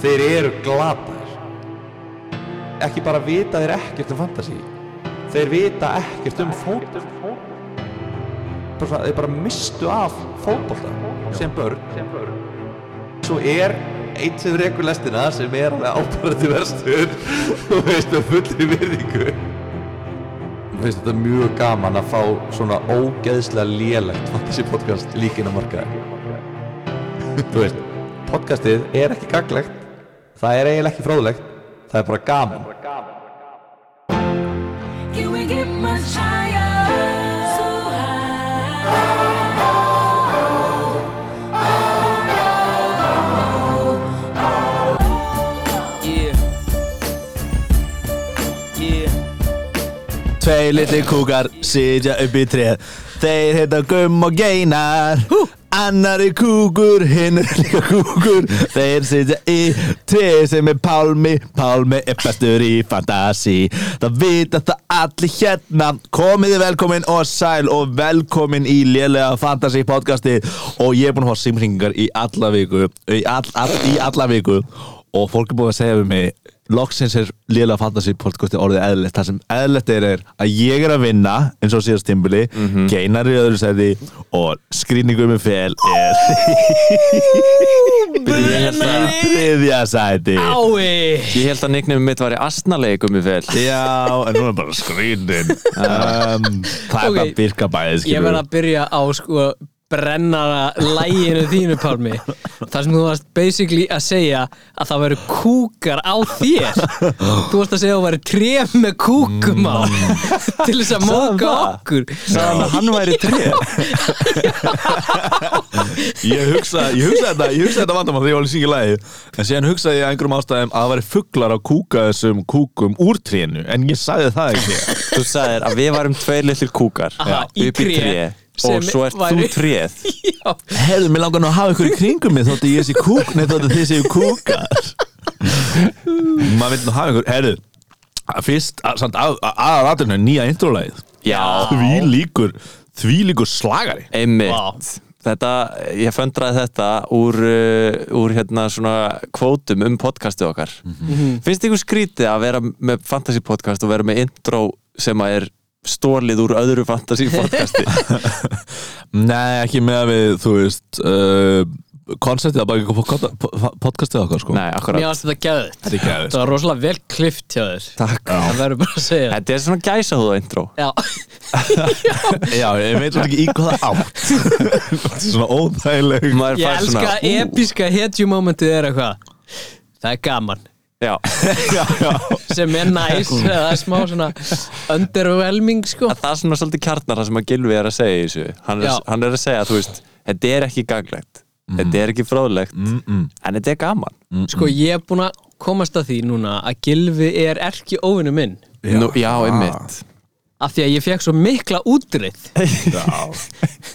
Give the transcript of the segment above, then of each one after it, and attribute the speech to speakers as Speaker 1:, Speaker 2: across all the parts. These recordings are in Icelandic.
Speaker 1: þeir eru glataðir ekki bara vita þeir ekkert um fantasy þeir vita ekkert um fótbolta Bara svona, þeir bara mistu af fótbolta sem börn svo er einn sem rekur lestina sem er alveg ábærandi verstur og veist með fullri virðingu Mér finnst þetta mjög gaman að fá svona ógeðslega lélegt fantasy podcast líkin á markaði þú veist, podcastið er ekki gaglegt það er eiginlega ekki fróðlegt það er bara gaman
Speaker 2: Can we get much higher? So high.
Speaker 3: Yeah Yeah Tvei litli kúkar sitja upp í treð Þeir heita Gumm og Geinar Annar er kúkur, hinn er líka kúkur Þeir sitja í treð sem er Pálmi Pálmi er bestur í fantasi Það vita það allir hérna Komiði velkomin og sæl og velkomin í lélega fantasi podcasti Og ég er búinn að fá simringar í alla viku Í, all, all, í alla viku og fólk er búið að segja við mig loksins er lélega fantasy podcasti orðið eðlilegt það sem eðlilegt er, er að ég er að vinna eins og síðast tímbili
Speaker 4: Mhm.
Speaker 3: geinar í öðru sæði og skrýningum með fel er þriðja sæti
Speaker 4: Ái
Speaker 5: Ég held að nicknum mitt var í astnalegum í fel
Speaker 3: já, en nú er bara skrýnin um, það er
Speaker 4: Ok.
Speaker 3: bara birka bæði
Speaker 4: Ég verð að byrja á sko brennara læginu þínu Pálmi þar sem þú varst basically að segja að það væru kúkar á þér þú varst að segja að það væri tref með kúkum á til þess að móka
Speaker 5: það?
Speaker 4: okkur
Speaker 5: Sæðan að Mm. hann væri tré
Speaker 3: ég hugsaði ég hugsa þetta, ég hugsa þetta vandamál þegar ég var að syngja lagi en síðan hugsaði ég að einhverjum ástæðum að það væri fugglar að kúka þessum kúkum úr trénu en ég sagði það ekki
Speaker 5: Þú sagðir að við varum tveir litlir kúkar
Speaker 4: Aha,
Speaker 5: Já,
Speaker 4: í
Speaker 5: upp
Speaker 4: tré.
Speaker 5: tré
Speaker 4: Sem
Speaker 5: Og svo ert
Speaker 4: væri-
Speaker 5: þú tréð
Speaker 4: Já,
Speaker 3: Herðu, mér langar nú að hafa ykkur í kringum mig þóttu ég sé kúk, nei þóttu þið séu kúkar Maður vil nú hafa ykkur, herðu Fyrst, að- samt aðalaturnu, nýja introlægið
Speaker 5: Já,
Speaker 3: Því líkur, því líkur slagari
Speaker 5: einmitt
Speaker 4: Vá.
Speaker 5: Þetta, ég föndraði þetta úr, uh, úr hérna svona kvótum um podcastið okkar Finnst ykkur skrítið að vera með fantasy podcast og vera með intro sem að er stólið úr öðru fantasy podcasti
Speaker 3: Nei, ekki með að við, þú veist uh, Konceptið að baka ykkur pod- pod- podcastið okkar, sko
Speaker 5: Nei, akkurat
Speaker 4: mér varst þetta gæðið
Speaker 3: Þetta er gæðið.
Speaker 4: það var rosalega vel klift hjá þér
Speaker 5: Takk
Speaker 4: það verður bara að segja
Speaker 5: Þetta er svona gæsa húða intro
Speaker 4: Já,
Speaker 3: Já, ég veit svolítið ekki í hvaða átt Svona óþægileg
Speaker 5: Maður
Speaker 4: ég
Speaker 5: fær
Speaker 4: elska
Speaker 5: svona, ú.
Speaker 4: episka hetjumomentið er eitthvað það er gaman
Speaker 5: Já,
Speaker 3: Já, já
Speaker 4: sem er næs það er smá svona underwhelming sko
Speaker 5: að það er svona svolítið kjarnar það sem að Gilvi er að segja í þessu
Speaker 4: Já.
Speaker 5: hann
Speaker 4: Mm.
Speaker 5: er, hann er að segja, þú veist, þetta er ekki gaglegt þetta er ekki fróðlegt en þetta er gaman
Speaker 4: sko ég er búin að komast að því núna að Gilvi er erki óvinu minn
Speaker 5: Já, Nú, já einmitt
Speaker 4: af því að ég fekk svo mikla útrið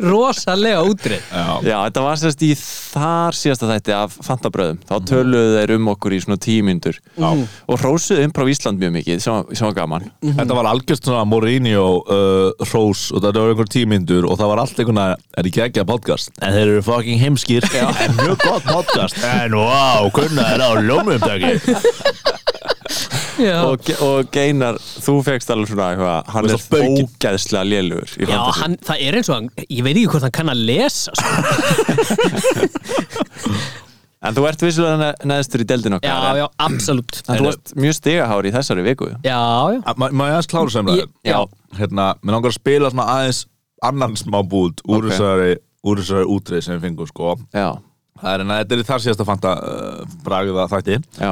Speaker 4: rosalega útrið
Speaker 5: Já, þetta var sérst í þar síðasta þætti af Fantabröðum
Speaker 4: Mm.
Speaker 5: þá töluðu þeir um okkur í svona tímyndur mm. og hrósuðu improv Ísland mjög mikið sem, var- sem var gaman
Speaker 3: Þetta var algjörst svona Mourinho uh, Rós og þetta var einhver tímyndur og það var allt einhverna, er ekki ekki að podcast en þeir eru fucking heimskir en mjög gott podcast en wow, kunna þeir á ljómumdagi
Speaker 4: já,
Speaker 5: og, Ge- og Geinar, þú fegst alveg svona eitthvað, hann
Speaker 3: Og
Speaker 5: er
Speaker 3: svo baukinn.
Speaker 5: ógæðslega lélugur í
Speaker 4: já
Speaker 5: fantasy.
Speaker 4: hann, það er eins og hann ég veit ekki hvort hann kann að lesa sko.
Speaker 5: en þú ert vissulega ne- neðstur í deldin
Speaker 4: já,
Speaker 5: okkar
Speaker 4: já, absolutt
Speaker 5: en, en þú ert mjög stigahár í þessari viku
Speaker 4: já, já,
Speaker 3: Má má ég aðeins klára sem það?
Speaker 4: Ég- já.
Speaker 3: Hérna, mér langar að spila svona aðeins annan smá bút úr
Speaker 5: Ok.
Speaker 3: þessari úr þessari útreið sem við fengum sko
Speaker 5: já,
Speaker 3: það er en að þetta er í þar síðast að fanta uh, bragða þætti
Speaker 5: já.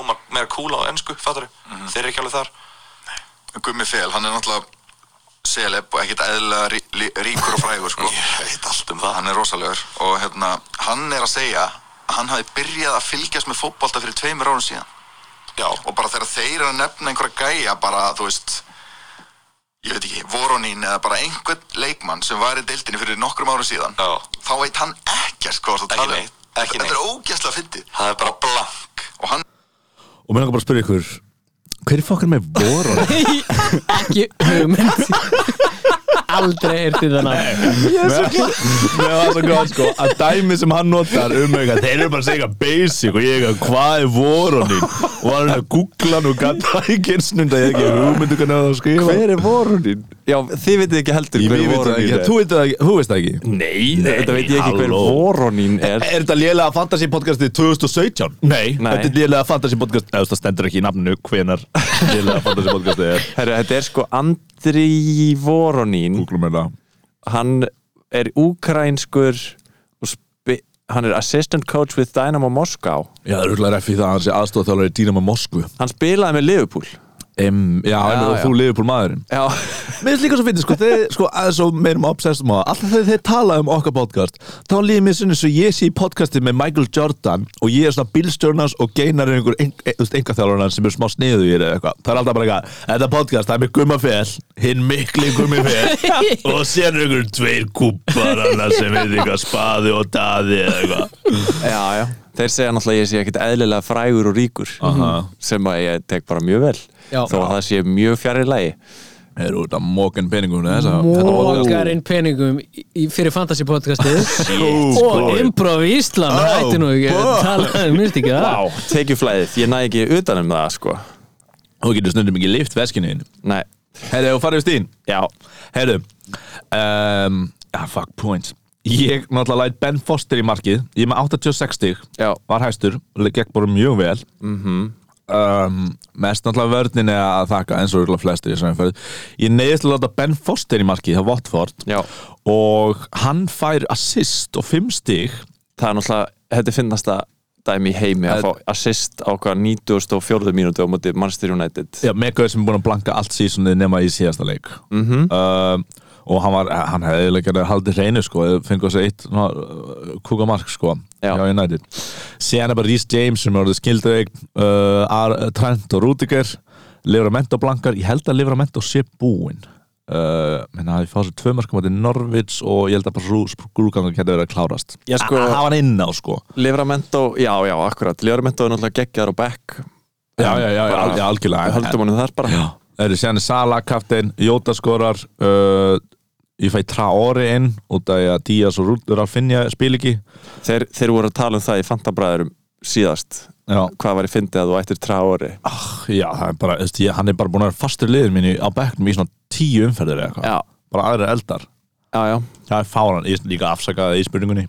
Speaker 6: hljómar meira kúla á ennsku, fattar þeir eru ekki alveg þar
Speaker 7: Mhm. Gummi Fel, hann er náttúrulega seleb og ekkert eðlilega rí, lí- ríkur og frægur sko.
Speaker 6: ég veit allt um það
Speaker 7: hann er rosalegur og hérna, hann er að segja að hann hafi byrjað að fylgjast með fótbolta fyrir tveimur árum síðan
Speaker 6: já,
Speaker 7: og bara þegar þeir eru að nefna einhverja gæja bara, þú veist ég veit ekki, Voronín eða bara einhvern leikmann sem var í deildinni fyrir nokkrum árum síðan
Speaker 6: Já.
Speaker 7: þá veit hann ekkert sko,
Speaker 6: Ekki neitt, ekki
Speaker 7: þetta er ógæslega fyndið
Speaker 6: það er bara blank
Speaker 7: og hann
Speaker 3: og mér langar bara að spyrja ykkur hver er fokkar með voru?
Speaker 4: ekki hugmynd aldrei heyrti þannig
Speaker 3: Mér var svo gott sko að dæmi sem hann notar um eitthvað þeir eru bara að segja basic og ég eitthvað hvað er vorunin og hann er að googla hann og gata ekki eins og ég ekki hugmyndu hvernig á það að skrifa
Speaker 5: Hver er vorunin? Já, þið vitið ekki heldur
Speaker 3: Ég
Speaker 5: hver
Speaker 3: veit það
Speaker 5: vorunin
Speaker 3: ekki,
Speaker 5: er
Speaker 3: þú veit það ekki, þú veist það ekki
Speaker 5: Nei, þetta veit ég ekki hver
Speaker 3: halló.
Speaker 5: vorunin er
Speaker 3: Er þetta lélega fantasy podcastið 2017? Nei,
Speaker 5: Nei.
Speaker 3: þetta er lélega fantasy podcast eða það stendur ekki í nafninu hvenar lélega fantasy podcastið er
Speaker 5: Herru, þetta er sko Andri Voronin
Speaker 3: Googlum er það
Speaker 5: Hann er úkrænskur og spi- hann er assistant coach with Dynamo Moskva
Speaker 3: Já, rullar F í það að hann sé aðstofa þjálfur í Dynamo Moskvu
Speaker 5: Hann spilaði með Liverpool
Speaker 3: um, Já, já,
Speaker 5: Já,
Speaker 3: já,
Speaker 5: já.
Speaker 3: þú liðupúl maðurinn
Speaker 5: Já,
Speaker 3: Mér finnst líka svo fyndið, sko, þeir, sko, aðeins og meirum obsessum á það Alltaf þegar þeir tala um okkar podcast Þá líður mér svona eins og ég sé í podcasti með Michael Jordan Og ég er svona bílstjórnans og geinar einhver, ein, e, ein, einhver þjálfurnar sem er smá sniðu í þér eða eitthvað Það er alltaf bara eitthvað, þetta podcast, það er með gummafell Hinn mikli gummafell Og sér einhver tveir kúpar annar sem er eitthvað spaði og daði eða eitthvað
Speaker 5: já, já Þeir segja náttúrulega að ég sé ekkit eðlilega frægur og ríkur
Speaker 3: Aha.
Speaker 5: sem að ég tek bara mjög vel
Speaker 4: Já.
Speaker 5: þó að það sé mjög fjarri lagi
Speaker 3: Er út að mókan peninguna þessa
Speaker 4: Mókarinn peningum í, í- fyrir fantasy podcastið og improv í Ísland
Speaker 3: Oh,
Speaker 4: hætti nú ekki að
Speaker 3: boy.
Speaker 4: tala um minnst ekki það
Speaker 5: Vá, tekjuflæðið, ég næ ekki utanum það sko
Speaker 3: Þú getur stundum ekki lift veskinu þínu.
Speaker 5: Nei,
Speaker 3: Herðu, þú farið við stíðin
Speaker 5: já,
Speaker 3: Herru um, ah, Fuck points Ég náttúrulega læt Ben Foster í markið Ég er með 86 stig
Speaker 5: Já. Mhm.
Speaker 3: Var hæstur, le- gekk bara mjög vel um, Mest náttúrulega vörnin er að þakka eins og örugglega flestir í þessari umferð. Ég neyðist til að láta Ben Foster í markið Það Watford
Speaker 5: Já.
Speaker 3: Og hann fær assist og 5 stig
Speaker 5: það er náttúrulega þetta er finnast að dæmi í heimi að
Speaker 3: Það-
Speaker 5: fá assist á hvað 94. mínútu á móti Manchester United
Speaker 3: Já, Megaður sem er búin að blanka allt sísunni nema í síðasta leik
Speaker 5: Mhm.
Speaker 3: -hmm. um, og hann var, hann hefði eiginlega getað haldið hreinu sko, eða fengið þessi eitt ná, kúkamark sko,
Speaker 5: Já.
Speaker 3: hjá United síðan er bara Rhys James sem er orðið skildaveik uh, Ar- Trent og Rudiger Livramento blankar, ég held að Livramento sé búinn uh, menn að það fá sér tvö mörgum þetta er Norvids og ég held að bara Rús grúgangar getur verið að klárast
Speaker 5: Já, sko-
Speaker 3: að hafa hann inn á sko
Speaker 5: Livramento, já, já, akkurat Livramento er náttúrulega geggjar og back
Speaker 3: já, já, já, já,
Speaker 5: Bara-
Speaker 3: já algjörlega
Speaker 5: höldum honum þar bara
Speaker 3: Já, það eru sérna Sala kaftin, Jóta skorar uh, ég fæ Traore inn út af því að Díaz og Rúldur að finja spil ekki
Speaker 5: þeir, þeir voru að tala um það í Fantabræðurum síðast
Speaker 3: Já, Ah,
Speaker 5: hvað var ég fyndið að þú ættir trá ári
Speaker 3: já það er bara, þú veist, ég, hann er bara búin að vera fastur liður mínu á bekknum í svona tíu umferðir eða eitthvað,
Speaker 5: Já,
Speaker 3: bara aðra eldar
Speaker 5: já, já,
Speaker 3: það er fáran, ég er líka afsakaði í spurningunni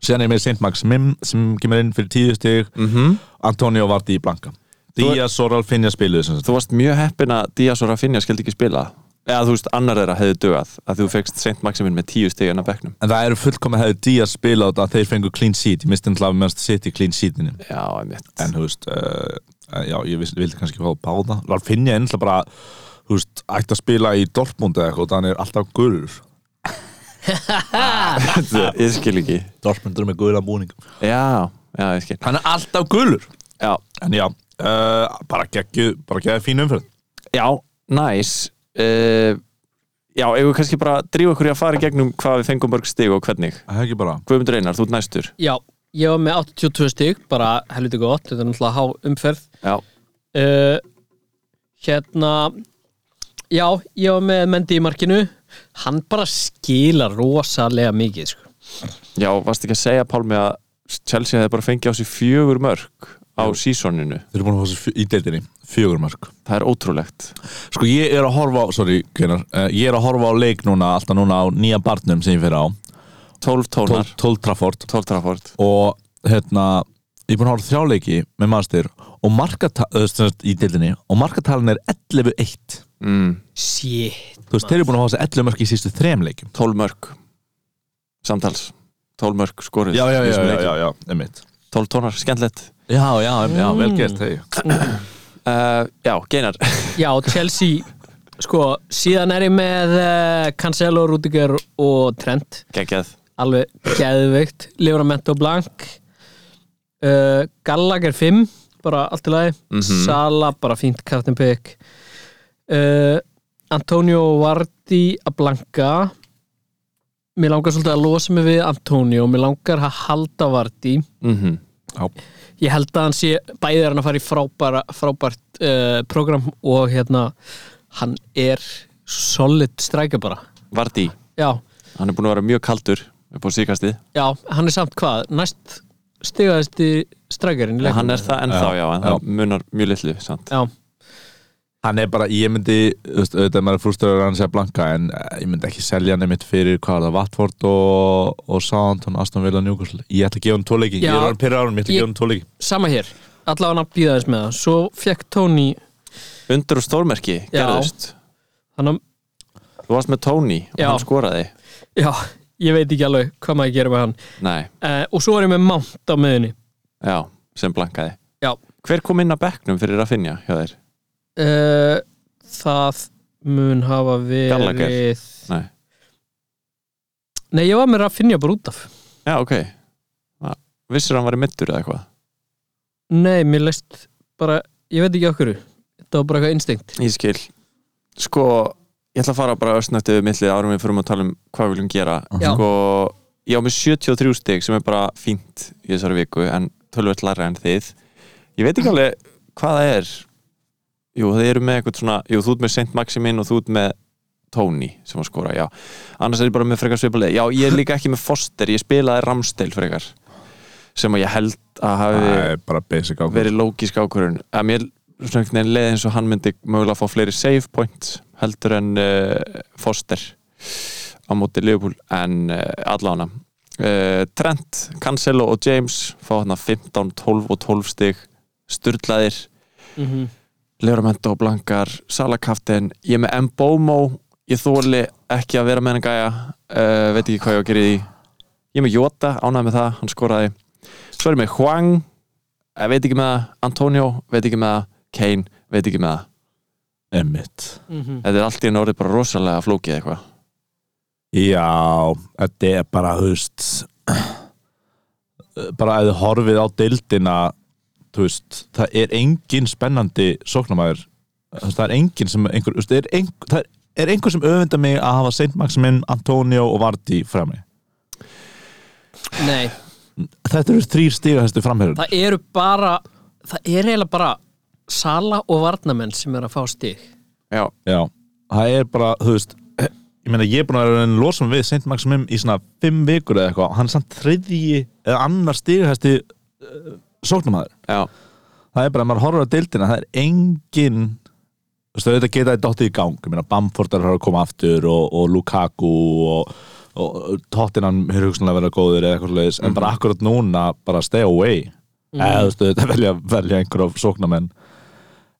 Speaker 3: sérna er með Saint Max Mim sem kemur inn fyrir tíu stig -hmm. Antonio Vardi í blanka Díaz og Ralf finja spiluð sem sagt.
Speaker 5: þú varst mjög heppin að Díaz og Rafinha skildi ekki spila eða þú veist, annar þeirra hefði dögað að þú fegst Saint Maximin með tíu stegin af bekknum
Speaker 3: en það eru fullkomið hefði Díaz spilað út af að þeir fengu clean sheet, ég misti hann til að mennst sitt í clean sheetinu
Speaker 5: Já, einmitt
Speaker 3: en þú veist uh, já, ég viss, vildi kannski fá að báða Ralf Finja ennlega bara þú veist, ætti að spila í Dortmund eða eitthvað þannig er alltaf gulur
Speaker 5: Ég skil ekki
Speaker 3: Dortmund er með gula búning
Speaker 5: Já, já, ég skil
Speaker 3: hann er alltaf gulur
Speaker 5: Já,
Speaker 3: en já, uh, bara geggju bara geggju fín umferð
Speaker 5: já næs uh, Já, eigum við kannski bara að drífa okkur í að fara í gegnum hvað við fengum mörg stig og hvernig
Speaker 3: það er ekki bara
Speaker 5: Guðmundur Einar, þú ert næstur
Speaker 4: Já, ég var með 82 stig bara helviti gott, þetta er náttúrulega há umferð
Speaker 5: Já,
Speaker 4: uh, hérna já, ég var með Mendy í markinu hann bara skilar rosalega mikið sko.
Speaker 5: já varst ekki að segja Pálmi að Chelsea hefði bara fengið á sig fjögur mörg á sísoninu
Speaker 3: þeir eru búin að fá sér fjö- í deildinni fjögur mörg
Speaker 5: Það er ótrúlegt
Speaker 3: sko ég er að horfa á sorry, hvenar, uh, ég er að horfa á leik núna alltaf núna á nýja barnum sem ég fyrir á
Speaker 5: 12 tónar,
Speaker 3: 12 12 Trafford
Speaker 5: 12 trafórt
Speaker 3: og hérna ég er búin að horfa á þrjáleiki með master og markatalin í deildinni og markatalin er 11-1
Speaker 5: mm,
Speaker 4: shit,
Speaker 3: þú veist, þeir eru búin að hafa þessi 11 mörg í sístu þrem leikjum
Speaker 5: 12 mörg Samtals 12 mörg skorið í þessum leik.
Speaker 3: já, emitt
Speaker 5: 12 tónar, skemmtilegt
Speaker 3: Já, já, já, vel gert, hei
Speaker 5: uh, Já, Geinar
Speaker 4: já, Chelsea sko, síðan er ég með uh, Cancelo, Rudiger og Trent
Speaker 5: Gengið
Speaker 4: alveg geðveikt Livramento Blank uh, Gallagher 5 bara allt í lagi, Sala bara fínt Captain Pick uh, Antonio Vardi að Blanka mér langar svolítið að losa mig við Antonio, mér langar að halda Vardi
Speaker 5: mm -hmm.
Speaker 4: ég held að hann sé, bæði er hann að fara í frábæra, frábært uh, program og hérna, hann er solid strækja bara
Speaker 5: Vardí,
Speaker 4: já,
Speaker 5: hann er búin að vera mjög kaldur upp á síkastið,
Speaker 4: já, hann er samt hvað næst stigaðasti strækjarinn í
Speaker 5: en
Speaker 4: leiknum
Speaker 5: hann er það ennþá,
Speaker 3: Já,
Speaker 5: já, en
Speaker 3: já.
Speaker 5: það munar mjög litlu, sant?
Speaker 4: já,
Speaker 3: Hann er bara, ég myndi, þú veist, auðvitað maður er frúströður að hann sé að blanka en eh, ég myndi ekki selja hann einmitt fyrir hvað er það, Watford og, og Southampton, Aston Villa, Newcastle Ég ætla að gefa hann tóleiki, ég
Speaker 4: Já.
Speaker 3: er orðin pyrra á hann, ég ætla að
Speaker 4: Ég-
Speaker 3: gefa hann tóleiki
Speaker 4: sama hér allavega hann býða þess með það svo fekk Tony
Speaker 5: Undur og stórmerki,
Speaker 4: Já.
Speaker 5: gerðust
Speaker 4: hann að,
Speaker 5: Þú varst með Tony og
Speaker 4: Já.
Speaker 5: hann skoraði
Speaker 4: já, ég veit ekki alveg hvað maður gerir með hann
Speaker 5: Nei,
Speaker 4: uh, og svo er ég með Mount á miðunni
Speaker 5: já, sem blankaði
Speaker 4: já,
Speaker 5: Hver kom inn á bekknum fyrir að finja hjá þér?
Speaker 4: uh, það mun hafa verið
Speaker 5: Gallagher. Nei,
Speaker 4: nei, ég var með Rafinha bara út af
Speaker 5: já, ok Já, Vissir hann var í middur eða eitthvað?
Speaker 4: nei, mér leist bara ég veit ekki okkur, þetta var bara eitthvað instinkt
Speaker 5: Ég skil Sko, ég ætla að fara bara östnættu millið árum við fyrir að tala um hvað við viljum gera
Speaker 4: Já.
Speaker 5: Sko, ég á með 73 stig sem er bara fínt í þessari viku en tölvöld læra en þið Ég veit ekki alveg hvað það er Jú, þið eru með eitthvað svona Jú, þú ert með Saint Maximin og þú ert með Tony sem að skora, já Annars er ég bara með frekar sveipaleg Já, ég er líka ekki með Foster, ég spilaði Ramsdale frekar sem að ég held að hafi
Speaker 3: Það er bara basic ákvæm
Speaker 5: verið lógisk ákvörðun að mér svona einhvern veginn leið eins og hann myndi mögulega fá fleiri save points heldur en uh, Foster á móti Liverpool en uh, allána uh, Trent, Cancelo og James fá hann 15, 12 og 12 stig sturlaðir
Speaker 4: mm -hmm.
Speaker 5: Leoramento, Blankar, Salakaftin ég er með Mbomo ég þóli ekki að vera með hann gæja uh, veit ekki hvað ég á að gera í því ég er með Jota, ánægð með það, hann skoraði svo er ég með Huang eh, veit ekki með það, Antonio, veit ekki með það Kane, veit ekki með það
Speaker 3: Emmitt
Speaker 5: þetta er allt í enn orðið bara rosalega flókið eitthvað
Speaker 3: Já, þetta er bara, þú veist bara að þið horfið á deildina þú veist, það er engin spennandi sóknamaður Þú veist, það er engin sem einhver, þú veist, er einhver, það er, er einhver sem öfunda mig að hafa Saint Maximin, Antonio og Vardy frammi
Speaker 4: nei,
Speaker 3: Þetta eru þrýr stígahæstu framherjum
Speaker 4: það eru bara það er eiginlega bara Sala og Varnamenn sem er að fá stig
Speaker 5: já,
Speaker 3: Já, það er bara, þú veist ég meina, ég er búin að vera en losum við Saint Maximin í svona fimm vikur eða eitthvað, hann er samt þriðji eða annar stígahæsti uh, sóknamaður
Speaker 5: já,
Speaker 3: það er bara að maður horfður á deildina það er engin þú veist þetta geta þetta dottið í gang ég meina Bamford er að fara að koma aftur og, og Lukaku og, og Tottenham er hugsanlega að vera góður eða eitthvað leiðis en bara akkurat núna bara stay away eða þú veist þetta velja, velja einhverja sóknamenn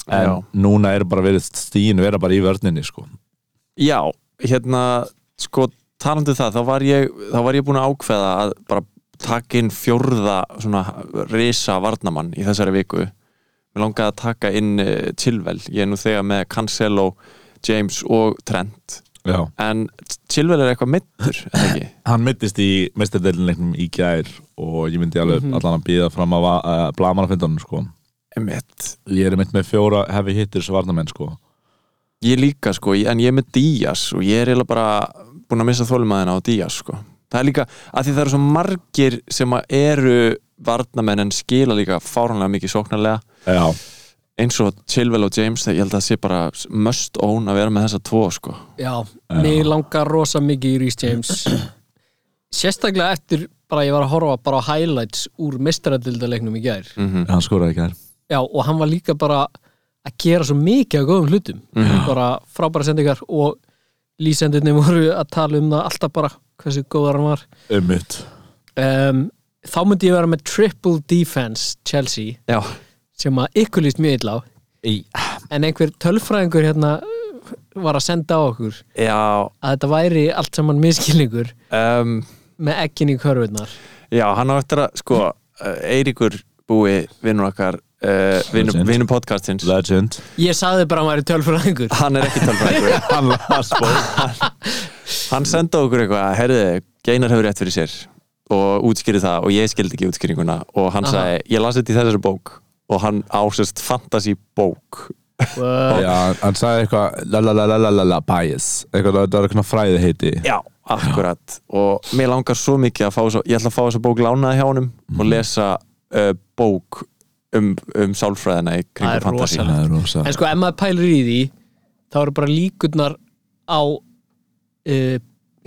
Speaker 3: en
Speaker 5: Já.
Speaker 3: núna er bara verið stíin vera bara í vörninni sko
Speaker 5: já hérna, sko, talandi um það þá var ég, þá var ég búin að ákveða að bara taka inn fjórða svona risa varnamann í þessari viku Mér langaði að taka inn uh, Chilwell, ég er nú þegar með Cancelo, James og Trent
Speaker 3: Já.
Speaker 5: en Chilwell er eitthvað mittur ekki?
Speaker 3: hann mittist í mestardeilin í gær og ég myndi alveg allan að býða fram að uh, blamana fyndanum sko
Speaker 5: Mitt.
Speaker 3: ég er mitt með fjóra heavy hitters varnamenn sko
Speaker 5: Ég líka sko, ég- en ég er með Díaz og ég er eiginlega bara búin að missa þólmaðina á Díaz sko Það er líka, að því það eru svo margir sem að eru varnamenn en skila líka fáránlega mikið sóknarlega
Speaker 3: Já.
Speaker 5: eins og Chilwell og James, ég held að það sé bara must own að vera með þessa tvo sko
Speaker 4: já, mig langar rosa mikið í Rhys James sérstaklega eftir bara ég var að horfa bara á highlights úr mestaradildaleiknum í gær
Speaker 3: hann skoraði ekki þær
Speaker 4: já, og hann var líka bara að gera svo mikið af góðum hlutum bara frábæra sendingar og lýsendinni voru að tala um það alltaf bara hversu góðar hann var
Speaker 3: Ummitt
Speaker 4: um, þá myndi ég vera með triple defense Chelsea
Speaker 5: Já,
Speaker 4: sem að ykkur líst mjög illa á en einhver tölfræðingur hérna var að senda á okkur
Speaker 5: já,
Speaker 4: að þetta væri allt saman miskilningur
Speaker 5: um,
Speaker 4: með ekkin í körfurnar
Speaker 5: já hann á eftir að sko, uh, Eiríkur búi vinnur okkar, uh, vinnur
Speaker 3: Legend.
Speaker 5: vinnu podcastins
Speaker 3: Legend
Speaker 4: ég sagði bara að hann væri tölfræðingur
Speaker 5: hann er ekki tölfræðingur
Speaker 3: Hann las bók
Speaker 5: hann senda okkur eitthvað, herðu, Geinar hefur rétt fyrir sér og útskýri það og ég skildi ekki útskýringuna og hann
Speaker 4: Aha.
Speaker 5: sagði, ég las þetta í þessari bók og hann ásist fantasy bók
Speaker 3: Já, hann sagði eitthvað la la la la la la la bias Eitthvað, það var eitthvað fræði heiti
Speaker 5: já, akkurat og mér langar svo mikið að fá svo, ég ætla að fá þessa bók lánaði hjá honum
Speaker 4: Mhm.
Speaker 5: og lesa uh, bók um, um sálfræðina í
Speaker 4: Það er
Speaker 5: kringum fantasy
Speaker 4: rosalegt.
Speaker 3: er rosa
Speaker 4: en sko ef maður pælir í því þá eru bara líkurnar á uh,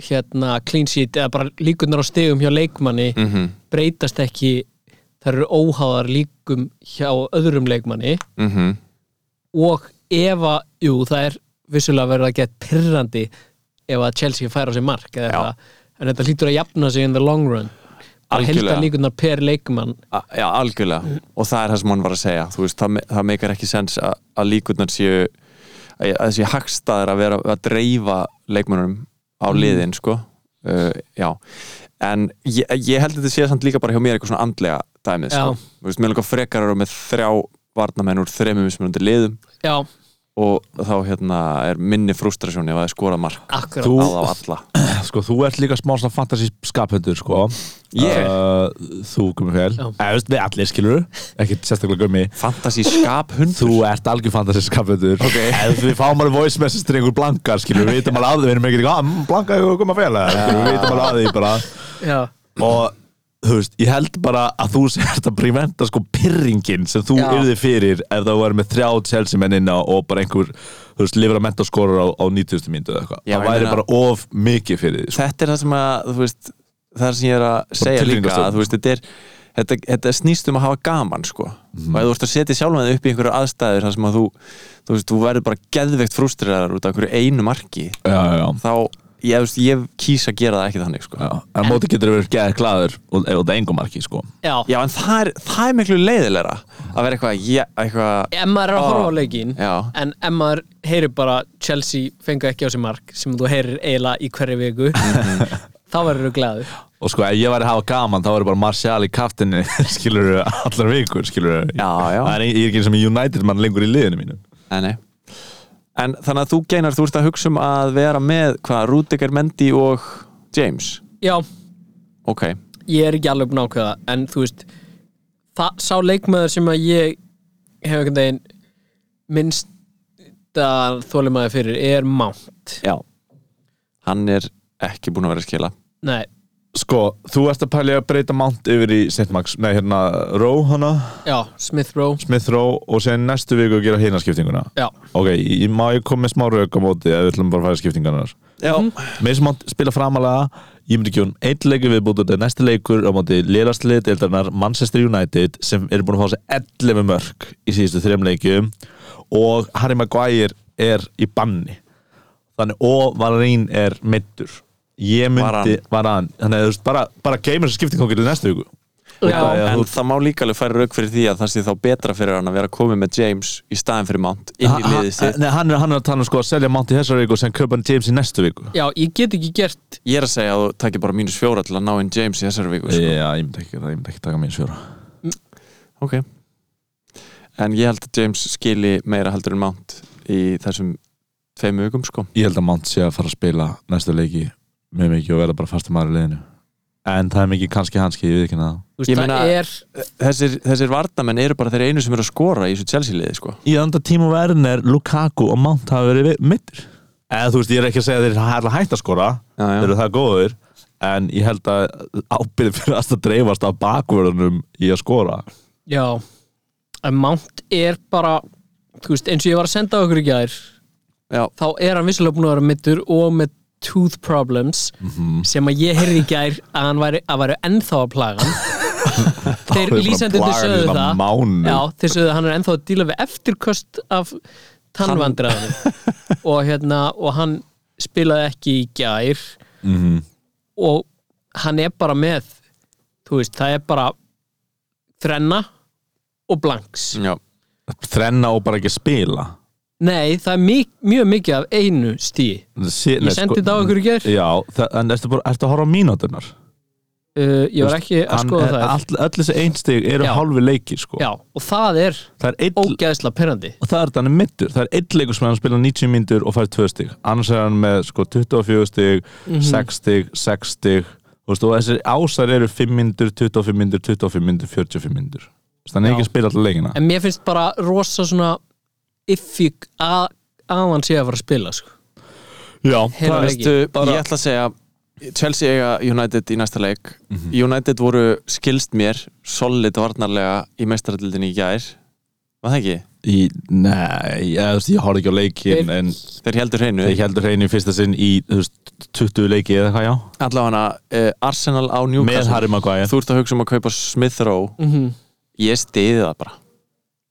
Speaker 4: hérna clean sheet eða bara líkunar á stegum hjá leikmanni
Speaker 5: Mhm.
Speaker 4: breytast ekki þær eru óháðar líkum hjá öðrum leikmanni
Speaker 5: Mhm.
Speaker 4: og ef að, jú, það er vissulega verið að geta pyrrandi ef að Chelsea fær á sig mark eða
Speaker 5: Já.
Speaker 4: eitthvað, en þetta hlýtur að jafna sig in the long run bara
Speaker 5: Algjörlega.
Speaker 4: helda líkunar per leikmann
Speaker 5: A- Já, algjörlega og það er það sem hann var að segja þú veist, það, me- það meikar ekki sens að, að líkurnar séu að að þessi hagstaðar að vera að dreifa leikmönunum á liðin sko uh, já, en ég, ég held að þetta sé samt líka bara hjá mér eitthvað svona andlega dæmið sko,
Speaker 4: Já.
Speaker 5: þú veist, mér langar frekar eru með þrjá varnamenn úr þremum mismunandi liðum
Speaker 4: já,
Speaker 5: og þá hérna er minni frustrasjón ef að það skora mark
Speaker 4: akkurat
Speaker 5: á
Speaker 3: Þú-
Speaker 5: þá alla
Speaker 3: sko, þú ert líka smá svona fantasy skaphundur, sko
Speaker 5: Ég?
Speaker 3: uh, Þú, Gummi Fjell
Speaker 4: Já.
Speaker 3: Eða, veist, Við allir skilur, ekki sérstaklega Gummi
Speaker 5: fantasy skaphund
Speaker 3: Þú ert algjör fantasy skaphundur
Speaker 5: Ok.
Speaker 3: Ef við fáum alveg voice message til einhver blankar, skilur Við vitum alveg að því, við erum ekki eitthvað "Ah, mm, Blanka, ég kom að fjalla Við vitum alveg að því bara
Speaker 4: já,
Speaker 3: Og, þú veist, ég held bara að þú sért að preventa sko pyrringin sem þú
Speaker 4: Já.
Speaker 3: yrði fyrir ef það var með þrjá Chelsea menn inna og bara einhver, þú veist, lifra mentaskorur á, á 90. mínútu eða eitthvað
Speaker 5: Já,
Speaker 3: Það
Speaker 5: ég
Speaker 3: væri
Speaker 5: meina-
Speaker 3: bara of mikið fyrir því, sko.
Speaker 5: þetta er það sem að þú veist, það sem ég er að segja líka
Speaker 3: tilfinningastöfn.
Speaker 5: að, þú veist, þetta, er, þetta, þetta snýst um að hafa gaman sko.
Speaker 3: Mhm.
Speaker 5: og ef þú ert að setja sjálfan þig upp í einhverju aðstæður þar sem að þú, þú veist, þú verður bara geðveikt frústræðar út af einhverju einu marki
Speaker 3: Já, já, já
Speaker 5: þá, ég, þú veist, ég kýsa að gera það ekki þannig sko.
Speaker 3: Já, en á móti getur verið geðið glæður og ef þetta er engum marki, sko
Speaker 4: já.
Speaker 5: já, en það er, það er miklu leiðilegra að vera eitthvað, ég, eitthvað
Speaker 4: ef maður er að horfa á
Speaker 5: Ó,
Speaker 4: leikin
Speaker 5: Ah. já.
Speaker 4: en ef maður heyrir bara Chelsea fengu ekki á sig mark sem þú heyrir eiginlega í hverju viku þá verður þú glæður
Speaker 3: Og sko, ef ég væri að hafa gaman, þá væri bara Martial í kaftinni, skilur við, allar vikur, skilur við
Speaker 5: Já, já.
Speaker 3: Það er, ég er ekki eins og með United mann lengur í liðinu mínu
Speaker 5: Nei, nei. en þannig að þú geinar þú ert að hugsa um að vera með hvað, Rudiger, Mendy og James
Speaker 4: já,
Speaker 5: ok,
Speaker 4: ég er ekki alveg búin að ákveða en þú veist það, sá leikmaður sem að ég hef einhvern veginn minnst að þólimaði fyrir er Mount
Speaker 5: já hann er ekki búin að vera að skila
Speaker 4: Nei,
Speaker 3: Sko, þú ert að pælja að breyta Mount yfir í St. Max, nei hérna Rowe hana,
Speaker 4: já, Smith Rowe
Speaker 3: Smith Rowe og sen næstu viku að gera hérna skiptinguna
Speaker 4: Já,
Speaker 3: Ok, ég má ég koma með smá rauk á móti eða við ætlum bara að fara skiptingunar
Speaker 5: já,
Speaker 3: Mér sem Mount spila framalega ég myndi ekki hún einn leikur við búið þetta næsti leikur á móti lélastliði deildarnar Manchester United sem eru búin að fá þessi 11 mörg í síðustu þrejum leikjum og Harry Maguire er í banni þannig og Varín er meittur ég myndi, var hann þannig að þú veist, bara, bara geymur þessi skiptingkongur í næstu viku
Speaker 4: já,
Speaker 3: Já,
Speaker 5: en
Speaker 3: þú-
Speaker 5: það má líka alveg færa rauk fyrir því að það sé þá betra fyrir hann að vera komið með James í staðin fyrir Mount inn í
Speaker 3: Ha-
Speaker 5: liðið sitt
Speaker 3: ha- Nei, hann er, hann er að tala um sko að selja Mount í þessari viku og sem kaupa hann James í næstu viku
Speaker 4: já, ég get ekki gert
Speaker 5: ég er að segja að þú takir bara mínus fjóra til að ná inn James í þessari viku sko.
Speaker 3: Já, ég myndi ekki, ég myndi ekki taka mín sjóra
Speaker 5: ok en ég held að James skili meira heldur en Mount í þessum tveim vikum sko
Speaker 3: Ég held að Mount sé að fara að spila næstu leiki mjög mikið og verða bara fastur maður í liðinu En það er mikið kannski hanski, ég veit ekki það
Speaker 4: Þú veist,
Speaker 5: Ég meina-
Speaker 4: það er,
Speaker 5: þessir, þessir varnamenn eru bara þeir einu sem eru að skora í þessu Chelsea liði sko
Speaker 3: Í anda Timo Werner, Lukaku og Mount hafa verið mittir Eða þú veist, ég er ekki að segja að þeir hætla hægt að skora
Speaker 5: Já, já.
Speaker 3: Þeir eru það góður En ég held að ábyrði fyrir að dreifast af bakvörðunum í að skora
Speaker 4: já en Mount er bara þú veist, eins og ég var að senda á okkur í gær
Speaker 5: já,
Speaker 4: þá er hann vissulega búin að vera mittur og með tooth problems sem að ég heyrði í gær að hann væri, að væri ennþá að plaga hann þeir lýsendur sögðu það
Speaker 3: Mánu
Speaker 4: Já, þeir sögðu að hann er ennþá að díla við eftirköst af tannvandræðanum og hérna og hann spilaði ekki í gær
Speaker 3: Mhm.
Speaker 4: og hann er bara með þú veist, það er bara þrenna og blanks
Speaker 5: já,
Speaker 3: Þrenna og bara ekki spila
Speaker 4: Nei, það er mjög, mjög mikið af einu stíi
Speaker 3: Sé,
Speaker 4: Ég sendi þetta á ykkur í gær
Speaker 3: sko- Já, það, en ertu, bara, ertu að horfa á mínúturnar?
Speaker 4: uh, Ég var ekki að
Speaker 3: Hann
Speaker 4: skoða
Speaker 3: er-
Speaker 4: það
Speaker 3: all, Öll þessi einstig eru
Speaker 4: Já.
Speaker 3: hálfi leikir sko.
Speaker 4: Já, og það er
Speaker 3: Það er einn
Speaker 4: ógeðsla perandi
Speaker 3: og það er þannig mittur, það er einn leikur sem hann spila 90 myndur og fær 2 stig annars er hann með sko 24 stig
Speaker 4: Mhm.
Speaker 3: 6 stig, 6 stig þú veist, og þessir ásar eru 5 myndur 25 myndur, 25 myndur, 45 myndur þannig er ekki að spila alltaf leikina
Speaker 4: En mér finnst bara rosa svona iffig að að hann sé að fara að spila sko.
Speaker 3: Já,
Speaker 4: Heyrðu,
Speaker 3: það er
Speaker 4: leiki.
Speaker 5: veistu,
Speaker 3: bara-
Speaker 5: ég ætla að segja Chelsea eiga United í næsta leik
Speaker 3: Mhm.
Speaker 5: United voru skilst mér solid varnarlega í meistaraldildinni í gær var það ekki?
Speaker 3: í, nei, ég, þú veist, ég horfði ekki á leikin en
Speaker 5: Þeir heldur hreinu
Speaker 3: þeir heldur hreinu í fyrsta sinn í þú veist, 20 leiki eða hvað já
Speaker 5: Allavega uh, Arsenal á
Speaker 3: með
Speaker 5: Newcastle
Speaker 3: Harry Maguire,
Speaker 5: Þú ert að hugsa um að kaupa Smith Rowe
Speaker 4: Mhm.
Speaker 5: Ég stiði það bara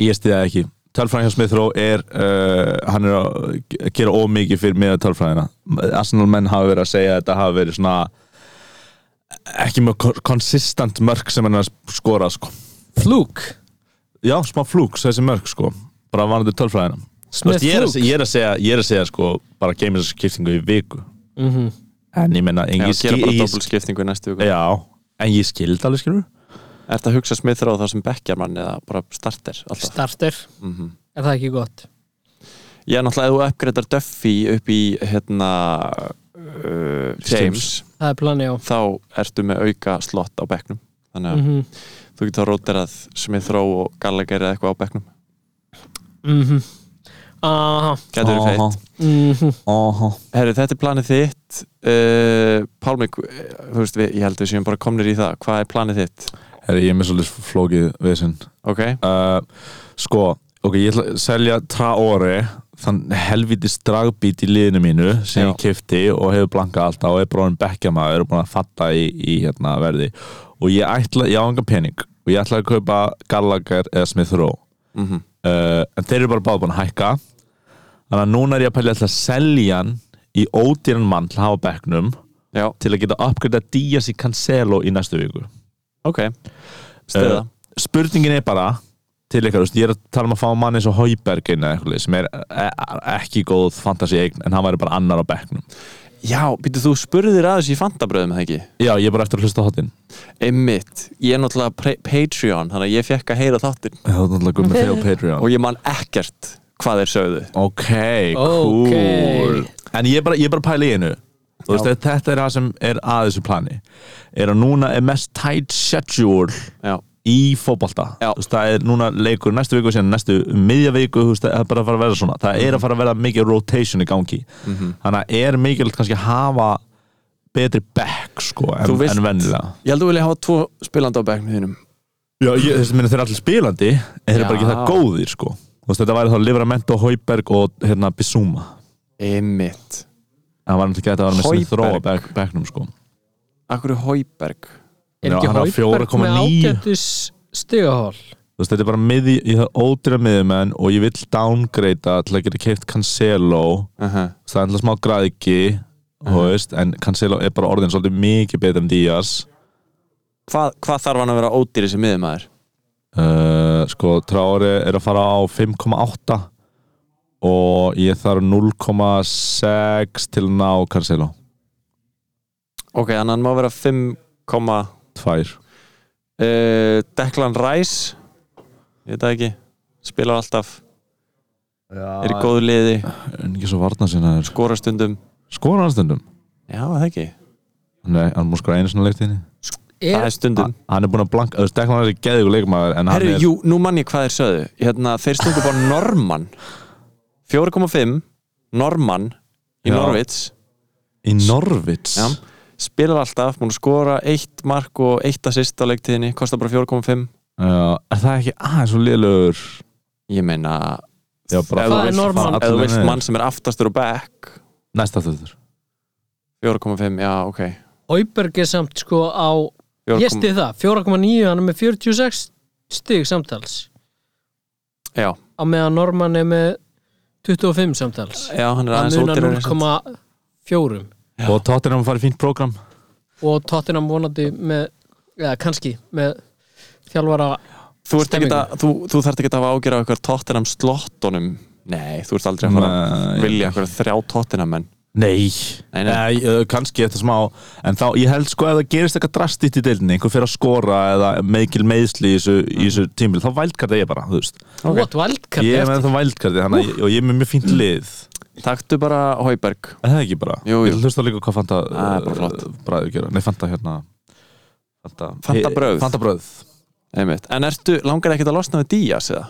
Speaker 3: ég stiði það ekki Tölfræðin hjá Smith Rowe er uh, hann er að gera ómikið fyrir með tölfræðina Arsenal menn hafa verið að segja að þetta hafa verið svona ekki mjög konsistant mörg sem hann er að skora sko.
Speaker 4: Flúk
Speaker 3: já, smá flúks þessi mörg sko bara varandi tölfræðina Þú
Speaker 4: Smith
Speaker 3: veist, ég, er að,
Speaker 4: Flúk
Speaker 3: seg- ég, er að segja, ég er að segja sko bara geymir þessu skiptingu í viku
Speaker 4: Mhm.
Speaker 3: en ég menna
Speaker 5: Já,
Speaker 3: engin
Speaker 5: gera bara
Speaker 3: ég-
Speaker 5: doppelskiptingu í næstu viku
Speaker 3: já, en ég skild alveg skilur
Speaker 5: Er þetta að hugsa Smith Rowe þá sem bekkjarmann eða bara starter alltaf?
Speaker 4: Starter
Speaker 3: Mhm.
Speaker 4: Er það ekki gott?
Speaker 5: Já, náttúrulega ef þú uppgreitar Duffy upp í hérna uh, James
Speaker 4: Það er planið á
Speaker 5: þá ertu með auka slott á bekknum þannig að
Speaker 4: Mhm.
Speaker 5: þú getur að róterað Smith Rowe og Gallagher eða eitthvað á bekknum
Speaker 4: Mhm. Aha
Speaker 5: Gætur verið feitt
Speaker 4: Mhm.
Speaker 3: aha
Speaker 5: Herri, þetta er planið þitt uh, Pálmi, eh, þú veist, við, ég held við séum bara komnir í það Hvað er planið þitt?
Speaker 3: Herri, ég er með svolítið flókið vesinn
Speaker 5: Ok,
Speaker 3: uh, sko, ok, ég ætla að selja Traore, þann helvitis dragbít í liðinu mínu sem
Speaker 5: Já.
Speaker 3: ég kifti og hefur blankað alltaf og er bróðin bekkjamaður og búin að fatta í, í hérna verði og ég ætla, ég á engan pening og ég ætla að kaupa Gallagher eða Smith Rowe
Speaker 5: Mhm.
Speaker 3: uh, en þeir eru bara báð búin að hækka þannig að núna er ég að pæla að selja hann í ódýran mann til að hafa á bekknum
Speaker 5: já,
Speaker 3: til að geta uppgöta Díaz í Cancelo í næstu viku
Speaker 5: ok
Speaker 3: eh.
Speaker 5: Stöða,
Speaker 3: spurningin er bara til ykkar, þú veist, ég er að tala um að fá mann eins og Hauberg inn eða eitthvað lið sem er e- ekki góð fantasy eign en hann væri bara annar á bekknum
Speaker 5: já, býttu þú spurðir aðeins í fantabröðum eða ekki?
Speaker 3: já, ég er bara eftir að hlusta á hotinn
Speaker 5: Einmitt, ég er náttúrulega pre- Patreon þannig að ég fekk að heyra þáttinn
Speaker 3: það er náttúrulega guð með þig og Patreon
Speaker 5: og ég man ekkert hvað þeir sögðu
Speaker 3: ok,
Speaker 4: Ok.
Speaker 3: cool en ég er bara, ég er bara að pæla í einu þú veist, að þetta er það sem er að þessu plani er að núna er mest tight schedule
Speaker 5: Já,
Speaker 3: í fótbolta
Speaker 5: Já.
Speaker 3: Þú veist, það er núna leikur næstu viku síðan næstu miðja viku þú veist, það er bara að fara að vera svona það er að fara að vera mikið rotation í gangi þannig að er mikilvægt kannski að hafa betri back sko en,
Speaker 5: Þú vilt-
Speaker 3: en vennilega
Speaker 5: ég held að þú vilja hafa tvo spilandi á bekknum þínum
Speaker 3: Já, ég, þessi, minna, þeir eru allir spilandi en þeir eru bara ekki
Speaker 5: Já.
Speaker 3: það góðir sko Þú veist, þetta væri þá Livramento, Hauberg og hérna, Bissúma
Speaker 5: Einmitt
Speaker 3: það var náttúrulega gæti að vera með sinni þróa
Speaker 5: Højbjerg.
Speaker 3: back, backnum sko
Speaker 5: Akkur er Hauberg
Speaker 4: Er
Speaker 3: Já,
Speaker 4: ekki
Speaker 3: hann á
Speaker 4: Hauberg
Speaker 3: 4,9.
Speaker 4: með ágættis stigahól?
Speaker 3: Þú veist, þetta er bara miði, ég þarf ódýra miðumenn og ég vill downgreita til að geta keift Cancelo
Speaker 5: uh -huh.
Speaker 3: Þú veist, það er alltaf smá græðki þú veist, en Cancelo er bara orðin svolítið mikið betur en Díaz
Speaker 5: Hvað þarf hann að vera ódýri sem miðum aður?
Speaker 3: uh, sko, Traore er að fara á 5,8 og ég þarf 0,6 til að ná Cancelo
Speaker 5: Ok, þannig að hann má vera 5, uh,
Speaker 3: tvær,
Speaker 5: eh, Declan Rice Ég veit það ekki Spilar alltaf Já, Er í góðu liði,
Speaker 3: en ekki svo sko? varna sinna
Speaker 5: skora stundum
Speaker 3: skora hann stundum
Speaker 5: Já, það ekki
Speaker 3: Nei, hann múið skora einu svona leiktinni
Speaker 5: Það
Speaker 4: Er,
Speaker 5: er stundum
Speaker 3: Hann er búin að blanka, þú veist, Declan er geðugur leikmaður en Ah, hann
Speaker 5: Herru,
Speaker 3: er,
Speaker 5: jú, nú mann ég hvað þeir sögðu hérna, Þeir stundu bara Norman 4,5 Norman í
Speaker 3: Já.
Speaker 5: Norvits
Speaker 3: í Norvits
Speaker 5: Já. Spilar alltaf, múin að skora eitt mark og eitt assist á leiktíðinni Kostar bara 4,5
Speaker 3: er það ekki aðeins svo liðlegur
Speaker 5: Ég meina,
Speaker 3: Já, bara
Speaker 5: Ef
Speaker 3: fara-
Speaker 5: þú vilt-
Speaker 4: er normal.
Speaker 3: fara
Speaker 5: ef
Speaker 3: allir
Speaker 5: þú vilt
Speaker 3: niður.
Speaker 5: mann sem er aftastur og back
Speaker 3: Næsta þurftur
Speaker 5: 4,5, já, ok
Speaker 4: Hauberg er samt sko á Ég
Speaker 5: 4,5,
Speaker 4: stið það, 4,9 hann er með 46 stig samtals
Speaker 5: já,
Speaker 4: á meðan Norman er með 25 samtals
Speaker 5: já, hann er
Speaker 4: hann
Speaker 5: aðeins
Speaker 4: munar
Speaker 5: ódýrari
Speaker 4: 0,4
Speaker 3: Og Tottenham farið fínt prógram
Speaker 4: og Tottenham vonandi með, eða kannski með þjálfara
Speaker 5: Þú, ert ekkert
Speaker 4: Stemmingu.
Speaker 5: að- þú, þú þarft ekki að hafa ágjör af eitthvað Tottenham slottunum Nei, þú ert aldrei að fara
Speaker 3: Nei.
Speaker 5: að vilja eitthvað þrjá Tottenham menn
Speaker 3: Nei,
Speaker 5: Nei,
Speaker 3: nei,
Speaker 5: nei.
Speaker 3: eh, kannski eftir smá En þá, ég held sko að það gerist eitthvað drastit í deildinni einhver fyrir að skora eða meðkil meðsli í þessu, í þessu tímil þá vældkarta ég bara, þú veist
Speaker 4: what wildcard
Speaker 3: Ég er
Speaker 4: eftir.
Speaker 3: með það vældkarti uh. og ég er með mjög fínt lið
Speaker 5: Taktu bara Hauberg
Speaker 3: Er það ekki bara?
Speaker 5: Jú, jú.
Speaker 3: Ég hlusta líka hvað fanta
Speaker 5: Það er bara flott.
Speaker 3: bræður gera Nei, fanta hérna Fanta,
Speaker 5: Fanta brauð.
Speaker 3: Fanta bröð
Speaker 5: Einmitt. En ertu, langar ekkert að losna við Díaz eða?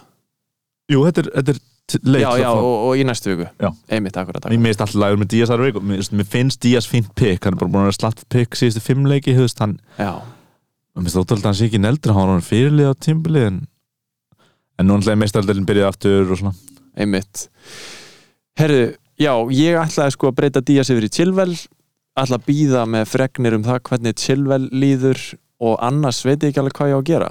Speaker 3: Jú, þetta er, þetta er t- leik
Speaker 5: já,
Speaker 3: sem
Speaker 5: já,
Speaker 3: fá-
Speaker 5: og, og í næstu viku
Speaker 3: Já.
Speaker 5: Einmitt, akkurat,
Speaker 3: Mér
Speaker 5: akkurat.
Speaker 3: minnst alltaf lagur með Díaz aðra viku Mér finnst- mér finnst Díaz fínt pikk Hann er bara búin að vera slatt pikk síðustu fimm leiki þú veist, hann,
Speaker 5: Já.
Speaker 3: Mér finnst ótrúlega að hann sé ekki neldri hann var hann fyrirlið á tímbilið en, en nú náttúrulega meistaldurinn byrjaði aftur og svona
Speaker 5: einmitt Herðu, já, ég ætlaði sko að breyta Días yfir í Chilwell ætla að býða með fregnir um það hvernig Chilwell líður og annars veit ég ekki alveg hvað ég á að gera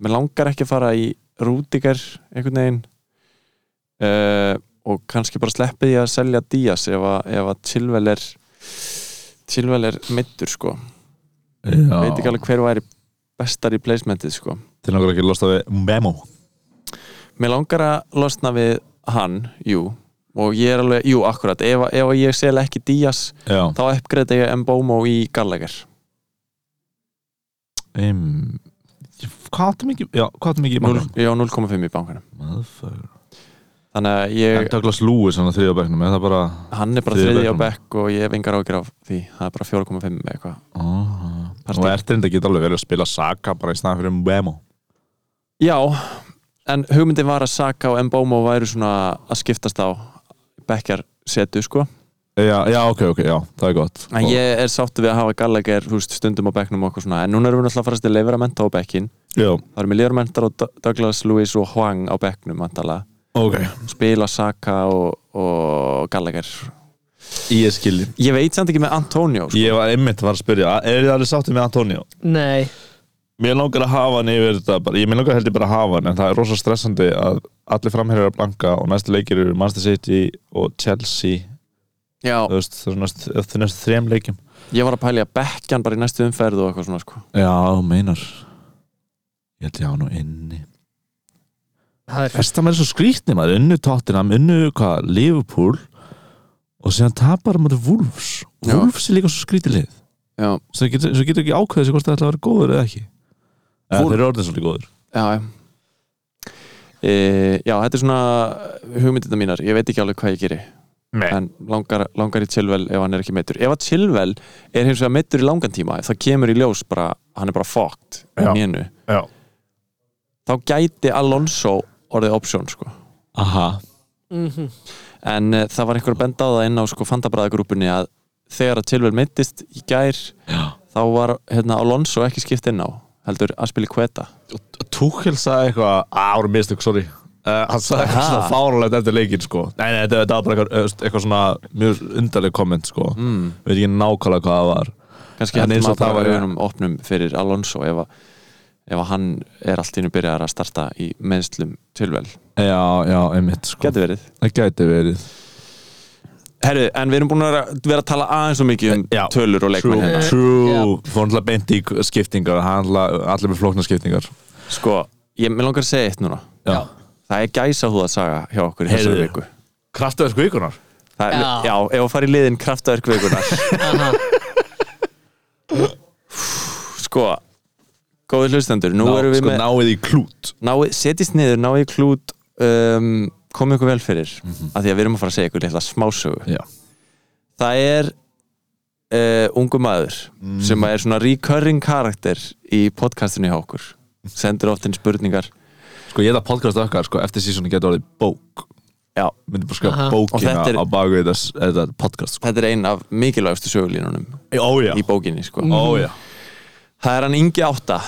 Speaker 5: mér langar ekki að fara í Rúdiger einhvern veginn uh, og kannski bara sleppi ég að selja Días ef að, ef að Chilwell er Chilwell er meittur sko veit ekki alveg hver væri bestar í placementið sko
Speaker 3: til nokkur ekki losta við Mbemo
Speaker 5: Mér langar að losna við hann, jú og ég er alveg, jú, akkurat ef, ef ég sel ekki Díaz
Speaker 3: já,
Speaker 5: þá uppgreita ég Mbomo í Gallagher
Speaker 3: um, hvað áttu mikið já, hvað áttu mikið í
Speaker 5: Núll-
Speaker 3: bankanum?
Speaker 5: ég á 0,5 í bankanum
Speaker 3: Motherfucker.
Speaker 5: þannig að
Speaker 3: en
Speaker 5: ég,
Speaker 3: Douglas Lewis hann að þriðja bekknum er það bara
Speaker 5: hann er bara
Speaker 3: þriðji
Speaker 5: þriði á
Speaker 3: bekkurinn.
Speaker 5: bekk og ég hef engar ágjur af því það er bara 4,5 eða eitthvað
Speaker 3: Ah,
Speaker 5: Parti.
Speaker 3: og ertu reynda að geta alveg verið að spila Saka bara í staðan fyrir Mbemo
Speaker 5: Já, en hugmyndin var að Saka og Mbomo væru svona að skiptast á bekkjar setu sko
Speaker 3: já, já, ok, ok, já, það er gott
Speaker 5: en ég er sáttu við að hafa Gallagher þú veist, stundum á bekknum og okkur svona en núna erum við náttúrulega að farast til Leveramenta á bekkin
Speaker 3: já,
Speaker 5: það erum við Leveramenta og D- Douglas Lewis og Hwang á bekknum antala
Speaker 3: ok,
Speaker 5: spila Saka og, og Gallagher
Speaker 3: ég skilji
Speaker 5: ég veit samt ekki með Antonio sko.
Speaker 3: ég var einmitt var að spyrja, er þið alveg sáttið með Antonio?
Speaker 4: Nei,
Speaker 3: Mér langar að hafa hann yfir þetta bara, ég mér langar heldur bara að hafa hann en það er rosa stressandi að allir framherjar eru að blanka og næstu leikir eru Manchester City og Chelsea
Speaker 5: já,
Speaker 3: þú veist, það er næst, það næst þrem leikim
Speaker 5: ég var að pæli að bekkja hann bara í næstu umferð og eitthvað svona sko.
Speaker 3: Já, þú meinar Ég held ég á nú inni
Speaker 4: það er
Speaker 3: Festa með þessu skrýtni maður, unnu Tottenham, unnu hvað, Liverpool og síðan tapar maður Wolves
Speaker 5: Já.
Speaker 3: Wolves er líka svo skrýtilið
Speaker 5: já,
Speaker 3: svo getur, svo getur ekki ákveðið sig hvort það ætla að vera góður eða ekki Eða,
Speaker 5: Wolf-
Speaker 3: Þeir eru orðin svolítið góður
Speaker 5: já, já. E, já, þetta er svona hugmyndina mínar, ég veit ekki alveg hvað ég geri
Speaker 3: Nei.
Speaker 5: en langar, langar í Chilwell ef hann er ekki meittur, ef að Chilwell er hins vegar meittur í langan tíma, það kemur í ljós bara, hann er bara fucked
Speaker 3: Já.
Speaker 5: í nénu,
Speaker 3: Já.
Speaker 5: þá gæti Alonso orðið option sko
Speaker 3: Aha,
Speaker 4: Mhm.
Speaker 5: en uh, það var einhver að benda á það inn á sko fandabræðagrúpunni að þegar að Chilwell meittist í gær
Speaker 3: já
Speaker 5: þá var hérna, Alonso ekki skipt inn á heldur Aspilicueta
Speaker 3: Tuchel sagði eitthvað "Ah, ára mistök, sorry uh, hann sagði eitthvað
Speaker 5: Aha.
Speaker 3: svona fáralegt eftir leikinn sko. nei, nei, þetta þetta var bara eitthvað, öst, eitthvað svona mjög undarleg komment sko. mm. veit ekki nákvæmlega hvað það var
Speaker 5: kannski
Speaker 3: En
Speaker 5: heldur
Speaker 3: eins og
Speaker 5: maður
Speaker 3: það
Speaker 5: bara
Speaker 3: var-
Speaker 5: auðvunum opnum fyrir Alonso ef, að, ef að hann er allt innum byrjar að starta í mennslum tilvel
Speaker 3: já, já, einmitt sko.
Speaker 5: geti verið
Speaker 3: það gæti verið
Speaker 5: Herru, en við erum búin að vera- vera að tala aðeins svo mikið um
Speaker 3: Já.
Speaker 5: tölur og leikmenn
Speaker 3: true,
Speaker 5: hérna
Speaker 3: true. fór hann til að beint í skiptingar hann ætla- allir með flóknar skiptingar
Speaker 5: sko, ég mig langar að segja eitt núna
Speaker 3: já.
Speaker 5: það er gæsa húða saga hjá okkur í þessari
Speaker 3: Heyrðu.
Speaker 5: viku
Speaker 3: kraftaverk vikunar
Speaker 5: það, já.
Speaker 4: Já.
Speaker 5: já, ef að fara í liðin kraftaverk vikunar
Speaker 4: Aha.
Speaker 5: sko, góði hlustendur nú erum við
Speaker 3: sko,
Speaker 5: með
Speaker 3: náið í klút
Speaker 5: náið, setjist niður, náið í klút um, komið ykkur vel fyrir mm af því að við erum að fara að segja ykkur litla smásögu
Speaker 3: Mhm. já.
Speaker 5: það er uh, ungu maður
Speaker 3: Mhm.
Speaker 5: sem er svona recurring karakter í podcastinu hjá okkur sendur oft inn spurningar
Speaker 3: sko, ég hefði að podcasta okkar sko, eftir sísoni getur orðið bók
Speaker 5: já,
Speaker 3: myndi bara skrifa
Speaker 4: Aha.
Speaker 5: Og
Speaker 3: bókina
Speaker 5: þetta er-
Speaker 3: á baku þetta, þetta podcast sko.
Speaker 5: þetta er ein af mikilvægustu sögulínunum
Speaker 3: ó já,
Speaker 5: í bókinni sko.
Speaker 3: ó já
Speaker 5: það er hann Ingi Átta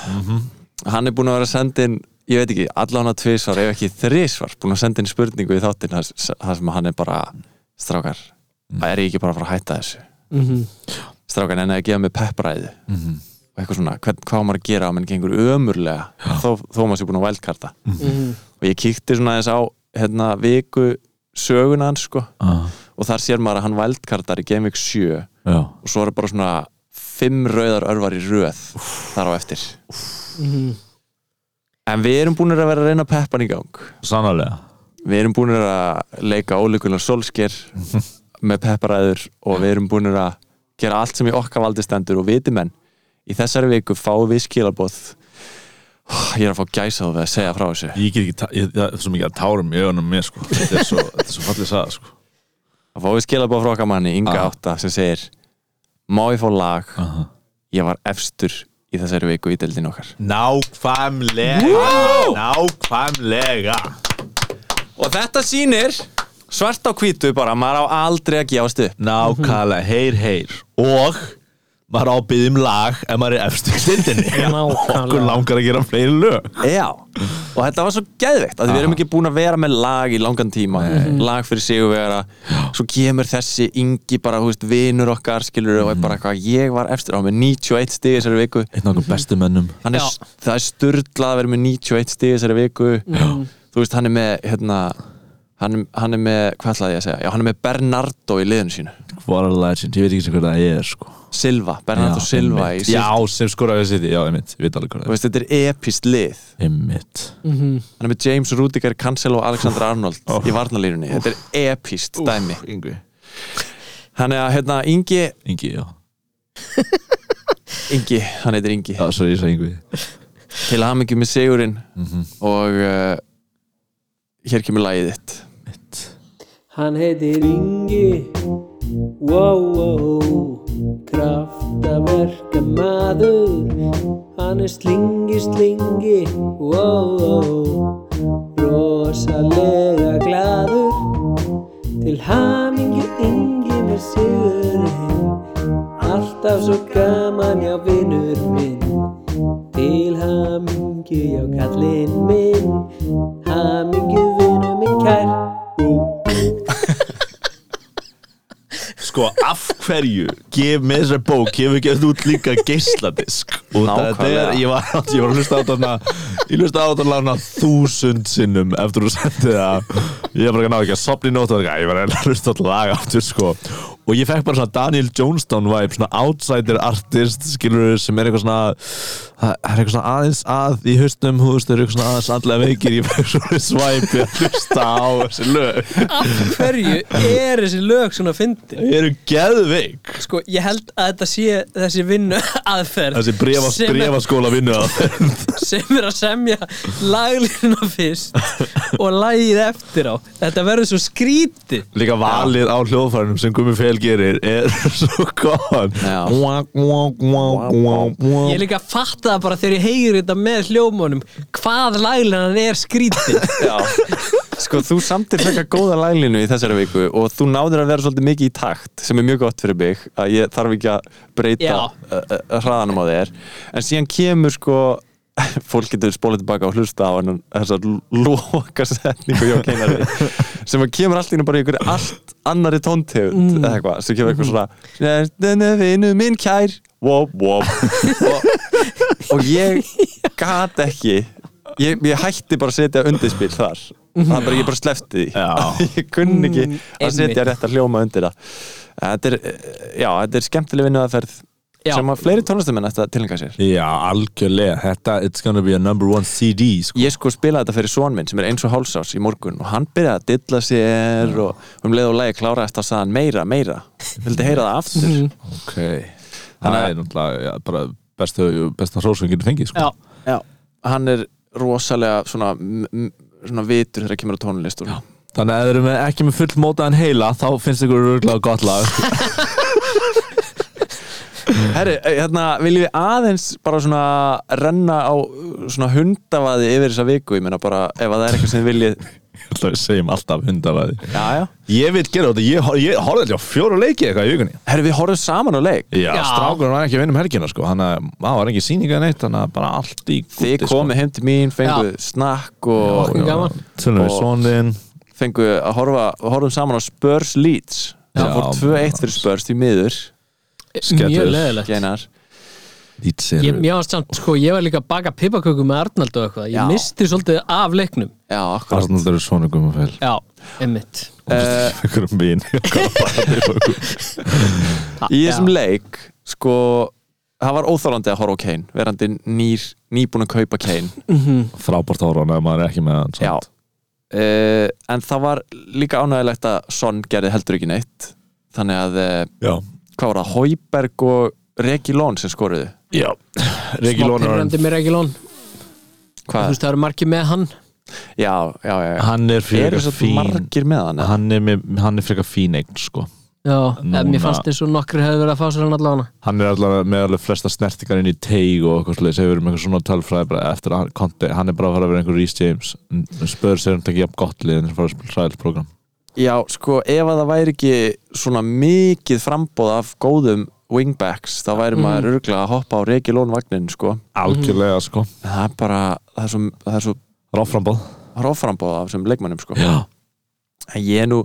Speaker 5: hann er búin að vera að senda inn ég veit ekki, allan að tvisvar ef ekki þrisvar búin að senda inn spurningu í þáttinn þar- þar sem hann er bara strákar, það er ég ekki bara að fara að hætta þessu strákan henni að gefa mig peppræði og eitthvað svona, hvern, hvað á maður að gera að mann gengur ömurlega þó, þó maður sé búin að vældkarta og ég kíkti svona aðeins á hérna, viku söguna hans sko,
Speaker 3: Ah,
Speaker 5: og þar sér maður að hann vældkartar í Game Week 7
Speaker 3: já
Speaker 5: og svo eru bara svona fimm rauðar örvar í röð þar á eftir en við erum búinir að vera að reyna peppan í gang
Speaker 3: Sannarlega
Speaker 5: við erum búinir að leika ólíkunar solsker með pepparæður og við erum búinir að gera allt sem í okkar valdi stendur og viti menn í þessari viku fáum við skilabóð ég er að fá gæsa þú við að segja frá þessu
Speaker 3: Ég get ekki, ta- ég, það er svo mikið að tárum í augunum mér sko Þetta er svo, þetta er svo fallið sagði sko
Speaker 5: að fá við skilabóð frá okkar manni Inga
Speaker 3: Ah.
Speaker 5: Átta sem segir má ég fá lag
Speaker 3: Aha.
Speaker 5: ég var efstur í þessari viku í deildin okkar
Speaker 3: Nákvæmlega Nákvæmlega
Speaker 5: Og þetta sýnir svart á hvítu bara, maður á aldrei að gefast upp
Speaker 3: Nákvæmlega, heyr, heyr Og maður á að biðja um lag ef maður er efstu í stildinni
Speaker 4: Nákvæmlega.
Speaker 3: okkur langar að gera fleiri lög
Speaker 5: Já, og þetta var svo geðveikt að við erum ekki búin að vera með lag í langan tíma Mhm. lag fyrir sigurvegara svo kemur þessi yngi bara, hú veist, vinur okkar skilur og er
Speaker 3: Mhm.
Speaker 5: bara eitthvað, ég var efstur á með 91 stig þessari viku
Speaker 3: einn okkur bestu mönnum
Speaker 5: Hann er,
Speaker 4: Já.
Speaker 5: það er sturdlað að vera með 91 stig þessari viku þú veist, hann er með hérna, hann, hann er með, hvað ætlaði ég að segja Já, hann er með Bernardo í liðinu sínu
Speaker 3: what a legend, ég veit ekki sem hvað það er sko
Speaker 5: Silva, Bernardo
Speaker 3: Já,
Speaker 5: Silva í
Speaker 3: einmitt.
Speaker 5: City.
Speaker 3: já, sem skoraði sitt, já, ég mitt, ég veit alveg hvað
Speaker 5: Þú
Speaker 3: það
Speaker 5: veist, þetta er epist lið
Speaker 3: er einmitt,
Speaker 5: hann er með James Rudiger, Cancelo og Alexander Arnold í varnalínunni, þetta er epist dæmi
Speaker 3: yngvi
Speaker 5: Þannig að hérna, Ingi,
Speaker 3: Ingi, já,
Speaker 5: Ingi, hann heitir Ingi
Speaker 3: já, svo ég sagði Yngvi
Speaker 5: til hamingi með Sigurinn og uh, hér kemur lagið þitt
Speaker 8: Hann heitir Ingi Wow, wow Kraftaverka maður Hann er slingi, slingi Wow, wow Rosalega gladur Til hamingi Ingi með sigurinn Alltaf svo gaman já vinur minn Til hamingi já kallinn minn Hamingi vinur minn kær
Speaker 3: sko af hverju gef með þessari bók hefur gefið út líka geisladisk og þetta er,
Speaker 5: Nákvæmlega.
Speaker 3: ég var, ég var að hlusta á þarna ég hlusta á þarna hana þúsund sinnum eftir þú sendið það ég var bara ekki að ná ekki að sopna í nót og eitthvað, ég var að hlusta á þetta lag aftur sko og ég fekk bara svona Daniel Jonestown vibe svona outsider artist skilur sem er eitthvað svona það er eitthvað svona aðeins að í höstum þú veist, það er eitthvað svona aðeins andlega veikir ég fekk svona svæpi að hlusta á þessi lög
Speaker 4: Af hverju er þessi lög svona fyndin?
Speaker 3: ég eru geðveik
Speaker 4: Sko, ég held að þetta sé þessi vinnu aðferð
Speaker 3: þessi brefa,
Speaker 4: sem er-
Speaker 3: brefaskóla vinnu
Speaker 4: sem er að semja laglínuna fyrst og lagið eftir á þetta verður svo skríti
Speaker 3: líka valið á hljóðfærinum sem Gumi Fel gerir er svo góðan
Speaker 5: Já.
Speaker 3: Wah, wah, wah, wah, wah.
Speaker 4: ég líka fatta það bara þegar ég heyri þetta með hljómunum hvað laglínan er skríti
Speaker 5: Sko, þú samtir frekar góða lælinu í þessari viku og þú náður að vera svolítið mikið í takt sem er mjög gott fyrir mig að ég þarf ekki að breyta
Speaker 4: Já.
Speaker 5: uh, uh, hraðanum á þér en síðan kemur sko fólk getur spólað tilbaka og hlusta á hennan þessar loka setningu hjá kennari sem að kemur allt í einu bara í einhverju allt annari tóntegund eða eitthvað sem kemur eitthvað svona "Nefndu vinur minn kær wop wop og, og ég gat ekki ég, ég hætti bara að setja undirspil þar það er bara, ég bara slefti því
Speaker 3: Já.
Speaker 5: ég kunni ekki að
Speaker 4: Mm, einmitt.
Speaker 5: setja rétt að hljóma undir það þetta er, eh, já, þetta er skemmtileg vinnuðaferð
Speaker 4: Já.
Speaker 5: sem að fleiri tónlistumenn ætti að tilhenga sér
Speaker 3: já, algjörlega þetta, it's gonna be a number one CD sko.
Speaker 5: ég sko spilaði þetta fyrir son minn sem er eins og hálsás í morgun og hann byrjaði að dilla sér og um leið og lagi kláraðist að sagðan meira, meira, vildi heyra það aftur
Speaker 4: Mhm.
Speaker 3: ok, það er náttúrulega já, bara bestu, bestu hrósvönginu fengið sko.
Speaker 4: já,
Speaker 5: já, hann er rosalega svona, m- m- svona vitur þegar kemur á tónlist og
Speaker 3: þannig að ef þeir eru með- ekki með full mótaðan heila þá finnst ykkur örgulega gott lag
Speaker 5: Herri, hérna, viljum við aðeins bara svona renna á uh, svona hundavaði yfir þessa viku, ég meina bara ef að það er eitthvað sem þið viljið
Speaker 3: við segjum alltaf hundalaði
Speaker 5: Já, já
Speaker 3: ég vil gera þetta, ég, hor- ég horfði alltaf á fjóra leiki eitthvað í vikunni
Speaker 5: Herri, við horfum saman á leik
Speaker 3: Já,
Speaker 4: Já.
Speaker 3: strákurinn var ekki að vinna um helgina sko Þannig að það var ekki sýninga neitt Þannig að bara allt í sko.
Speaker 5: Þið
Speaker 3: gúti
Speaker 5: komið heim til mín, fenguð snakk og
Speaker 4: okkur gaman
Speaker 3: Tölum við
Speaker 5: og-
Speaker 3: soninn
Speaker 5: fenguð að horfa, horfum saman á Spurs Leeds
Speaker 3: Já,
Speaker 5: Það fór 2-1 fyrir Spurs því miður
Speaker 3: Skellur.
Speaker 4: mjög leðilegt
Speaker 5: Geinar
Speaker 3: Lítið
Speaker 4: Ég,
Speaker 3: er
Speaker 4: ég var samt, sko, ég var líka að baka pipaköku með Arnald og eitthvað, ég
Speaker 5: Já.
Speaker 4: misti svolítið af leiknum
Speaker 5: Já, akkurat
Speaker 3: Arnaldur er svona gummafell
Speaker 4: Já, einmitt
Speaker 3: Ykkur um mín
Speaker 5: Í þessum leik, sko Það var óþálandi að horfa á Kane, verandi nýr, nýbúin að kaupa Kane
Speaker 3: Frábært ára Ef maður er ekki með hann
Speaker 5: Já
Speaker 3: samt.
Speaker 5: uh, En það var líka ánægilegt að Son gerði heldur ekki neitt Þannig að, uh,
Speaker 3: Já
Speaker 5: hvað var það, Hauberg og Regi Lón sem skoruðu
Speaker 3: Já Regi
Speaker 4: Smá
Speaker 3: Lónar
Speaker 4: pirrandi með Regilón Þú
Speaker 5: Hvað?
Speaker 4: veist, það eru margir með hann
Speaker 5: Já, já, já, já.
Speaker 3: Hann er
Speaker 5: Er
Speaker 3: frekar
Speaker 5: þess
Speaker 3: fín
Speaker 5: margir með hann? eða?
Speaker 3: Hann er, með, hann er frekar fín eign sko
Speaker 4: Já,
Speaker 3: Núna-
Speaker 4: en mér fannst eins og nokkri hefði verið að fá sér hann allavega
Speaker 3: Hann er allavega með alveg flesta snertingar inn í teig og eitthvað sliðis hefur um eitthvað svona talfræði bara eftir að hann konti hann er bara að fara að vera einhver Rhys James spöður sér um ekki jafn gott lið en þess að fara að spila sæl program
Speaker 5: Já, sko, ef að það væri ekki svona mikið frambóð af góðum wingbacks þá væri
Speaker 3: Mm.
Speaker 5: maður örglega að hoppa á Reykjulón vagnin sko.
Speaker 3: algjörlega sko
Speaker 5: það er bara, það er svo, það er svo
Speaker 3: Ráframbóð
Speaker 5: ráframbóð af sem leikmannum sko.
Speaker 3: Já,
Speaker 5: en ég nú,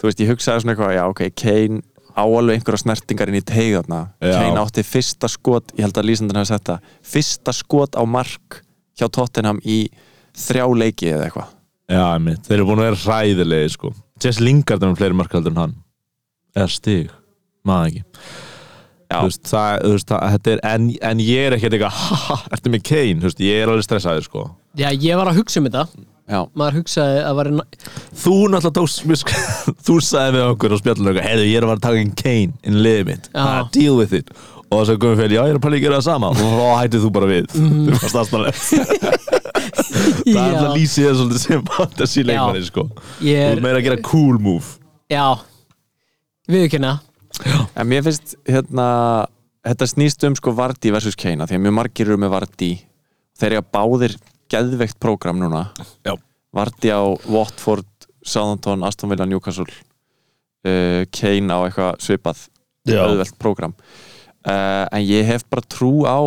Speaker 5: þú veist, ég hugsaði svona eitthvað já, ok, Kane á alveg einhverja snertingar inn í teig þarna
Speaker 3: Já.
Speaker 5: Kane átti fyrsta skot, ég held að lýsandinn hafi sett það fyrsta skot á mark hjá Tottenham í þrjá leiki eða eitthvað
Speaker 3: já einmitt. þeir eru búin að vera ræðilegi sko Jess Lingard er með fleiri markaldur en hann eða stig, maður ekki
Speaker 5: Já.
Speaker 3: þú veist, það, þú veist, það, þetta er en, en ég er ekkert eitthvað, ha, ha, ertu með Kane þú veist, ég er alveg stressaði sko
Speaker 4: Já, ég var að hugsa um þetta
Speaker 5: já,
Speaker 4: Maður hugsaði að var
Speaker 3: þú náttúrulega tókst mér sko þú sagði við okkur og spjallum okkur heyrðu, ég er að fara að taka inn Kane inn í liðið mitt
Speaker 4: Já.
Speaker 3: Ha, deal with it og það sagði Guðmund Fél, já ég er að pæla í að gera það sama og þá hættið þú bara við þú varst aðstæðlega það er alltaf
Speaker 4: Já,
Speaker 3: lýsið þér svolítið sem fantasy leikmanni sko þú
Speaker 4: ég
Speaker 3: er
Speaker 4: er
Speaker 3: meira að gera cool move
Speaker 4: Já, viðurkenna
Speaker 5: en mér finnst hérna þetta snýst um sko Vardí versus Kane af því að mjög margir eru með Vardí þeir eru báðir geðveikt prógram núna
Speaker 3: Já.
Speaker 5: Vardí á Watford, Southampton, Aston Villa, Newcastle uh, Kane á eitthvað svipað auðvelt prógram uh, en ég hef bara trú á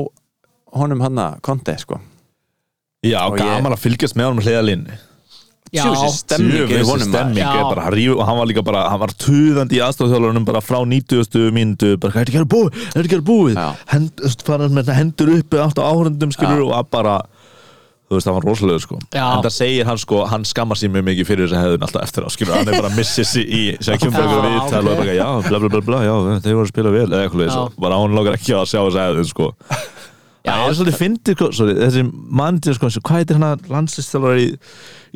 Speaker 5: honum hanna Konte sko
Speaker 3: Já,
Speaker 5: Og
Speaker 3: gaman að fylgjast með honum hliða línni
Speaker 4: Já,
Speaker 5: Djöfisins stemning er í
Speaker 3: Jöfnvegis
Speaker 5: honum maður.
Speaker 3: stemming er
Speaker 4: Já.
Speaker 3: bara, hann ríf- hann var líka bara, hann var tuðandi í aðstofþjálfunum bara frá 90. mínútu bara, hvað er ekki að búið, er ekki að búið
Speaker 5: Já.
Speaker 3: Hend, þú veist, bara með þetta hendur upp átt á áhrendum skilur og að bara þú veist, það var rosalega sko
Speaker 4: Já.
Speaker 3: en það segir hann sko, hann skammar sér mjög mikið fyrir þess að hefðun alltaf eftir á skilur, hann er bara að missi sér í sem kemur bara eitthvað
Speaker 4: Já,
Speaker 3: viðtal og er bara, já, bla bla bla bla já, þeir voru að spila vel, eða eitthvað leis
Speaker 4: Já.
Speaker 3: bara hann lókar ekki að sjá þess að hefðun sko Það er svolítið fyndið, sko, sorry, þessi mandir, sko, eins og hvað heitir hann landslistjálfari í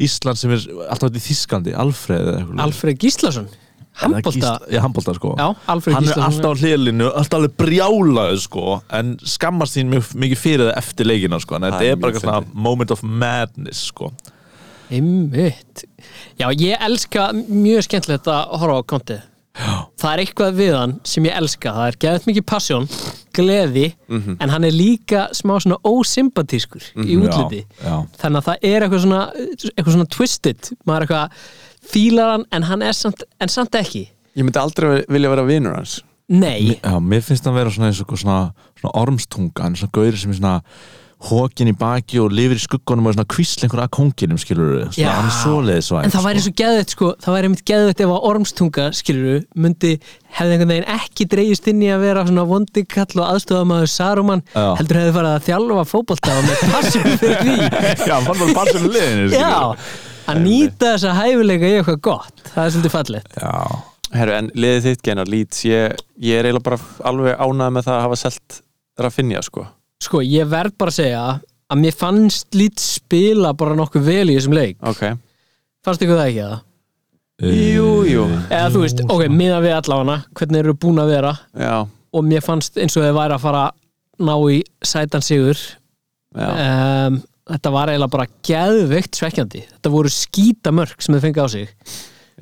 Speaker 3: Ísland sem er alltaf í Þískandi, Alfreð eða eitthvað?
Speaker 4: Alfred Gíslason
Speaker 3: Er það
Speaker 4: Handbólta
Speaker 3: Gísla- Já, handbólta, sko.
Speaker 4: Já, Alfred
Speaker 3: Hann er
Speaker 4: Gíslason
Speaker 3: alltaf á hlilinu, alltaf alveg brjálaðu, sko, en skammast þín mjög mikið fyrir það eftir leikina, sko, en þetta
Speaker 5: er
Speaker 3: er bara
Speaker 5: mjög
Speaker 3: eitthvað svona moment of madness, sko.
Speaker 4: Einmitt. Já, ég elska mjög skemmtilegt að horfa á kontið. Það er eitthvað við hann sem ég elska. Það er geðvægt mikið passjón, gleði, en hann er líka smá svona ósympatískur í útliti.
Speaker 3: Mhm. Já, já.
Speaker 4: Þannig að það er eitthvað svona, eitthvað svona twisted. Maður er eitthvað fílar hann en hann er samt, en samt ekki.
Speaker 5: ég myndi aldrei vilja vera vinur hans
Speaker 4: Nei,
Speaker 3: Já, mér finnst það að vera svona eins og eitthvað svona, svona ormstunga, en svona gauri sem er svona hókin í baki og lifir í skuggunum og er svona kvísl einhverja að konginum, skilur við,
Speaker 4: Já.
Speaker 3: svona, hann er svoleiðis væn,
Speaker 4: en það væri
Speaker 3: sko.
Speaker 4: svo geðvægt sko, það væri mitt geðvægt ef að ormstunga, skiluru, myndi hefði einhvern veginn ekki dreigist inn í að vera svona vondikall og aðstofamaður Saruman,
Speaker 3: Já.
Speaker 4: heldur hefði farið að þjálfa fótbolta og með passjón fyrir því.
Speaker 3: Já, hann var bara sem liðinu
Speaker 4: Já, að nýta þessa hæfileika í eitthvað gott, það er svolítið fallið.
Speaker 3: Já,
Speaker 5: Herru, en liðið þitt genar lít ég, ég er eiginlega bara alveg ánægð með það að hafa selt Rafinha sko
Speaker 4: Sko, ég verð bara að segja að mér fannst lít spila bara nokkuð vel í þessum leik.
Speaker 5: ok,
Speaker 4: Fannst ykkur það ekki það?
Speaker 3: Eh,
Speaker 5: jú, jú
Speaker 4: Eða þú veist, ok, miða við allavega hvernig eru búin að vera
Speaker 5: já,
Speaker 4: og mér fannst eins og þið væri að fara að ná í sætan sigur
Speaker 5: já,
Speaker 4: um, þetta var eiginlega bara geðveikt svekkjandi þetta voru skítamörk sem þau fengið á sig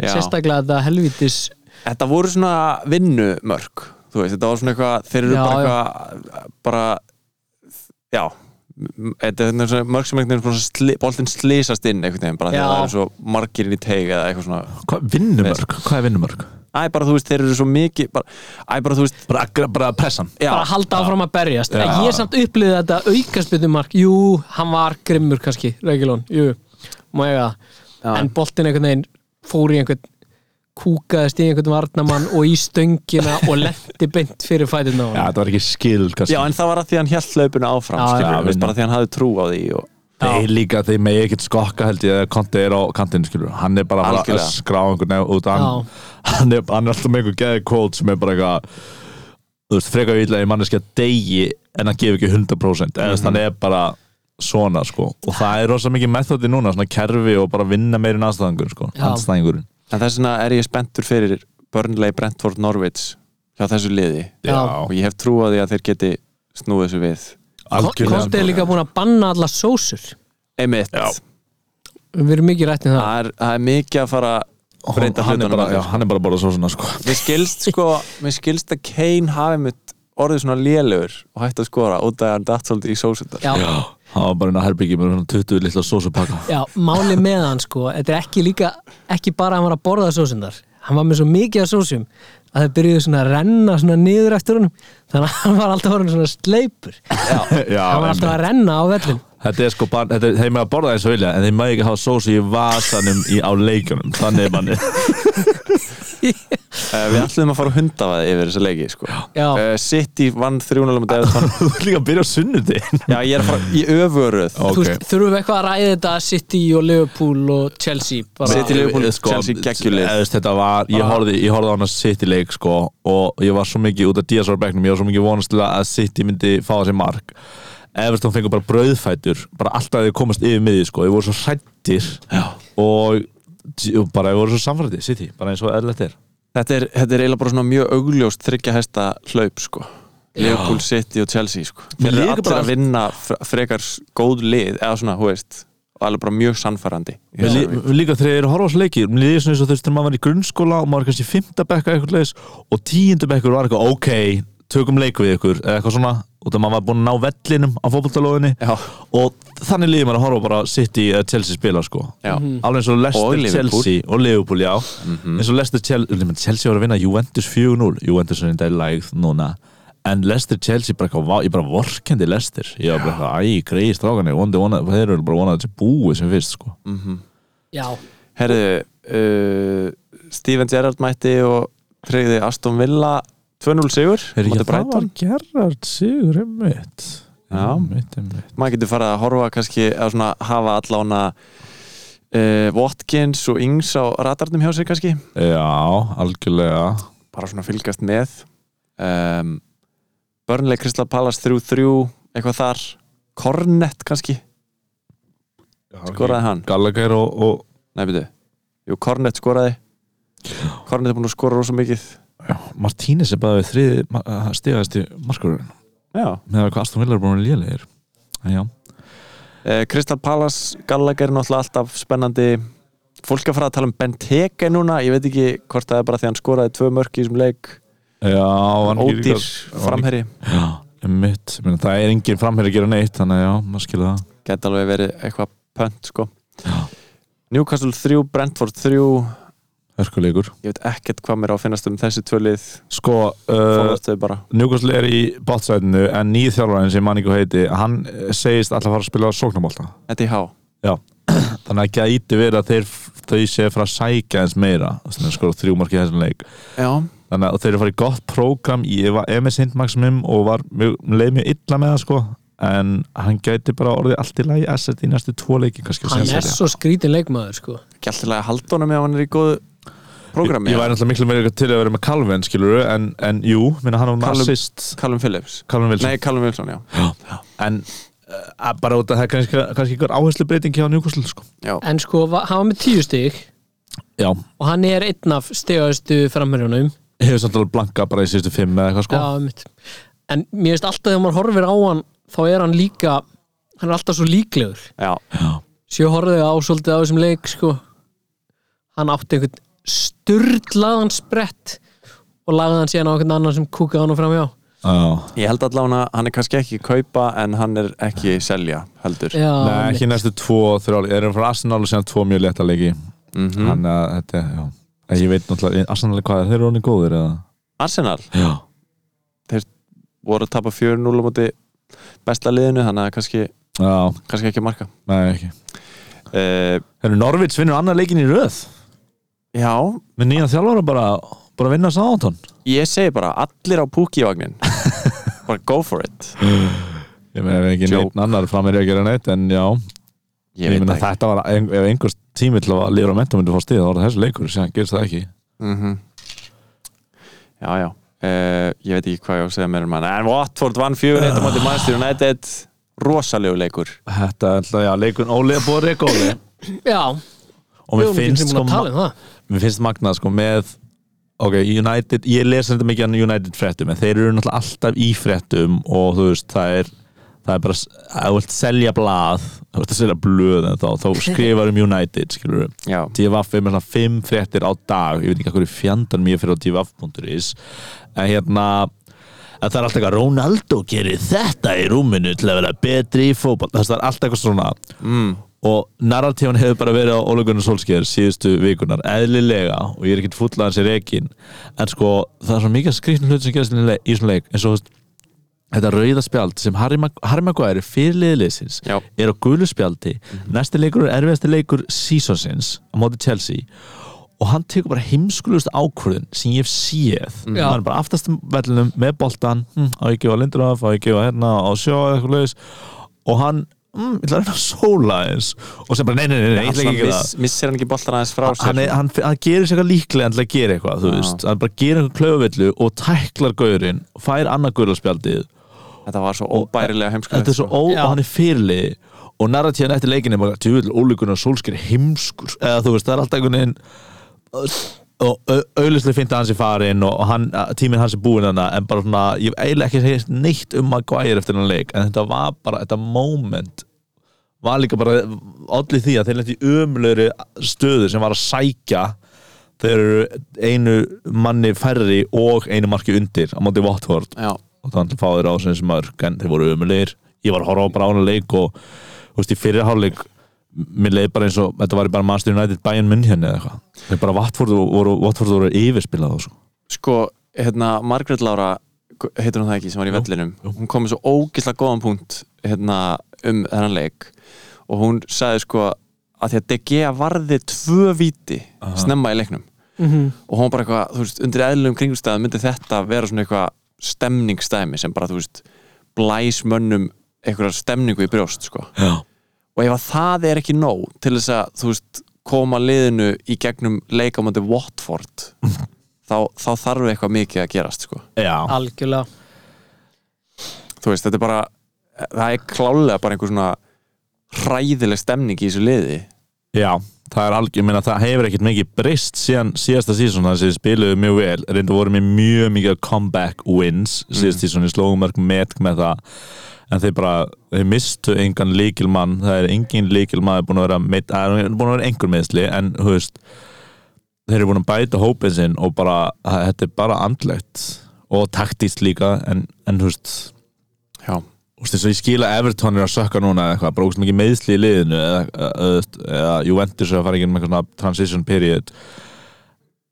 Speaker 5: já.
Speaker 4: sérstaklega þetta helvítis
Speaker 5: þetta voru svona vinnumörk þú veist, þetta var svona eitthvað þeir eru
Speaker 4: Já,
Speaker 5: bara eitthvað bara, já m- þetta er hérna svona mörk sem einhvern veginn svona sli, boltinn slýsast inn einhvern veginn bara
Speaker 4: Já.
Speaker 5: þegar það eru svo margir inn í teig eða eitthvað svona
Speaker 3: hvað vinnumörk? Hvað er vinnumörk?
Speaker 5: Æ, bara þú veist, þeir eru svo mikið bara, Æ, bara þú veist
Speaker 3: Bara, agra- bara pressan
Speaker 5: já,
Speaker 4: bara að halda áfram að berjast
Speaker 3: Já.
Speaker 4: en ég samt upplýði þetta aukastbyrnumark jú, hann var grimmur kannski Reykjulón, jú, má ég
Speaker 5: Já.
Speaker 4: að en boltinn einhvern veginn fór í einhvern kúkaðist í einhvern varnamann og í stöngina og lendi beint fyrir fætinn á
Speaker 3: Já,
Speaker 4: hann
Speaker 3: þetta var ekki skil kannski
Speaker 5: já, en það var að því hann hjælt hlaupinu áfram
Speaker 4: Já,
Speaker 5: já,
Speaker 3: já,
Speaker 5: skilur, já, veist,
Speaker 3: vinna.
Speaker 5: bara því hann hafði trú á því og,
Speaker 3: Þeir líka, þeir megi ekkert skokka held ég að Konti er á kantinn, skilur Hann er bara að fara að
Speaker 5: Algjörlega.
Speaker 3: skrá einhvern veginn út hann,
Speaker 4: Já.
Speaker 3: hann, er, hann er alltaf með einhver geði kóld sem er bara eitthvað Þú veist, frekar vilja í manneskja degi en hann gefi ekki 100% eða þú veist, hann er bara svona, sko Og það er rosa mikið methodi núna, svona kerfi og bara vinna meirinn aðstæðingur, sko
Speaker 4: Já.
Speaker 3: Andstæðingurinn
Speaker 5: en þess vegna er ég spenntur fyrir Burnley, Brentford, Norwich hjá þessu liði
Speaker 4: Já.
Speaker 5: og ég hef trú á því að þeir geti snúið þessu við
Speaker 3: algjörlega
Speaker 4: Kosti er líka búin að banna alla sósur
Speaker 5: einmitt,
Speaker 3: Já.
Speaker 4: við erum mikið rætt með það
Speaker 5: það er, það er mikið að fara að
Speaker 3: Hon-
Speaker 5: breyta
Speaker 3: hann er
Speaker 5: hlutunum
Speaker 3: bara,
Speaker 5: að
Speaker 3: já,
Speaker 5: þessu.
Speaker 3: hann er bara að borða svo svona, sko
Speaker 5: mér skilst sko mér skilst að Kane hafi mitt orðið svona lélegur og hætti að skora út af að hann datt svolítið í sósundar
Speaker 4: Já.
Speaker 3: hann var bara inn á herbyggi með svona 20 litla sósupakka
Speaker 4: Já, máli með hann sko Þetta er ekki líka, ekki bara að hann var að borða sósindar Hann var með svo mikið af sósum að það byrjuðu svona að renna svona niður eftir honum þannig að hann var alltaf orðin svona sleipur
Speaker 3: Já,
Speaker 4: hann var alltaf að renna á vellin
Speaker 3: Þetta er sko bann, þetta er, þeir maður að borða eins og vilja en þeir maður ekki hafa sósu í vasanum í, á leikjunum, þannig er manni
Speaker 5: Eh, Við ætlum að fara hundavað yfir þessa leiki sko.
Speaker 4: Já.
Speaker 5: Eh, City vann 3-0 mútið Everton
Speaker 3: Þú er líka að byrja á sunnudin
Speaker 5: Já, ég er að fara í öfuröð
Speaker 3: Ok.
Speaker 4: þú veist, þurfum við eitthvað að ræða þetta City og Liverpool og Chelsea bara,
Speaker 5: City- Liverpool, Chelsea geggjulið.
Speaker 3: eða, sko, þú veist, Þetta var,
Speaker 4: Ah.
Speaker 3: ég horfði, ég horfði á hana City leik sko og ég var svo mikið út af DSR-bekknum, ég var svo mikið vonast til að City myndi fá þessi mark Everton fengur bara brauðfætur bara alltaf að þeir komast yfir miði sko ég voru svo hrættir og, og bara ég voru svo samfærdið City, bara eins og eðlætt er
Speaker 5: þetta er, þetta er eiginlega bara svona mjög augljóst þryggja hesta hlaup sko Liverpool, City og Chelsea sko Þeir eru
Speaker 3: líka
Speaker 5: allir
Speaker 3: bara-
Speaker 5: að vinna fre- frekar s- góð lið eða svona, hú veist og alveg bara mjög sannfærandi í
Speaker 3: Mér
Speaker 5: þessari
Speaker 3: lí-
Speaker 5: viku.
Speaker 3: mér líka þegar ég er að horfa á þessu leiki Mér líður svona eins og þú veist þegar maður var í grunnskóla og maður var kannski í fymta bekka eitthvað leis og tíundu bekkur var eitthvað ok tökum leik við ykkur eða eitthvað svona og það maður var búinn að ná vellinum á fótboltalóðinni
Speaker 5: Já.
Speaker 3: og þannig líður maður að horfa bara City eða Chelsea spila sko
Speaker 5: Já. Mhm.
Speaker 3: alveg eins og
Speaker 5: Og
Speaker 3: Leicester
Speaker 5: Liverpool. Mhm.
Speaker 3: Chelsea og Liverpool já eins og Leicester Chelsea nema, Chelsea var að vinna Juventus 4-0 Juventus er þetta í lægð núna en Leicester Chelsea bara eitthvað vá- ég bara vorkendi Leicester ég var bara eitthvað æ greiði strákanir vonandi vona- þeir eru bara vonað þessi búi sem fyrst sko
Speaker 4: já,
Speaker 5: Herðu, uh, Steven Gerrard mætti og treyði Aston Villa 2-0 sigur
Speaker 3: Er
Speaker 5: móti
Speaker 3: ekki það var
Speaker 5: Brighton.
Speaker 3: Gerrard Sigur einmitt
Speaker 5: Já.
Speaker 3: einmitt, einmitt.
Speaker 5: maður getur farið að horfa kannski að svona hafa allána uh, Watkins og Ings á radarnum hjá sér kannski
Speaker 3: Já, algjörlega
Speaker 5: bara svona fylgast með um, Burnley Crystal Palace 3-3 eitthvað þar Cornet kannski, skoraði hann
Speaker 3: Gallagher og, og
Speaker 5: Nei, byrju, jú, Cornet skoraði Cornet er búin að skora rosa mikið
Speaker 3: já, Martínez er bara við þrið stigast í markurinn
Speaker 5: Já,
Speaker 3: með að hvað Aston Villa er búin að lélegir En Já,
Speaker 5: uh, Crystal Palace Gallagher er náttúrulega alltaf spennandi fólk er að fara að tala um Benteke núna ég veit ekki hvort það er bara því að hann skoraði tvö mörk í þessum leik,
Speaker 3: já hann gerir
Speaker 5: ódýr
Speaker 3: líka-
Speaker 5: framherri
Speaker 3: Já, einmitt Ég meina, Það er engin framherri að gera neitt þannig að já, maður skilur það
Speaker 5: geta alveg verið eitthvað pönt sko Newcastle 3, Brentford 3
Speaker 3: Hörkuleikur
Speaker 5: ég veit ekkert hvað mér á að finnast um þessi tvölið
Speaker 3: Sko, uh,
Speaker 5: fórast þau bara
Speaker 3: Newcastle er í bátsætinu en nýð þjálfarinn sem manningu heiti hann eh, segist alltaf að fara að spila sóknarmólta
Speaker 5: Þetta í há
Speaker 3: Já, þannig að gæti verið að þeir, þau séu frá að sækja eins meira þannig að skora þrjú marki í þessum leik
Speaker 5: Já,
Speaker 3: þannig að og þeir eru farið í gott prógram ég var MS Hindmaximum og var mjög, leið mjög illa með það sko en hann gæti bara orðið allt í lagi asset í næstu tvo leiki kannski
Speaker 4: hann
Speaker 3: sem
Speaker 4: er
Speaker 3: séu.
Speaker 4: svo skrítin leikmaður sko.
Speaker 5: ekki alltaf að halda honum ef hann er í góðu prógrammi
Speaker 3: ég, ég væri náttúrulega miklu meira til að vera með Calvin skilur en, en jú, minna hann var með
Speaker 5: Calvin-
Speaker 3: assist
Speaker 5: Callum Phillips
Speaker 3: Calvin Wilson
Speaker 5: Nei, Callum Wilson, já
Speaker 3: en uh, bara út af það er kannski, kannski ykkur áherslu breyting hjá Newcastle sko
Speaker 5: Já,
Speaker 4: en sko, va- hann var með tíu stig
Speaker 3: já,
Speaker 4: og hann er einn af stigastu framherjunum
Speaker 3: hefur samt alveg blanka bara í síðustu fimm eða eitthvað sko
Speaker 4: Já, einmitt. en mér finnst alltaf þegar maður horfir á hann þá er hann líka hann er alltaf svo líklegur
Speaker 5: já,
Speaker 4: sér horfið á svolítið á þessum leik sko. hann átti einhvern sturdlaðan sprett og lagði hann síðan á einhvern annan sem kúkaði hann fram hjá
Speaker 3: já.
Speaker 5: ég held allavega að hann er kannski ekki kaupa en hann er ekki selja heldur
Speaker 4: Já,
Speaker 3: Nei, ekki næstu tvo, þrjá leiki. Þeir eru frá Arsenal og síðan tvo mjög leta leiki
Speaker 5: Mhm.
Speaker 3: Þannig að þetta, er- já En Ég veit náttúrulega, Arsenal er hvað, þeir eru honum góðir eða?
Speaker 5: Arsenal
Speaker 3: Já
Speaker 5: voru að tapa 4-0 á móti besta liðinu þannig að kannski,
Speaker 3: Já,
Speaker 5: kannski ekki að marka
Speaker 3: nei ekki
Speaker 5: uh,
Speaker 3: Þeir eru Norvits vinnur annar leikin í röð
Speaker 5: Já,
Speaker 3: Með nýjan þjálfara bara, bara að vinna sáðantón
Speaker 5: ég segi bara allir á púkivagnin bara go for it
Speaker 3: Ég með ekki
Speaker 5: Joke.
Speaker 3: neitt annar fram er ég að gera neitt En já,
Speaker 5: Ég veit
Speaker 3: meina
Speaker 5: það ekki
Speaker 3: þetta var ein- Ef einhvers tími til að líra á mentum myndi fá stíð Það var það þessi leikur, síðan gerist það ekki
Speaker 5: Mhm. Já, já, uh, ég veit ekki hvað ég á að segja mér um hann En Watford vann 4-1 á móti Manchester United Rosalegu leikur
Speaker 3: Þetta er alltaf, já, leikun Óli að búa reik Óli
Speaker 4: Já,
Speaker 3: Og mér
Speaker 4: við erum ekki
Speaker 3: finnst sko
Speaker 4: sem búin að
Speaker 3: ma-
Speaker 4: tala um það
Speaker 3: mér finnst magnað sko með ok, United, ég les þetta mikið annað United fréttum, en þeir eru náttúrulega alltaf í fréttum og þú veist, það er það er bara, ef þú vilt selja blað þú vilt að selja blöð en þá þá skrifar um United, skilur við
Speaker 5: Já,
Speaker 3: DVF er með svona fimm fréttir á dag ég veit ekki hverju fjandan mér fyrir á DVF.is en hérna en það er alltaf eitthvað Ronaldo gerir þetta í rúminu til að vera betri í fótball það er alltaf eitthvað svona mm. og narratífan hefur bara verið á Óla Gunnar Solskjær síðustu vikunar, eðlilega og ég er ekkert fúll að hans er ekki en sko, það er svo mikið skrýtnum hlut sem gerast í leik- í svona leik, eins og þú veist, þetta rauða spjald sem Harry, Mag Harry Maguire fyrirliðliðsins
Speaker 5: Já. Mhm.
Speaker 3: er á gulu spjaldi næsti leikur er erfiðasti leikur seasonsins á móti Chelsea og hann tekur bara heimskulust ákvörðun sem ég hef séð
Speaker 5: Mhm.
Speaker 4: Já.
Speaker 3: hann er bara aftast um vellinum með boltan hm, á ekki á Lindraf, á ekki á hérna á sjó eða eitthvað laus og hann, mm, ég ætla að reyna að sóla eins og sem bara, nei, nei, nei, nei, ég ætla
Speaker 5: Alltaf
Speaker 3: ekki að gera
Speaker 5: miss, missir hann ekki boltan aðeins frá
Speaker 3: það hann, er- hann, hann gerir sér eitthvað líklega en til að gera eitthvað, þú
Speaker 5: Já.
Speaker 3: veist hann bara gerir eitthvað klaufavillu og tæklar gaurinn fær annað gaurlarspjaldið
Speaker 5: þetta var svo óbærilega heimskulegt
Speaker 3: þetta er svo
Speaker 5: sko.
Speaker 3: ó,
Speaker 4: Já.
Speaker 3: og hann er fyrirliði og narratíðan eftir leikinni er bara, tjúvill, ólíkunar sólskir heimskur, eða þú veist, það er alltaf einhvern veginn og auðvitað finnst að hans er farin og hann, tíminn hans er búinn hana en bara svona, ég hef eiginlega ekki segist neitt um að gværa eftir hann leik, en þetta var bara þetta moment var líka bara allir því að þeir lentu í umlöru stöðu sem var að sækja þeir eru einu manni færri og einu marki undir á móti Votvort
Speaker 5: Já.
Speaker 3: og þannig að fá þeir á sem sem mörg en þeir voru umulegir ég var að horfa á bara ána leik og þú veist, í fyrirháleik mér leið bara eins og þetta var bara Master United Bayern München eða eitthvað þeir bara Watford voru, Watford voru yfirspilað og svo
Speaker 5: sko, hérna, Margrét Lára heitur hún það ekki, sem var í vellinum hún kom með svo ógislega góðan punkt hérna, um þennan leik og hún sagði sko að því að De Gea varði tvö víti snemma í leiknum og hún var bara eitthvað, þú veist, undir eðlum kringumstæðum myndi þetta vera svona eitthvað stemningstæmi sem bara, þú veist, blæs mönnum einhverjar stemningu í brjóst sko.
Speaker 3: Já.
Speaker 5: og ef að það er ekki nóg til þess að, þú veist, koma liðinu í gegnum leikamöndi Watford þá, þá þarf eitthvað mikið að gerast sko.
Speaker 3: Já,
Speaker 4: algjörlega
Speaker 5: þú veist, þetta er bara það er klálega bara einhver svona hræðileg stemning í þessu liði
Speaker 3: já, það er algjör minna, það hefur ekkert mikið breyst síðan síðasta sísón þannig að þið spiluðu mjög vel reyndu voru með mjög mikið comeback wins síðast sísón, ég slóðum mörg met með það en þeir bara, þeir mistu engan líkilmann, það er engin líkilmann búin að vera, meitt, að, búin að vera einhver meðsli en, þú veist þeir eru búin að bæta hópin sinn og bara að, þetta er bara andlegt og taktíst líka, en, en þú veist
Speaker 5: Já.
Speaker 3: Þú veist, eins og ég skila Everton er að sökka núna eða eitthvað, brókst mikið meiðsli í liðinu eða, eða, eða Juventus er að fara ekki með eitthvað svona transition period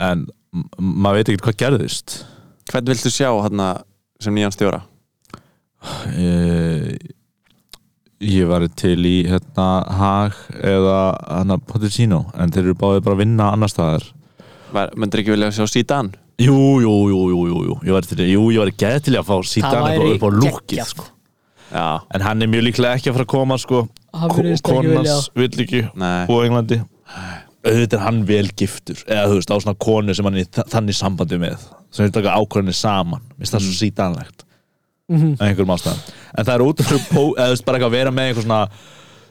Speaker 3: en m- maður veit ekkert hvað gerðist
Speaker 5: hvern viltu sjá hérna sem nýjan stjóra?
Speaker 3: ég, Eh, ég var til í hérna Hag eða hérna Pochettino en þeir eru báðið bara að vinna annar staðar
Speaker 5: Var- Myndir ekki vilja sjá Sítan?
Speaker 3: Jú, jú, jú, jú, jú, jú, ég var til í, jú, ég var geð til í að fá
Speaker 4: það
Speaker 3: síðan
Speaker 4: væri
Speaker 3: upp á lúkið,
Speaker 4: geggjað,
Speaker 3: sko.
Speaker 5: Já,
Speaker 3: en hann er mjög líklega ekki að fara að koma, sko,
Speaker 4: Hann
Speaker 3: Ko-
Speaker 4: virðist ekki vilja.
Speaker 3: konans vill ekki
Speaker 5: nei
Speaker 3: og Englandi auðvitað er hann vel giftur eða þú veist á svona konu sem hann er í þa- þannig sambandi með sem er taka ákvörðinni saman minnst það svo sítanlegt
Speaker 4: Mhm.
Speaker 3: mm einhverjum ástæðan en það er út af pó, eða þú veist bara eitthvað að vera með einhver svona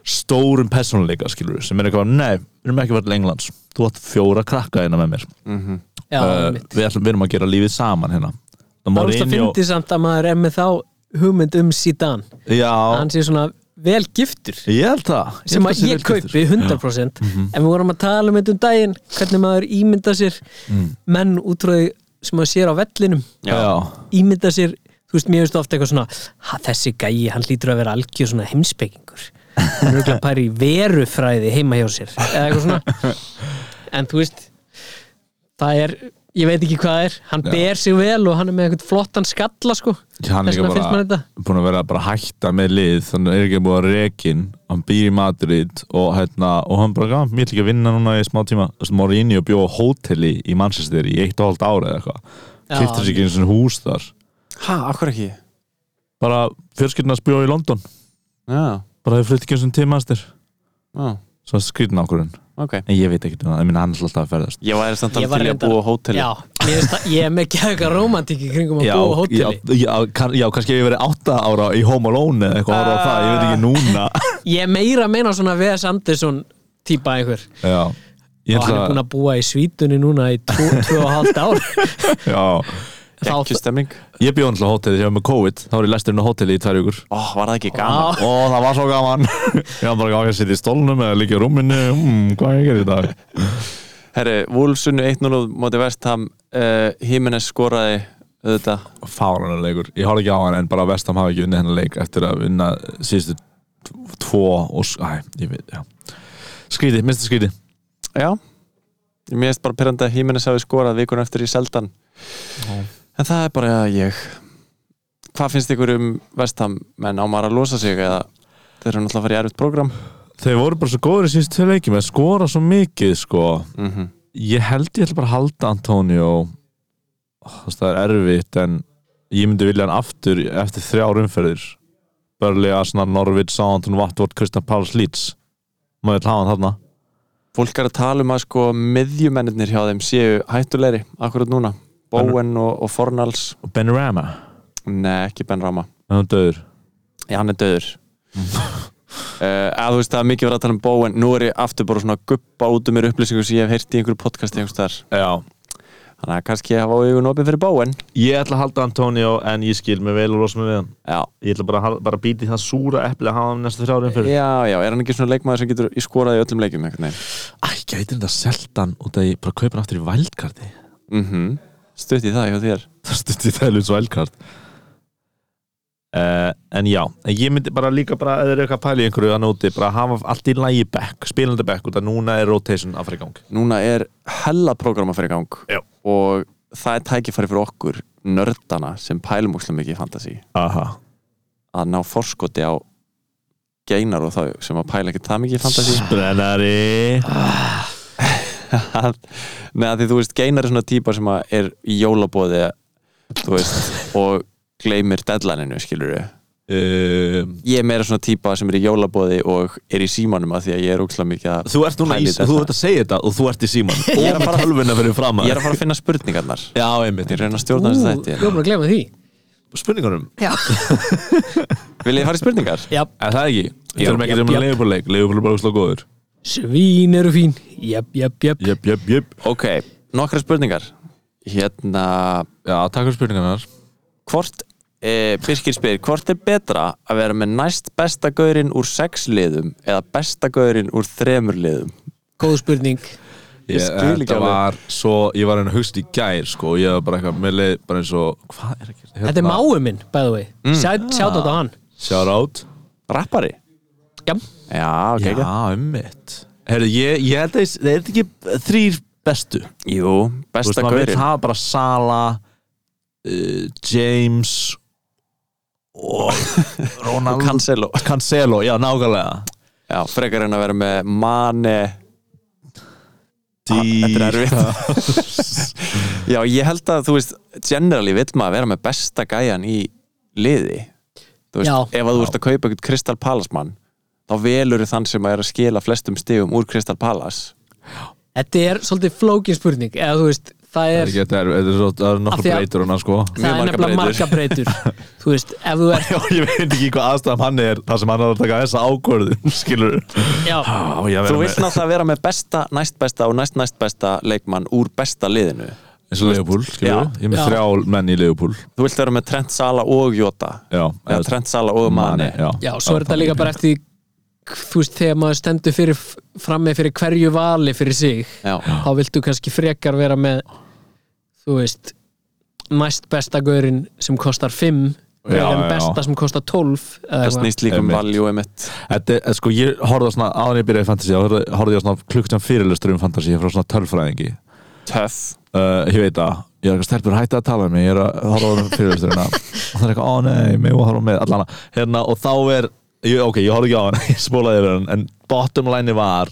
Speaker 3: stórum persónuleika skilur sem er eitthvað nei, við erum ekki að fara til Englands þú átt fjóra krakka hérna með mér
Speaker 4: já,
Speaker 3: uh,
Speaker 4: einmitt.
Speaker 3: við, ætlum, við erum að gera lífið saman hérna
Speaker 4: það er úrst að
Speaker 3: Mourinho-
Speaker 4: fyndi samt að maður er með þá hugmynd um Zidane að
Speaker 3: já,
Speaker 4: hann sé svona vel giftur
Speaker 3: ég held það
Speaker 4: sem
Speaker 3: held það
Speaker 4: að
Speaker 3: sé
Speaker 4: ég
Speaker 3: vel Mhm. giftur.
Speaker 4: kaupi 100% en við vorum að tala um þetta um daginn hvernig maður ímynda sér
Speaker 3: Mm.
Speaker 4: menn útrúði sem maður sér á vellinum
Speaker 3: já,
Speaker 4: ímynda sér, þú veist, mér veist ofta eitthvað svona "Ha, þessi gæi, hann lítur að vera algjör svona heimspekingur hann er auðvitað pæri í verufræði heima hjá sér eða eitthvað svona en þú veist, það er ég veit ekki hvað er, hann ber sig vel og hann er með eitthvað flottan skalla sko
Speaker 3: hann
Speaker 4: Þess
Speaker 3: líka
Speaker 4: vegna finnst mér
Speaker 3: bara
Speaker 4: þetta.
Speaker 3: búin að vera bara að hætta með lið þannig er ekki búin að rekin hann býr í Madrid og, hérna, og hann bara gaf mér líka að vinna núna í smá tíma Þú veist, Morinni og bjóða hóteli í Manchester í eitt og hálft ára eða eitthvað
Speaker 4: Já,
Speaker 3: kiptur sér ekki eins og hús þar
Speaker 5: Hæ, akkur ekki?
Speaker 3: bara fjörskipnars bjóða í London
Speaker 5: Já,
Speaker 3: bara þau flytti ekki eins og til Manchester
Speaker 5: já,
Speaker 3: svo skrítin ákvörðun
Speaker 5: ok
Speaker 3: en ég veit ekki um það, ég minna hann er alltaf að ferðast
Speaker 5: Ég væri samt
Speaker 4: Ég
Speaker 5: alveg
Speaker 4: var
Speaker 5: til í að
Speaker 4: reyndar-
Speaker 5: búa á hóteli
Speaker 4: já, mér finnst það- ég er með ekki eitthvað romantík í kringum að
Speaker 3: Já,
Speaker 4: búa á
Speaker 3: já,
Speaker 4: hóteli
Speaker 3: já, kann, já, kannski ef ég verið átta ára í Home Alone eða eitthvað ára á það, ég veit ekki núna
Speaker 4: ég er meira að meina svona V.S. Andersson típa einhver
Speaker 3: Já, ég
Speaker 4: og hann er búin að búa í svítunni núna í 2,5 ár
Speaker 3: Já,
Speaker 5: Ekki
Speaker 4: þá,
Speaker 5: stemming
Speaker 3: Ég bjóð alltaf hótelið þegar ég var með COVID Þá var ég læsturinn á hótelið í tvær vikur
Speaker 5: Ó, var það ekki gaman?
Speaker 3: Ó, það var svo gaman Ég var bara gaman að sitja í stólnum eða líka í rúminu mm, Hvað ég gerir í dag?
Speaker 5: Herri, Wolfsunnu 1-0 móti vestham uh, Hímenes skoraði auðvitað
Speaker 3: Fáranar leikur Ég horfði ekki á hann en bara Vestam hafi ekki unnið hennar leik Eftir að vinna síðustu t- tvo og s- æ, ég veit, já skrítið, minnst það skrítið
Speaker 5: Já Mér erst bara pyrrandi að Hímenes hafi skorað vikun eftir í seldan En það er bara ég Hvað finnst ykkur um vestam menn á maður að losa sig eða þeir eru náttúrulega að fara í erfitt prógram
Speaker 3: þeir voru bara svo góður í síðustu tvei leikjum að skora svo mikið sko
Speaker 5: mm -hmm.
Speaker 3: ég held ég ætla bara að halda Antonio Ó, þú veist, það er erfitt en ég myndi vilja hann aftur eftir þrjár umferðir Börli, Arsenal, Norvits, Southampton, Watford, Kristjan Páls, Leeds maður vil hafa hann þarna
Speaker 5: Fólk er að tala um að sko miðjumennir hjá þeim séu hættulegri akkurat núna Bowen og, og Fornals
Speaker 3: og Ben Rama,
Speaker 5: Nei, ekki Ben Rama
Speaker 3: en hann döður
Speaker 5: Já, hann er döður Uh, að þú veist það er mikið verið að tala um Bowen nú er ég aftur bara svona að guppa út um mér upplýsingu sem ég hef heyrt í einhverju podcasti einhvers þar
Speaker 3: já,
Speaker 5: þannig að kannski ég hafa augun opið fyrir Bowen
Speaker 3: ég ætla að halda Antonio en ég skil mig vel og rosa mig við hann
Speaker 5: já,
Speaker 3: ég ætla bara að hal- bara að býti það súra eplið að hafa hann næstu þrjár umferðir
Speaker 5: Já, já, er hann ekki svona leikmaður sem getur skorað í öllum leikjum einhvern veginn?
Speaker 3: Æ, gæti þetta seldan út að ég bara kaupa hann aftur í vældkarti
Speaker 5: Mm Stutt í það hjá þér
Speaker 3: Það stutti tælum svo vældkart uh, En já, en ég myndi bara líka bara eða er eitthvað að pæla í einhverju að nóti bara að hafa allt í lægi back, spilandi back út að núna er rotation að fara í gang
Speaker 5: Núna er hella prógrama fyrir gang
Speaker 3: Já.
Speaker 5: og það er tækifæri fyrir okkur nördana sem pælum úrslega mikið í fantasy
Speaker 3: Aha,
Speaker 5: að ná forskoti á geinar og þá sem að pæla ekki það mikið í fantasy
Speaker 3: brennari
Speaker 5: Nei, að því þú veist, geinar er svona típa sem að er í jólabóði þú veist, og gleymir deadlineinu, skilur við
Speaker 3: um,
Speaker 5: Ég er meira svona típa sem er í jólabóði og er í símanum að því að ég er úrslega mikið að
Speaker 3: Þú ert núna í,
Speaker 5: Pæli í þetta.
Speaker 3: þú ert að segja þetta og þú ert í síman og
Speaker 5: Ég er að
Speaker 3: með
Speaker 5: fara-
Speaker 3: tölvuna fyrir fram
Speaker 5: Ég er að fara að finna spurningarnar
Speaker 3: Já, einmitt,
Speaker 5: Ég reyna að stjórna
Speaker 4: Ú,
Speaker 5: þessu
Speaker 4: ég var
Speaker 5: þætti
Speaker 4: bara að glemma því
Speaker 3: spurningunum
Speaker 4: Já,
Speaker 5: Vil ég fara í spurningar?
Speaker 4: já
Speaker 3: Er það ekki? Við
Speaker 4: Jú,
Speaker 3: þurfum ekki
Speaker 4: jöp,
Speaker 3: um að
Speaker 4: jöp.
Speaker 3: leifupúleik, leifupúleik bara úsla góður
Speaker 4: Svín eru fín Jöp, jöp, jöp
Speaker 3: Jöp, jöp, jöp
Speaker 5: Ok, nokkra spurningar Hérna,
Speaker 3: Já, takk fyrir spurningarnar
Speaker 5: hvort e, Birkir spyr, hvort er betra að vera með næst besta gaurinn úr sex liðum eða besta gaurinn úr þremur liðum?
Speaker 4: Góð spurning
Speaker 3: Ég
Speaker 5: skil ekki
Speaker 3: Þetta
Speaker 5: alveg.
Speaker 3: var svo, ég var henni hugst í gær sko, og ég var bara eitthvað, mér leið bara eins og hvað er ekki? hérna,
Speaker 4: Þetta er máið minn, by the way Hérna- mm. Sjátt á hann
Speaker 3: Shout out
Speaker 5: Rappari?
Speaker 4: Já,
Speaker 5: Já,
Speaker 3: Já,
Speaker 5: ok, ekki
Speaker 3: ummitt Herru, ég, ég held að ég- það er ekki þrýr bestu
Speaker 5: Jú,
Speaker 3: Þú veist,
Speaker 5: besta
Speaker 3: maður vil
Speaker 5: gaurinn
Speaker 3: hafa bara Sala uh, James og Ronald
Speaker 5: Cancelo
Speaker 3: Cancelo, já, nákvæmlega
Speaker 5: Já, frekar en að vera með Mane Þetta er erfitt Já, ég held að, þú veist, generally vill maður vera með besta gæjan í liði Þú veist,
Speaker 4: Já.
Speaker 5: ef að þú ert að kaupa eitthvað Crystal Palace mann þá velur þann sem er að skila flestum stigum úr Crystal Palace
Speaker 4: þetta er svolítið flókin spurning Eða þú veist, það er
Speaker 3: Þetta er, þetta er, svo- það eru
Speaker 4: Af
Speaker 3: nokkur
Speaker 4: því að-
Speaker 3: breytur hana sko
Speaker 4: Það er
Speaker 5: mjög
Speaker 4: nefnilega marga
Speaker 5: margar
Speaker 4: breytur Þú veist, ef þú er
Speaker 3: Já, ég veit ekki hvað aðstæðum hann er þar sem hann er að taka þessa ákvörðum, skilur
Speaker 4: Já,
Speaker 3: Þú
Speaker 5: Þú vilt náttúrulega vera með besta, næst besta og næst næst besta leikmann úr besta liðinu
Speaker 3: eins og Leopold, skilur
Speaker 5: Já.
Speaker 3: Ég er með
Speaker 4: Já.
Speaker 3: þrjá menn í Leopold
Speaker 5: Þú vilt vera með Trent Sala og Jota
Speaker 3: Já,
Speaker 5: eða Trent Sala og Mane
Speaker 3: já,
Speaker 4: já svo er þetta líka
Speaker 3: þannig.
Speaker 4: bara eftir því, Þú veist, þegar maður stendur fyrir frammi fyrir hverju vali fyrir sig
Speaker 5: Já.
Speaker 4: þá viltu kannski frekar vera með þú veist næst besta gaurin sem kostar 5
Speaker 3: Já,
Speaker 4: en
Speaker 3: já, já.
Speaker 4: besta sem kostar 12 eða
Speaker 5: Það
Speaker 4: eitthvað
Speaker 5: snýst líka um
Speaker 3: Einmitt.
Speaker 5: value emitt
Speaker 3: Þetta er, sko, ég horfði á svona, áður en ég byrjaði í fantasy, þá horfði- horfði ég á svona klukktan fyrirlustur um fantasy frá svona tölfræðingi
Speaker 5: Töff
Speaker 3: uh, Ég veit að, ég er eitthvað stelpur hætti að tala um mig, ég er að horfa á um fyrirlusturina og það er eitthvað, ó nei, mig og horfa með allana hérna, og þá er, ég, ok, ég horfði ekki á hann ég spólaði yfir hann, en bottom line var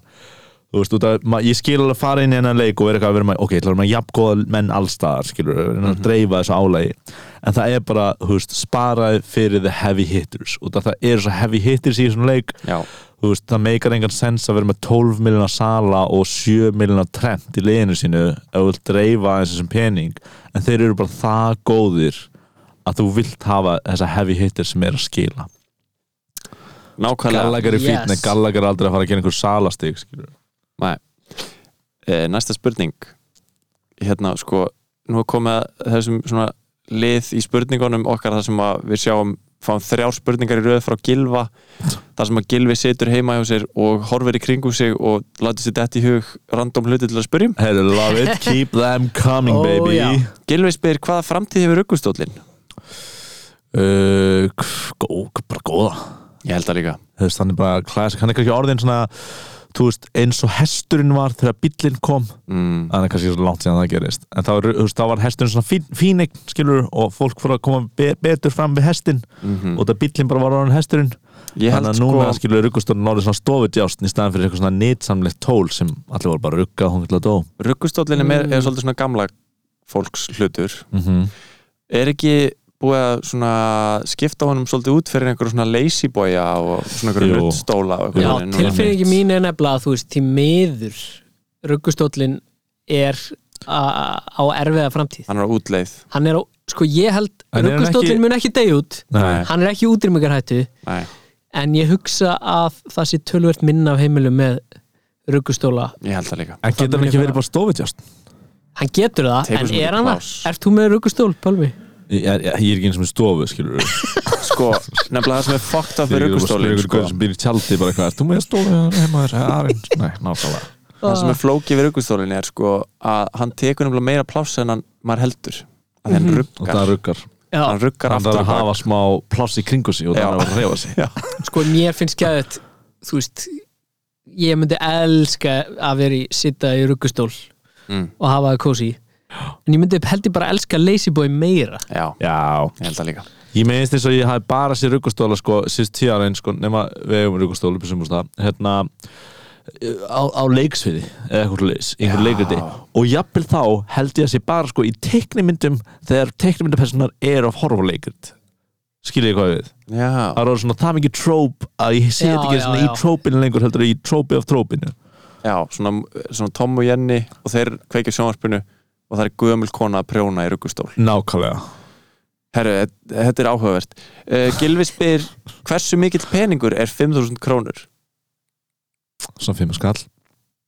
Speaker 3: þú veist, út að ma- ég skil alveg fara inn í hennan leik og vera eitthvað að vera með ok, ég ætla að vera með jafngóða menn allstaðar skilur, mm -hmm. að dreifa þessu álægi en það er bara, þú veist, sparaði fyrir the heavy hitters, út að það eru svo heavy hitters í þessum leik
Speaker 5: Já.
Speaker 3: þú veist, það meikar engan sens að vera með 12 miljonar sala og 7 miljonar trend í leginu sínu ef þú vilt dreifa aðeins þessum pening en þeir eru bara það góðir að þú vilt hafa þessa heavy hitters sem er að skila
Speaker 5: Nákvæmlega
Speaker 3: Gallagher er fýtni,
Speaker 4: Yes.
Speaker 3: yes. Gallagher er aldrei að fara að gera einhver salastig, skilur
Speaker 5: Nei. Eh, Næsta spurning Hérna sko Nú er komið að þessum svona lið í spurningunum okkar þar sem að við sjáum fáum þrjár spurningar í röð frá Gilva þar sem að Gilvi situr heima hjá sér og horfir í kringum sig og láti sér dætt í hug random hluti til að um. spyrjum
Speaker 3: Hey, love it, keep them coming
Speaker 4: Ó,
Speaker 3: baby
Speaker 4: Oh, já.
Speaker 5: Gilvi spyr hvaða framtíð hefur ruggustólinn
Speaker 3: uh, k- gó, bara góða
Speaker 5: ég held það líka
Speaker 3: þú veist, hann er bara klassik hann er kannski orðin svona þú veist, eins og hesturinn var þegar bíllinn kom
Speaker 5: mm.
Speaker 3: það er kannski svo langt síðan það gerist en þá, er, þú veist, þá var hesturinn svona fín, fínegn skilur og fólk fór að koma be betur fram við hestin
Speaker 5: Mhm.
Speaker 3: og það bíllinn bara var orðin hesturinn þannig
Speaker 5: ég held
Speaker 3: að núna sko... skilur ruggustólinn orðið svona stofudjástn í staðan fyrir eitthvað svona nýtsamlegt tól sem allir voru bara að rugga og hún til að dó
Speaker 5: ruggustóllin er, meir- er svolítið svona gamla fólks hlutur
Speaker 3: mm
Speaker 5: er ekki búið að svona skipta honum svolítið út fyrir einhverju svona lazyboya og svona einhverju
Speaker 3: Jú.
Speaker 5: nuttstóla og
Speaker 4: Já,
Speaker 5: einhverju núna.
Speaker 4: tilfinningi mín er nefnilega að þú veist, því miður ruggustóllin er a- á erfiða framtíð
Speaker 5: hann er á útleið
Speaker 4: hann er á, sko ég held
Speaker 3: En er hann
Speaker 4: ruggustóllin
Speaker 3: ekki-
Speaker 4: mun ekki deg út
Speaker 3: Nei.
Speaker 4: hann er ekki útrýmingarhættu
Speaker 5: Nei.
Speaker 4: en ég hugsa að það sé tölvert minna af heimilum með ruggustóla
Speaker 5: ég held það líka
Speaker 3: en getur hann
Speaker 4: mun ég
Speaker 3: ekki
Speaker 4: fara-
Speaker 3: verið bara stofudjástn
Speaker 4: hann getur það,
Speaker 5: Tekur svo
Speaker 4: en
Speaker 5: mikið
Speaker 4: er hann það?
Speaker 5: pláss.
Speaker 4: Ert þú með ruggustól, Pálmi?
Speaker 3: ég, ég, ég er ekki eins og með stofu skilur
Speaker 5: sko, nefnilega það sem er fucked up við ruggustólin
Speaker 3: sko.
Speaker 5: sko.
Speaker 3: sem býr í tjaldi bara eitthvað, þú með stofu heima þér aðeins, nei, nákvæmlega Ah.
Speaker 5: það sem er flókið við ruggustólin er sko að hann tekur nefnilega meira pláss en hann maður heldur að hann
Speaker 3: Mhm. og það
Speaker 5: ruggar
Speaker 3: ruggar
Speaker 4: Já,
Speaker 5: hann ruggar
Speaker 3: hann þarf að
Speaker 5: aftur á bak.
Speaker 3: hafa smá pláss í kringu sig og það
Speaker 5: Já.
Speaker 3: er að reyfa sig
Speaker 5: Já.
Speaker 4: sko mér finnst gæðið þú veist, ég myndi elska að vera í, sitta í ruggustól
Speaker 5: Mm.
Speaker 4: og hafa það kósi en ég myndi held ég bara elska Lazyboy meira
Speaker 5: já,
Speaker 3: Já,
Speaker 5: ég held það líka
Speaker 3: ég meðist eins og ég hafi bara sér ruggustóla sko, síst tíu ára einn sko, nema við hefum ruggustóla upp í sumurstað, hérna eh, á, á leiksviði eða eitthvað leis, einhver leikriti og jafnvel þá held ég að sé bara sko í teiknimyndum þegar teiknimyndapersonar er of horfa leikrit skilja ég hvað ég við
Speaker 5: já,
Speaker 3: það er orðið svona það mikið tróp að ég sé
Speaker 4: Já,
Speaker 3: þetta ekki
Speaker 4: já,
Speaker 3: svona
Speaker 4: já.
Speaker 3: í trópinu lengur heldur í trópi af trópinu
Speaker 5: já svona, svona Tom og Jenny og þeir kveikja sjónvarpinu og það er gömul kona að prjóna í ruggustól
Speaker 3: nákvæmlega
Speaker 5: Herru, þet- e, þetta er áhugavert uh, Gilvi spyr hversu mikill peningur er 5.000 krónur?
Speaker 3: svona fimm skall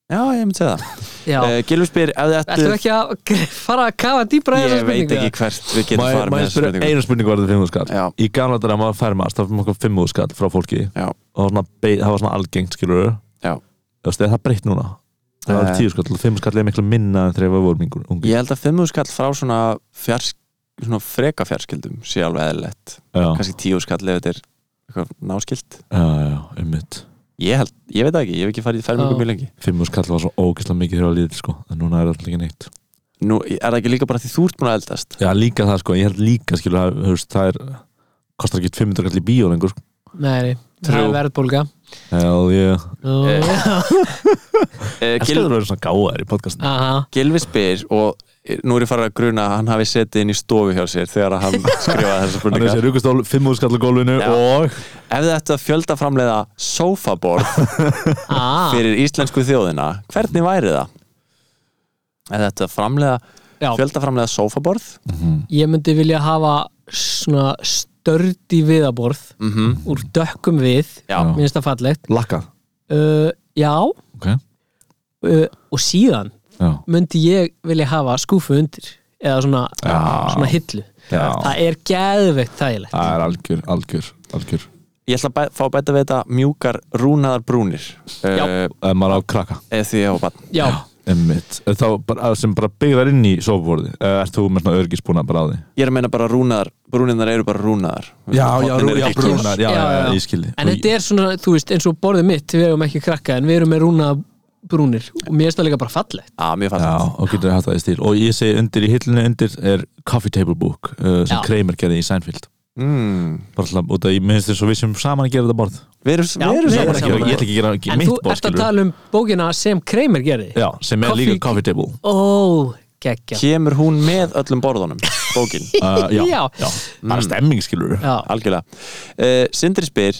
Speaker 5: Já, ég myndi segja það
Speaker 4: Já,
Speaker 5: uh, Gilvi spyr ef þið
Speaker 4: ertu
Speaker 5: ættu
Speaker 4: ekki að gre- fara að kafa dýbra
Speaker 5: Ég veit ekki hvert við getum farið með
Speaker 3: maður
Speaker 5: þessu
Speaker 3: spyrir
Speaker 5: spurningu
Speaker 3: einu spurningu var þetta fimm skall
Speaker 5: Já,
Speaker 3: í gamla dagar maður fær maður stafum okkur fimm skall frá fólki
Speaker 5: Já.
Speaker 3: og það var svona, bei- það var svona algengt skilur
Speaker 5: Já.
Speaker 3: Veist, er það breytt núna það var
Speaker 5: Eh.
Speaker 3: tíu skall og fimm skall er miklu minna en þegar við vorum yngur ungi
Speaker 5: ég held að 5.000 skall frá svona, fjars, svona freka fjarskildum sé alveg eðlilegt
Speaker 3: já,
Speaker 5: kannski 10.000 skall ef þetta er eitthvað náskilt
Speaker 3: já, já, ummitt
Speaker 5: Ég held, ég veit það ekki, ég hef ekki farið í fermingu
Speaker 4: Já.
Speaker 5: mjög lengi
Speaker 3: fimm skall var svo ógeðslega mikið þegar að líða sko en núna er alltaf ekki neitt
Speaker 5: Nú, er það ekki líka bara því þú ert búin að eldast
Speaker 3: já líka það sko, ég held líka skilur að hefst, það er, kostar ekki 500 skall í bíó lengur Eh, sko.
Speaker 4: Nei, það er
Speaker 5: Trú.
Speaker 4: verðbólga
Speaker 3: hell yeah
Speaker 4: Já.
Speaker 5: Eh. uh,
Speaker 3: það
Speaker 5: Gil,
Speaker 3: skilur að vera svona gáðar í podcastin
Speaker 4: Aha.
Speaker 5: Gilvi spyr og eh, nú er ég farið að gruna að hann hafi setið inn í stofu hjá sér þegar hann skrifaði þessa
Speaker 3: hann er
Speaker 5: spurninga
Speaker 3: sér rúkustól, fimm skall á gólfinu
Speaker 5: Já.
Speaker 3: og
Speaker 5: Ef þið ættu að fjölda framleiða sofaborð
Speaker 4: Ah,
Speaker 5: fyrir íslensku þjóðina, hvernig væri það? Ef þið ættu að framleiða,
Speaker 4: já.
Speaker 5: fjölda framleiða sofaborð
Speaker 4: Ég myndi vilja hafa svona stördi viðaborð
Speaker 5: mm -hmm.
Speaker 3: Mhm.
Speaker 4: úr dökkum við
Speaker 5: Já,
Speaker 3: Já.
Speaker 4: minnst það fallegt
Speaker 3: lakka
Speaker 4: uh, Já
Speaker 3: Ok.
Speaker 4: uh, Og síðan
Speaker 3: já,
Speaker 4: myndi ég vilja hafa skúfu undir eða svona,
Speaker 3: Já.
Speaker 4: svona hillu
Speaker 3: já.
Speaker 4: Það er geðveikt þægilegt
Speaker 3: það er algjör, algjör, algjör
Speaker 5: ég ætla að bæ- fá að bæta við þetta mjúkar rúnaðar brúnir uh,
Speaker 3: ef maður á krakka
Speaker 5: eða því ég á bann
Speaker 4: Já,
Speaker 3: Einmitt. þá bara, sem bara byggðar inn í sofaborði eða ert þú með svona örgisbúna bara á því
Speaker 5: Ég er að meina bara rúnaðar, brúnirnar eru bara rúnaðar Hornin eru ekki
Speaker 4: brúnar.
Speaker 5: klofnar.
Speaker 3: já, já,
Speaker 4: Já, já.
Speaker 3: já, ég skildi
Speaker 4: en þetta er svona, þú veist, eins og borðið mitt við erum ekki krakka, en við erum með rúna brúnir og mér er það líka bara fallegt
Speaker 5: Já, Ah, mjög fannst
Speaker 3: já, og getur haft það í stíl og ég segi undir í hillinu undir er coffee table book uh, sem
Speaker 4: Já.
Speaker 3: Kramer gerði í Seinfeld
Speaker 5: mm.
Speaker 3: bara alltaf, út af, ég minnst þess að við sem saman að gera þetta borð
Speaker 5: Við erum,
Speaker 4: Já,
Speaker 5: við erum
Speaker 4: við
Speaker 3: Ég
Speaker 4: erum
Speaker 5: saman
Speaker 3: ætla ekki að gera-
Speaker 5: ekki
Speaker 3: ég ætla ekki að gera
Speaker 4: En þú
Speaker 3: mitt borð
Speaker 4: ert að
Speaker 3: skilur
Speaker 4: tala um bókina sem Kramer gerði
Speaker 3: já, sem er líka coffee table
Speaker 4: Ó, geggja
Speaker 5: Kemur hún með öllum borðunum, bókin
Speaker 3: uh, já,
Speaker 4: Já. Mm.
Speaker 3: já, það er stemming skilur
Speaker 4: Já,
Speaker 5: algjörlega uh, Sindri spyr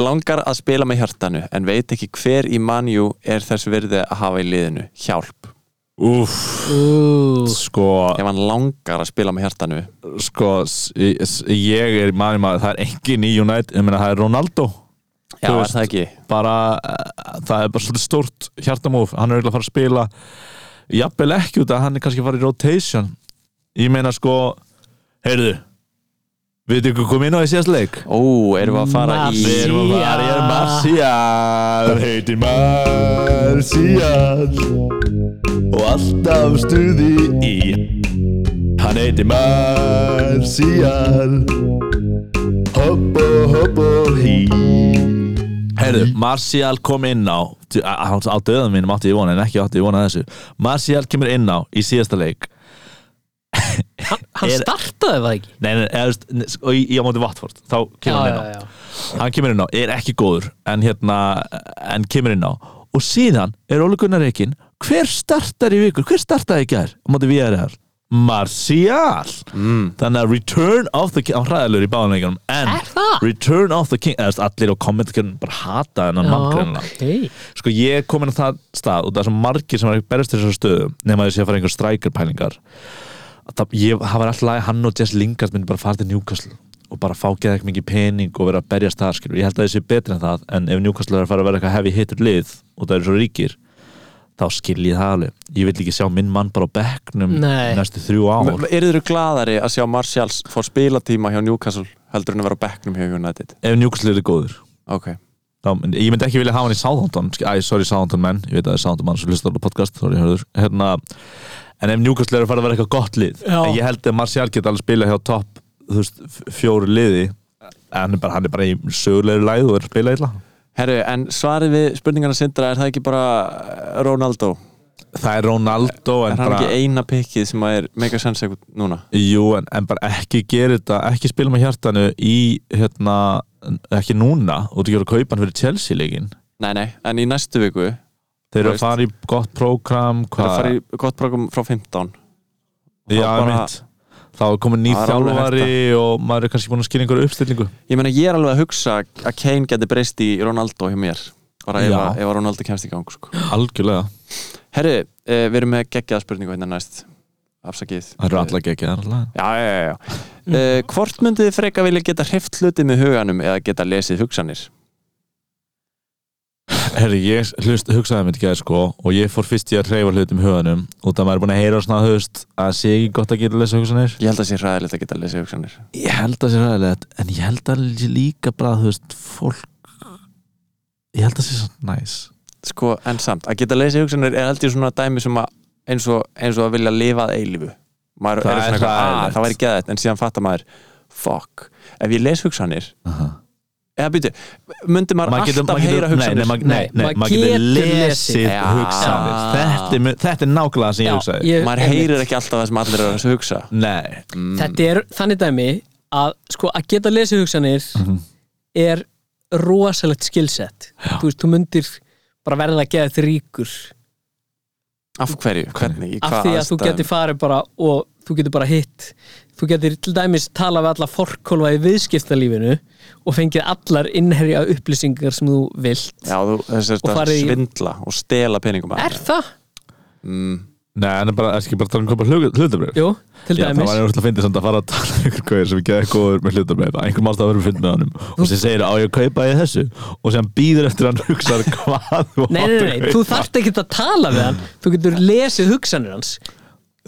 Speaker 5: langar að spila með hjartanu en veit ekki hver í manju er þess virði að hafa í liðinu hjálp
Speaker 3: uff,
Speaker 4: ú,
Speaker 3: sko
Speaker 5: ef hann langar að spila með hjartanu
Speaker 3: sko, s- s- ég er manni maður, það er engin í United ég meina það er Ronaldo
Speaker 5: já,
Speaker 3: Þú
Speaker 5: er
Speaker 3: veist.
Speaker 5: það ekki
Speaker 3: bara, eh, það er bara svolítið stórt hjartamóf, hann er auðvitað að fara að spila jafnvel ekki út að hann er kannski að fara í rotation ég meina sko, heyrðu við erum ekki komið inn á í síðast leik
Speaker 5: ó, erum við að fara í
Speaker 3: við erum að fara í
Speaker 4: Já.
Speaker 3: Marcial heitir Marcial og alltaf stuði í hann heitir Marcial hoppa, hoppa, hí Herðu, Martial kom inn á djú- á á- á döðum mínum átti ég vona en ekki átti ég vona þessu Martial kemur inn á í síðasta leik
Speaker 4: Hann
Speaker 3: Er-
Speaker 4: startaði það ekki
Speaker 3: Nei, nei, eða, þú veist, n- s- og í, í á móti Vatford þá kemur hann inn á
Speaker 4: já, já.
Speaker 3: hann kemur inn á, er ekki góður en hérna, en kemur inn á og síðan er Óli Gunnar Reykjén hver startar í vikur, hver startaði í gær á móti VRR? Martial mm. þannig að Return of the King hann hræðalur í báðanleikunum en
Speaker 4: Er það?
Speaker 3: Return of the King, eða þú veist, allir á kommentarkjörnum bara hata þennan mann greinlega
Speaker 4: ok
Speaker 3: sko ég kom inn á það stað og það er svo margir sem er ekki berist til þessar stöðu nema þess að fara einhver strækjarpælingar það, ég, það var alltaf lagi að hann og Jess Lingard myndi bara fara til Newcastle og bara fá geða ekki mikið pening og vera að berjast það skilur. ég held að það sé betri en það en ef Newcastle er að fara að vera eitthvað hefði hittur lið og það eru svo ríkir þá skil ég það alveg ég vil ekki sjá minn mann bara á bekknum
Speaker 4: Nei.
Speaker 3: næstu þrjú ár
Speaker 5: Eru þeir gladari að sjá Marshalls fór spilatíma hjá Newcastle heldur en að vera á bekknum hjá United?
Speaker 3: ef Newcastle eru góður
Speaker 5: Ok,
Speaker 3: Já, en ég myndi ekki vilja hafa hann í Southampton sk- Æ, sorry Southampton menn, ég veit að það er Southampton mann sem hlustar á podcast, sorry hörður hérna, En ef Newcastle er að fara að vera eitthvað gott lið
Speaker 4: Já.
Speaker 3: En ég held að Martial geta alveg spila hjá topp þú veist, f- fjóru liði En hann er bara, hann er bara í sögulegu læð og er að spila illa
Speaker 5: herru, en svarið við spurningarna sindra er það ekki bara eh, Ronaldo?
Speaker 3: Það er Ronaldo en
Speaker 5: Er hann
Speaker 3: bara,
Speaker 5: ekki eina pikkið sem að er mega sens ekkert núna?
Speaker 3: Jú, en, en bara ekki gera þetta Ekki spila með hjartanu í hérna, ekki núna Þú ert ekki að gera kaupan fyrir Chelsea-leikin
Speaker 5: Nei, nei, en í næstu viku
Speaker 3: Þeir eru
Speaker 5: Þú
Speaker 3: að fara í gott prógram
Speaker 5: Það er að fara í gott program frá 15
Speaker 3: Já,
Speaker 5: bara-
Speaker 3: mitt Þá er komin nýr
Speaker 5: Það er alveg
Speaker 3: þjálfari og maður er kannski búin að skýra einhverju uppstillingu
Speaker 5: Ég meina, ég er alveg að hugsa að Kane geti breyst í Ronaldo hjá mér bara ef,
Speaker 3: Já.
Speaker 5: að- ef að Ronaldo kemst í gang sko.
Speaker 3: Algjörlega
Speaker 5: Herru, eh, við erum með geggjaða spurningu hérna næst afsakið
Speaker 3: Það eru allar ekki ekki
Speaker 5: Já, já, já, já. Eh, Hvort myndið þið freka vilja geta hreift hluti með huganum eða geta lesið hugsanir?
Speaker 3: Herri, ég hlust, hugsaði mér ekki að sko og ég fór fyrst í að hreyfa hlutum huganum út að maður er búin að heyra svona þú veist að sé ekki gott að geta lesa hugsanir
Speaker 5: Ég held að það sé ræðilegt að geta lesið hugsanir
Speaker 3: Ég held að sé ræðilegt en ég held að sé líka bara þú veist fólk ég held að sé svona næs
Speaker 5: Sko, en samt, að geta lesið hugsanir er held ég svona dæmi sem að eins og, eins og að vilja lifa að eilífu maður
Speaker 3: Það
Speaker 5: er
Speaker 3: er
Speaker 5: svona eitthvað,
Speaker 3: hræðilegt.
Speaker 5: að það væri geðað en síðan fattar maður, fuck ef ég les hugsanir eða býtu, myndi maður,
Speaker 3: Maður getur-
Speaker 5: alltaf
Speaker 3: maður getur-
Speaker 5: heyra
Speaker 3: Nei,
Speaker 5: hugsanir
Speaker 3: nei, maður- nei, nei,
Speaker 4: Maður
Speaker 3: maður getur
Speaker 4: getur
Speaker 3: lesið
Speaker 4: lesið.
Speaker 5: Já.
Speaker 3: hugsanir þetta, er mu- þetta er nákvæmlega sem ég hugsaði
Speaker 4: ég-
Speaker 5: maður heyrir ekki alltaf það sem allir eru að hugsa
Speaker 3: Nei,
Speaker 4: Þetta er þannig dæmi að sko að geta lesið hugsanir er rosalegt skilsett þú veist, þú myndir bara verða að geða þér ríkur
Speaker 5: af hverju, hvernig, í
Speaker 4: af
Speaker 5: hvað
Speaker 4: því að þú getur farið bara og þú getur bara hitt þú getur til dæmis tala við alla forkólfa í viðskiptalífinu og fengið allar innherja upplýsingar sem þú vilt
Speaker 5: Já, þú, þess
Speaker 4: Og
Speaker 5: að
Speaker 4: farið í-
Speaker 5: svindla og stela peningum af
Speaker 4: Er
Speaker 5: þeim.
Speaker 4: það?
Speaker 3: nei, en er bara, er ekki bara að tala um kaupa hlutabréf
Speaker 4: Jú, til
Speaker 3: Já, það
Speaker 4: dæmis
Speaker 3: var einhvern veginn samt að fara að tala um einhver gauðir sem ekki er góður með hlutabræð einhver mást að vera með með honum og sem segir á ég að kaupa ég þessu og sem býður eftir hann hugsaður hvað þú
Speaker 4: Nei, nei, nei, nei, þú þarft ekki að tala við hann þú getur lesið hugsanir hans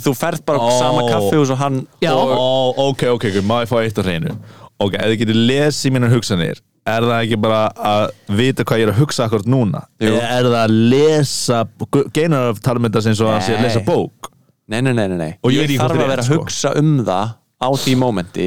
Speaker 5: Þú ferð bara á
Speaker 3: Ó.
Speaker 5: sama kaffi og hann
Speaker 4: Já.
Speaker 3: og, ó, ok, ok, ok, má ég fá eitt á hreinu ok, ef þið getur lesið mínar hugsanir er það ekki bara að vita hvað ég er að hugsa akkurat núna
Speaker 5: Jú.
Speaker 3: eða er það að lesa geinar af talmynda sem svo að sé að lesa
Speaker 5: Nei.
Speaker 3: bók
Speaker 5: Nei, nei, nei, nei, nei.
Speaker 3: Og ég veit
Speaker 5: ég
Speaker 3: ekki hvort þetta
Speaker 5: þarf að
Speaker 3: er
Speaker 5: vera að
Speaker 3: rétt, sko.
Speaker 5: hugsa um það á því mómenti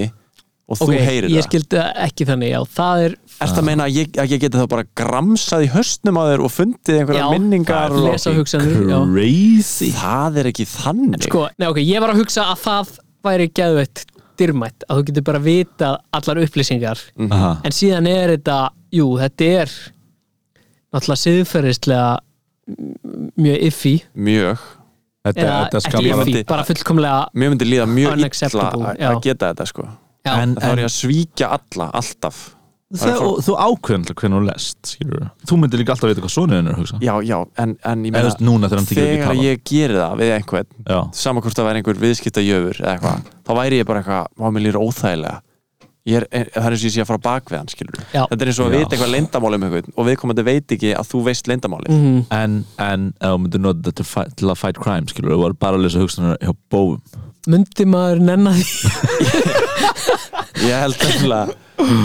Speaker 5: og þú
Speaker 4: Ok,
Speaker 5: heyrir
Speaker 4: Ég
Speaker 5: það skil...
Speaker 4: skildi það ekki þannig, já, það er
Speaker 5: Ertu að meina að ég, að ég geti þá bara gramsað í höstnum á þér og fundið einhverja
Speaker 4: Já.
Speaker 5: minningar og...
Speaker 4: lesa hugsanir já.
Speaker 3: crazy
Speaker 5: Það er ekki þannig
Speaker 4: sko, nei, ok, ég var að hugsa að það væri geðveitt dyrmætt að þú getur bara vita allar upplýsingar
Speaker 5: Mhm.
Speaker 3: Aha.
Speaker 4: en síðan er þetta, jú, þetta er náttúrulega siðferðislega m- mjög iffi
Speaker 5: Mjög
Speaker 3: þetta,
Speaker 4: eða
Speaker 3: þetta
Speaker 4: ekki
Speaker 3: skapar
Speaker 4: iffi,
Speaker 5: myndi-
Speaker 4: bara fullkomlega
Speaker 5: Mér myndi líða mjög illa
Speaker 4: Unacceptable,
Speaker 5: að-
Speaker 4: já.
Speaker 5: að geta þetta sko
Speaker 4: já,
Speaker 3: En-
Speaker 5: Það er ég að svíkja alla, alltaf Það er
Speaker 3: Það, og, þú ákveðanlega hvernig hún lest skilur. þú myndir líka alltaf að vita hvað sonið hennar hugsa
Speaker 5: Já, já, en, en ég
Speaker 3: Eða þú veist, núna þegar hann þykir ekki
Speaker 5: þegar
Speaker 3: tala.
Speaker 5: ég geri það við einhvern
Speaker 3: Já.
Speaker 5: sama hvort það væri einhver viðskipta jöfur
Speaker 3: Mm.
Speaker 5: eða eitthvað, þá væri ég bara eitthvað, má mér líra óþægilega Ég er, en- það er eins og ég sé að fara á bak við hann skilur
Speaker 4: Já.
Speaker 5: þetta er eins og að
Speaker 3: Já.
Speaker 5: vita eitthvað leyndamál um einhvern og viðkomandi veit ekki að þú veist leyndamáli
Speaker 3: en, en ef þú myndir nota þetta til, fight, til að fight crime skilur, þú var bara að lesa hugsanar hjá bóum
Speaker 4: myndi maður nenna því
Speaker 5: ég held nefnilega,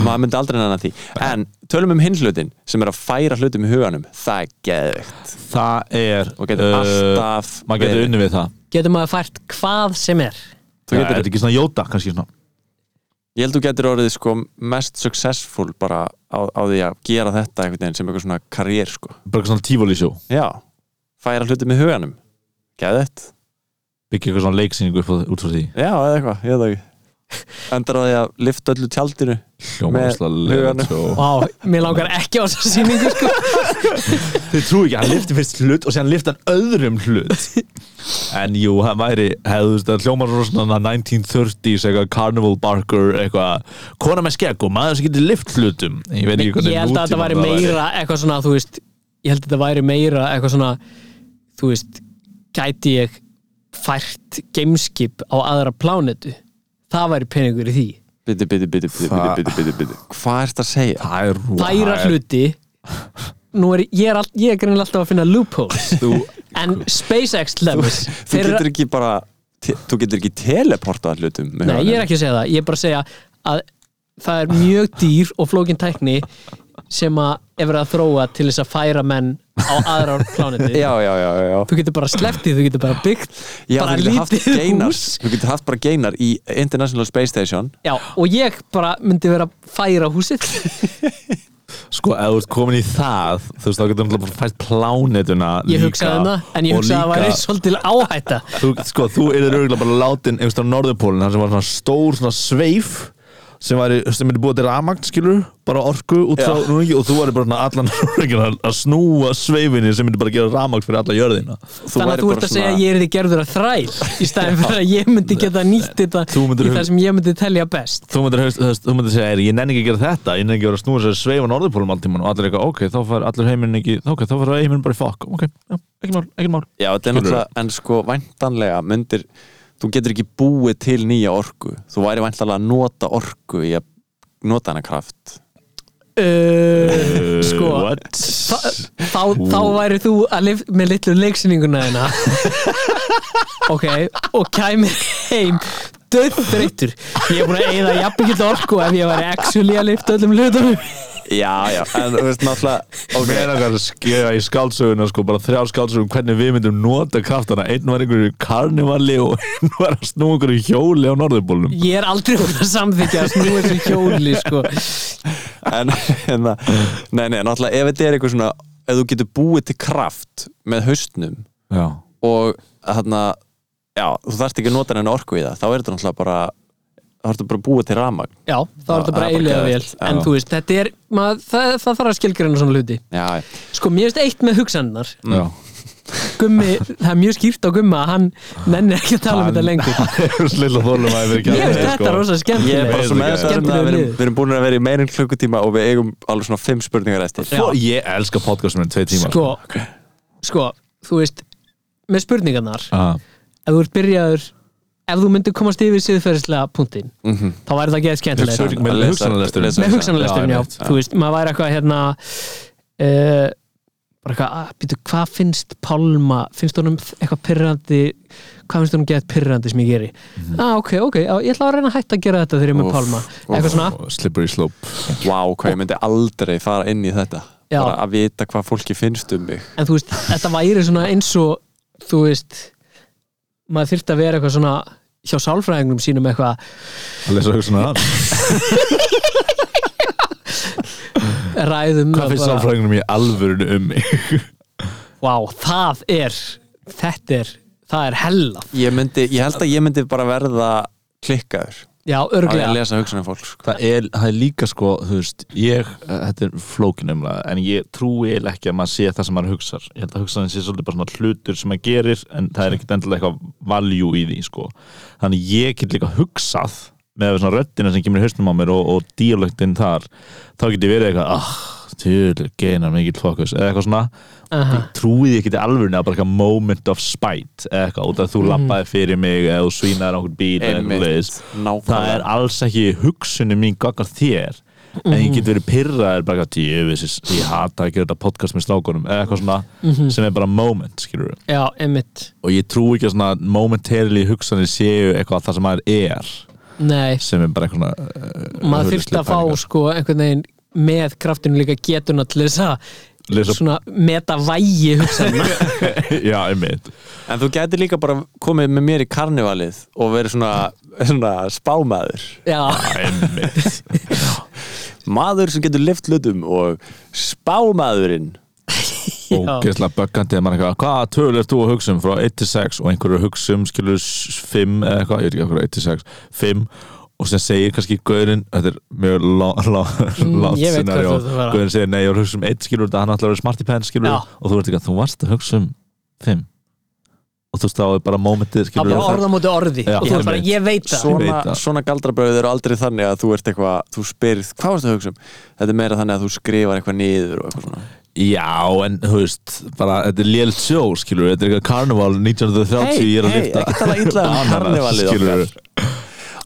Speaker 5: maður myndi aldrei næna því en tölum um hinn hlutin sem er að færa hlutum í huganum, það er geðvikt
Speaker 3: það er
Speaker 5: og getur alltaf
Speaker 3: Uh, maður getur unni við það
Speaker 4: getur maður fært hvað sem er
Speaker 5: Þú
Speaker 3: Nei,
Speaker 5: getur-
Speaker 3: þetta er ekki svona jóta kannski svona
Speaker 5: ég held þú getur orðið sko mest successful bara á, á því að gera þetta einhvern veginn sem eitthvað svona karriér sko
Speaker 3: bara eitthvað svona tífóli sjó
Speaker 5: já, færa hluti með huganum geðett,
Speaker 3: byggja eitthvað svona leiksýningu upp á, út frá því
Speaker 5: já eða eitthvað, ég veit það ekki endar á því að lifta öllu tjaldinu
Speaker 3: hljóma
Speaker 5: Með
Speaker 3: rosalega
Speaker 5: huganum.
Speaker 3: sjó
Speaker 4: Vá, mér langar ekki á þessa sýningu sko.
Speaker 3: Þau trú ekki, hann lifti fyrst hlut og síðan lifti hann öðrum hlut En jú, hann væri, hefðu þú veist, það hljómar rosan 1930s, eitthvað Carnival Barker, eitthvað Kona með skegg og maður sem getur lift hlutum Ég veit ekki hvernig
Speaker 4: Ég held að þetta væri
Speaker 3: nútímann
Speaker 4: meira eitthvað svona, þú veist Ég held að þetta væri meira eitthvað svona Þú veist, gæti ég fært gameskip á aðra plánetu Það væri peningur í því
Speaker 5: biti, biti, biti, biti,
Speaker 3: Það-
Speaker 5: biti, biti, biti, biti. hvað ert að segja?
Speaker 3: Það er
Speaker 4: Færa hluti Nú er ég, er all, ég er greinilega alltaf að finna loopholes
Speaker 3: Þú,
Speaker 4: En SpaceX til dæmis
Speaker 5: þú
Speaker 4: þeir eru-
Speaker 5: getur ekki bara te, þú getur ekki teleportað hlutum með
Speaker 4: Nei, ég er ekki að segja það, ég er bara að segja að það er mjög dýr og flókin tækni sem að er verið að þróa til þess að færa menn á aðra plánetu
Speaker 5: já, já, já, já, já.
Speaker 4: Þú getur bara sleftið, þú getur bara byggt
Speaker 5: Já,
Speaker 4: bara
Speaker 5: þú getur haft
Speaker 4: lítið
Speaker 5: geinar
Speaker 4: hús
Speaker 5: Þú getur haft bara geinar í International Space Station
Speaker 4: Já, og ég bara myndi vera að færa húsið
Speaker 3: sko, ef þú ert komin í það, þú veist, þá getur hann bara fært plánetuna
Speaker 4: Ég
Speaker 3: líka
Speaker 4: hugsaði um það, en ég
Speaker 3: og
Speaker 4: hugsaði að það væri
Speaker 3: líka-
Speaker 4: svolítil áhætta
Speaker 3: þú, sko, þú erður örgulega bara látin einhvers á norðupólinn, þar sem var svona stór svona sveif sem væri, sem myndi búið til rafmagn, skilur, bara orku út frá
Speaker 5: Já.
Speaker 3: núningi og þú væri bara svona allan núningin að að snúa sveifinni sem myndi bara gera rafmagn fyrir alla jörðina
Speaker 4: Þannig
Speaker 5: værir
Speaker 4: að þú
Speaker 5: bara
Speaker 4: ert að
Speaker 5: svona-
Speaker 4: segja að ég er þið gerður að þræl í staðin fyrir að ég myndi geta nýtt þetta
Speaker 3: Þú myndir
Speaker 4: í
Speaker 3: hug-
Speaker 4: það sem ég myndi telja best
Speaker 3: þú myndir, hefst, hefst, þú myndir segja, "Ey, ég nenni ekki að gera þetta ég nenni ekki að vera að snúa sér að sveifa norðupólum alltíman og allir eitthvað, ok, þá fær allir heiminn ekki ok, þá fær heiminn bara í fokk, ok, já, ekki mál, ekki mál
Speaker 5: Já, þetta er
Speaker 3: Skilurðu?
Speaker 5: náttúrulega, en sko væntanlega myndir, þú getur ekki búið til nýja orku, þú væri væntanlega að nota orku í að nota hana kraft
Speaker 4: Uh, sko
Speaker 3: what?
Speaker 4: þá, þá, þá væri þú að lif, með litlu leiksýninguna þina ok og kæmi heim döðbreytur ég er búin að eigða jafnbyggilt orku ef ég væri actually að lifta öllum hlutum
Speaker 5: Já, já, en þú veist náttúrulega
Speaker 3: Mér er okkar að skera í skálsöguna sko, bara þrjá skálsögum hvernig við myndum nota kraftana einn var einhverju karnivali og einn var að snúa einhverju hjóli á norðurbólum
Speaker 4: ég er aldrei búin að samþykja að snúa þessu hjóli sko.
Speaker 5: en, en það, nei, nei, náttúrulega ef þetta er eitthvað svona, ef þú getur búið til kraft með haustnum
Speaker 3: Já,
Speaker 5: og þarna, já, þú þarft ekki að nota henni orku í það, þá er þetta náttúrulega bara þá ertu bara að búa til rafmagn
Speaker 4: já þá er
Speaker 5: Já,
Speaker 4: þetta bara
Speaker 5: það er bara
Speaker 4: eiginlega vel
Speaker 5: geðveikt.
Speaker 4: en
Speaker 5: Já.
Speaker 4: þú veist þetta er maður, það, það þarf að skilgreina svona hluti
Speaker 5: Já, já,
Speaker 4: sko mér veist eitt með hugsanarnar
Speaker 3: já
Speaker 4: gummi það er mjög skýrt á gumma að hann nenni ekki að tala um þetta lengur
Speaker 3: Slilla þólum að vera sko.
Speaker 4: Ég veist þetta er rosa
Speaker 5: sko. Ég er
Speaker 4: skemmtilegt
Speaker 5: bara svo
Speaker 3: Veiðu
Speaker 5: með
Speaker 3: ekki.
Speaker 5: þess að
Speaker 4: Skemmtilegur
Speaker 5: við erum,
Speaker 4: liður.
Speaker 5: við erum búin að vera í meirinn klukkutíma og við eigum alveg svona fimm spurningar eftir
Speaker 3: Fó, Sko, Ég elska podcast með tvei tíma
Speaker 4: Sko, sko, þú veist með spurningarnar,
Speaker 3: ah,
Speaker 4: ef þú ert byrjaður ef þú myndir komast yfir siðferðislega punktin
Speaker 5: Mhm.
Speaker 4: þá væri það geðið skemmtilegt
Speaker 5: Hugsanlega.
Speaker 3: Með
Speaker 5: Lesa-
Speaker 3: hugsanalesturinn
Speaker 5: lesa-
Speaker 4: með
Speaker 3: Já,
Speaker 4: hugsanalesturinn, já,
Speaker 3: einmitt,
Speaker 4: þú veist, maður væri eitthvað hérna uh, bara eitthvað, að, býtu, hvað finnst Pálma, finnst honum eitthvað pyrrandi hvað finnst honum geðið pyrrandi sem ég geri ah, ok, ok, á, ég ætla að reyna að hætta að gera þetta þegar ég er með
Speaker 5: Úff,
Speaker 4: Pálma, eitthvað svona
Speaker 3: Slippery slope
Speaker 5: Vá, hvað ég myndi aldrei fara inn í þetta
Speaker 4: Já.
Speaker 5: bara að vita hvað fólki finnst um mig
Speaker 4: en þú veist, þetta væri svona eins og þú veist maður þyrfti að vera eitthvað svona hjá sálfræðingum sínum eitthvað
Speaker 3: Að lesa hugsanar
Speaker 4: ræðum
Speaker 3: Hvað finnst sáfræðingunum í alvörinu um mig?
Speaker 4: wow, það er, þetta er það er hella,
Speaker 5: ég, myndi, ég held að ég myndi bara verða klikkaður
Speaker 4: já,
Speaker 5: að ég
Speaker 4: örglega
Speaker 5: lesa hugsanum fólk sko.
Speaker 3: það er, það er líka sko þú veist, ég, eh, þetta er flókin umlega en ég trúi eiginlega ekki að maður sé það sem maður hugsar ég held að hugsaðin sé svolítið bara svona hlutur sem maður gerir en það er ekkit endilega eitthvað value í því sko, þannig ég get líka hugsað með svona röddina sem kemur í hausnum á mér og, og díalögtin þar þá get ég verið eitthvað, ah, tjölu geinar mikill fokus, eða eitthvað svona
Speaker 4: Aha.
Speaker 3: ég trúi því ekki til alvörinu að bara eitthvað moment of spite, eða eitthvað, út af
Speaker 4: Mhm.
Speaker 3: þú labbaði fyrir mig eða þú svínaði á okkur bíl eða eitthvað leist það er
Speaker 5: nákvæmlega
Speaker 3: alls ekki hugsunum mín gaggar þér en ég
Speaker 4: Mhm.
Speaker 3: get verið pyrraður bara að ég, ég hata að gera þetta podcast með strákunum eða eitthvað svona
Speaker 4: Mhm.
Speaker 3: sem er bara moment skilur
Speaker 4: já, einmitt,
Speaker 3: og ég trú ekki að svona momentarily hugsanir séu eitthvað það sem maður er
Speaker 4: nei
Speaker 3: sem er bara eitthvað svona uh,
Speaker 4: maður þyrfti að fá
Speaker 3: hurðislega
Speaker 4: sko einhvern veginn með kraftinu líka getuna til þess að
Speaker 3: Lesa,
Speaker 4: svona metavægi hugsanum
Speaker 3: já, einmitt
Speaker 5: En þú gæti líka bara komið með mér í karnivalið og verið svona, svona spámaður
Speaker 4: Já,
Speaker 3: Einmitt
Speaker 5: maður sem getur lift hlutum og spámaðurinn
Speaker 3: Ógeðslega böggandi að maður eitthvað Hvaða töl er þú að hugsa um frá 1 til 6 og einhverju hugsa um skilur 5 eða eitthvað, ég veit ekki okkur 1 til 6 5 og sem segir kannski gaurinn þetta er mjög látt lá, lá,
Speaker 4: ég veit hvert þú ert að fara.
Speaker 3: gaurinn segir nei, ég var að hugsa um 1 skilur þetta hann ætlar að vera smart í penn skilur
Speaker 4: Já.
Speaker 3: og þú ert ekki að þú varst að hugsa um 5 og þú stáði bara mómentið
Speaker 4: það
Speaker 3: skilur
Speaker 4: var orða móti orði
Speaker 3: Já,
Speaker 4: og þú er bara,
Speaker 3: einmitt.
Speaker 4: ég veit það
Speaker 3: Veit
Speaker 5: svona,
Speaker 3: það.
Speaker 5: svona galdrabröð eru aldrei þannig að þú ert eitthvað, þú spyrð, hvað varst það að hugsa um þetta er meira þannig að þú skrifar eitthvað niður og eitthvað svona
Speaker 3: Já, en þú veist, bara, þetta er lélitt sjó, skilur, þetta er eitthvað karneval 1930,
Speaker 5: Hey,
Speaker 3: ég er að
Speaker 5: hey,
Speaker 3: lifta
Speaker 5: ekki tala illa um
Speaker 3: ananas,
Speaker 5: karnevalið okkar.
Speaker 3: skilurðu.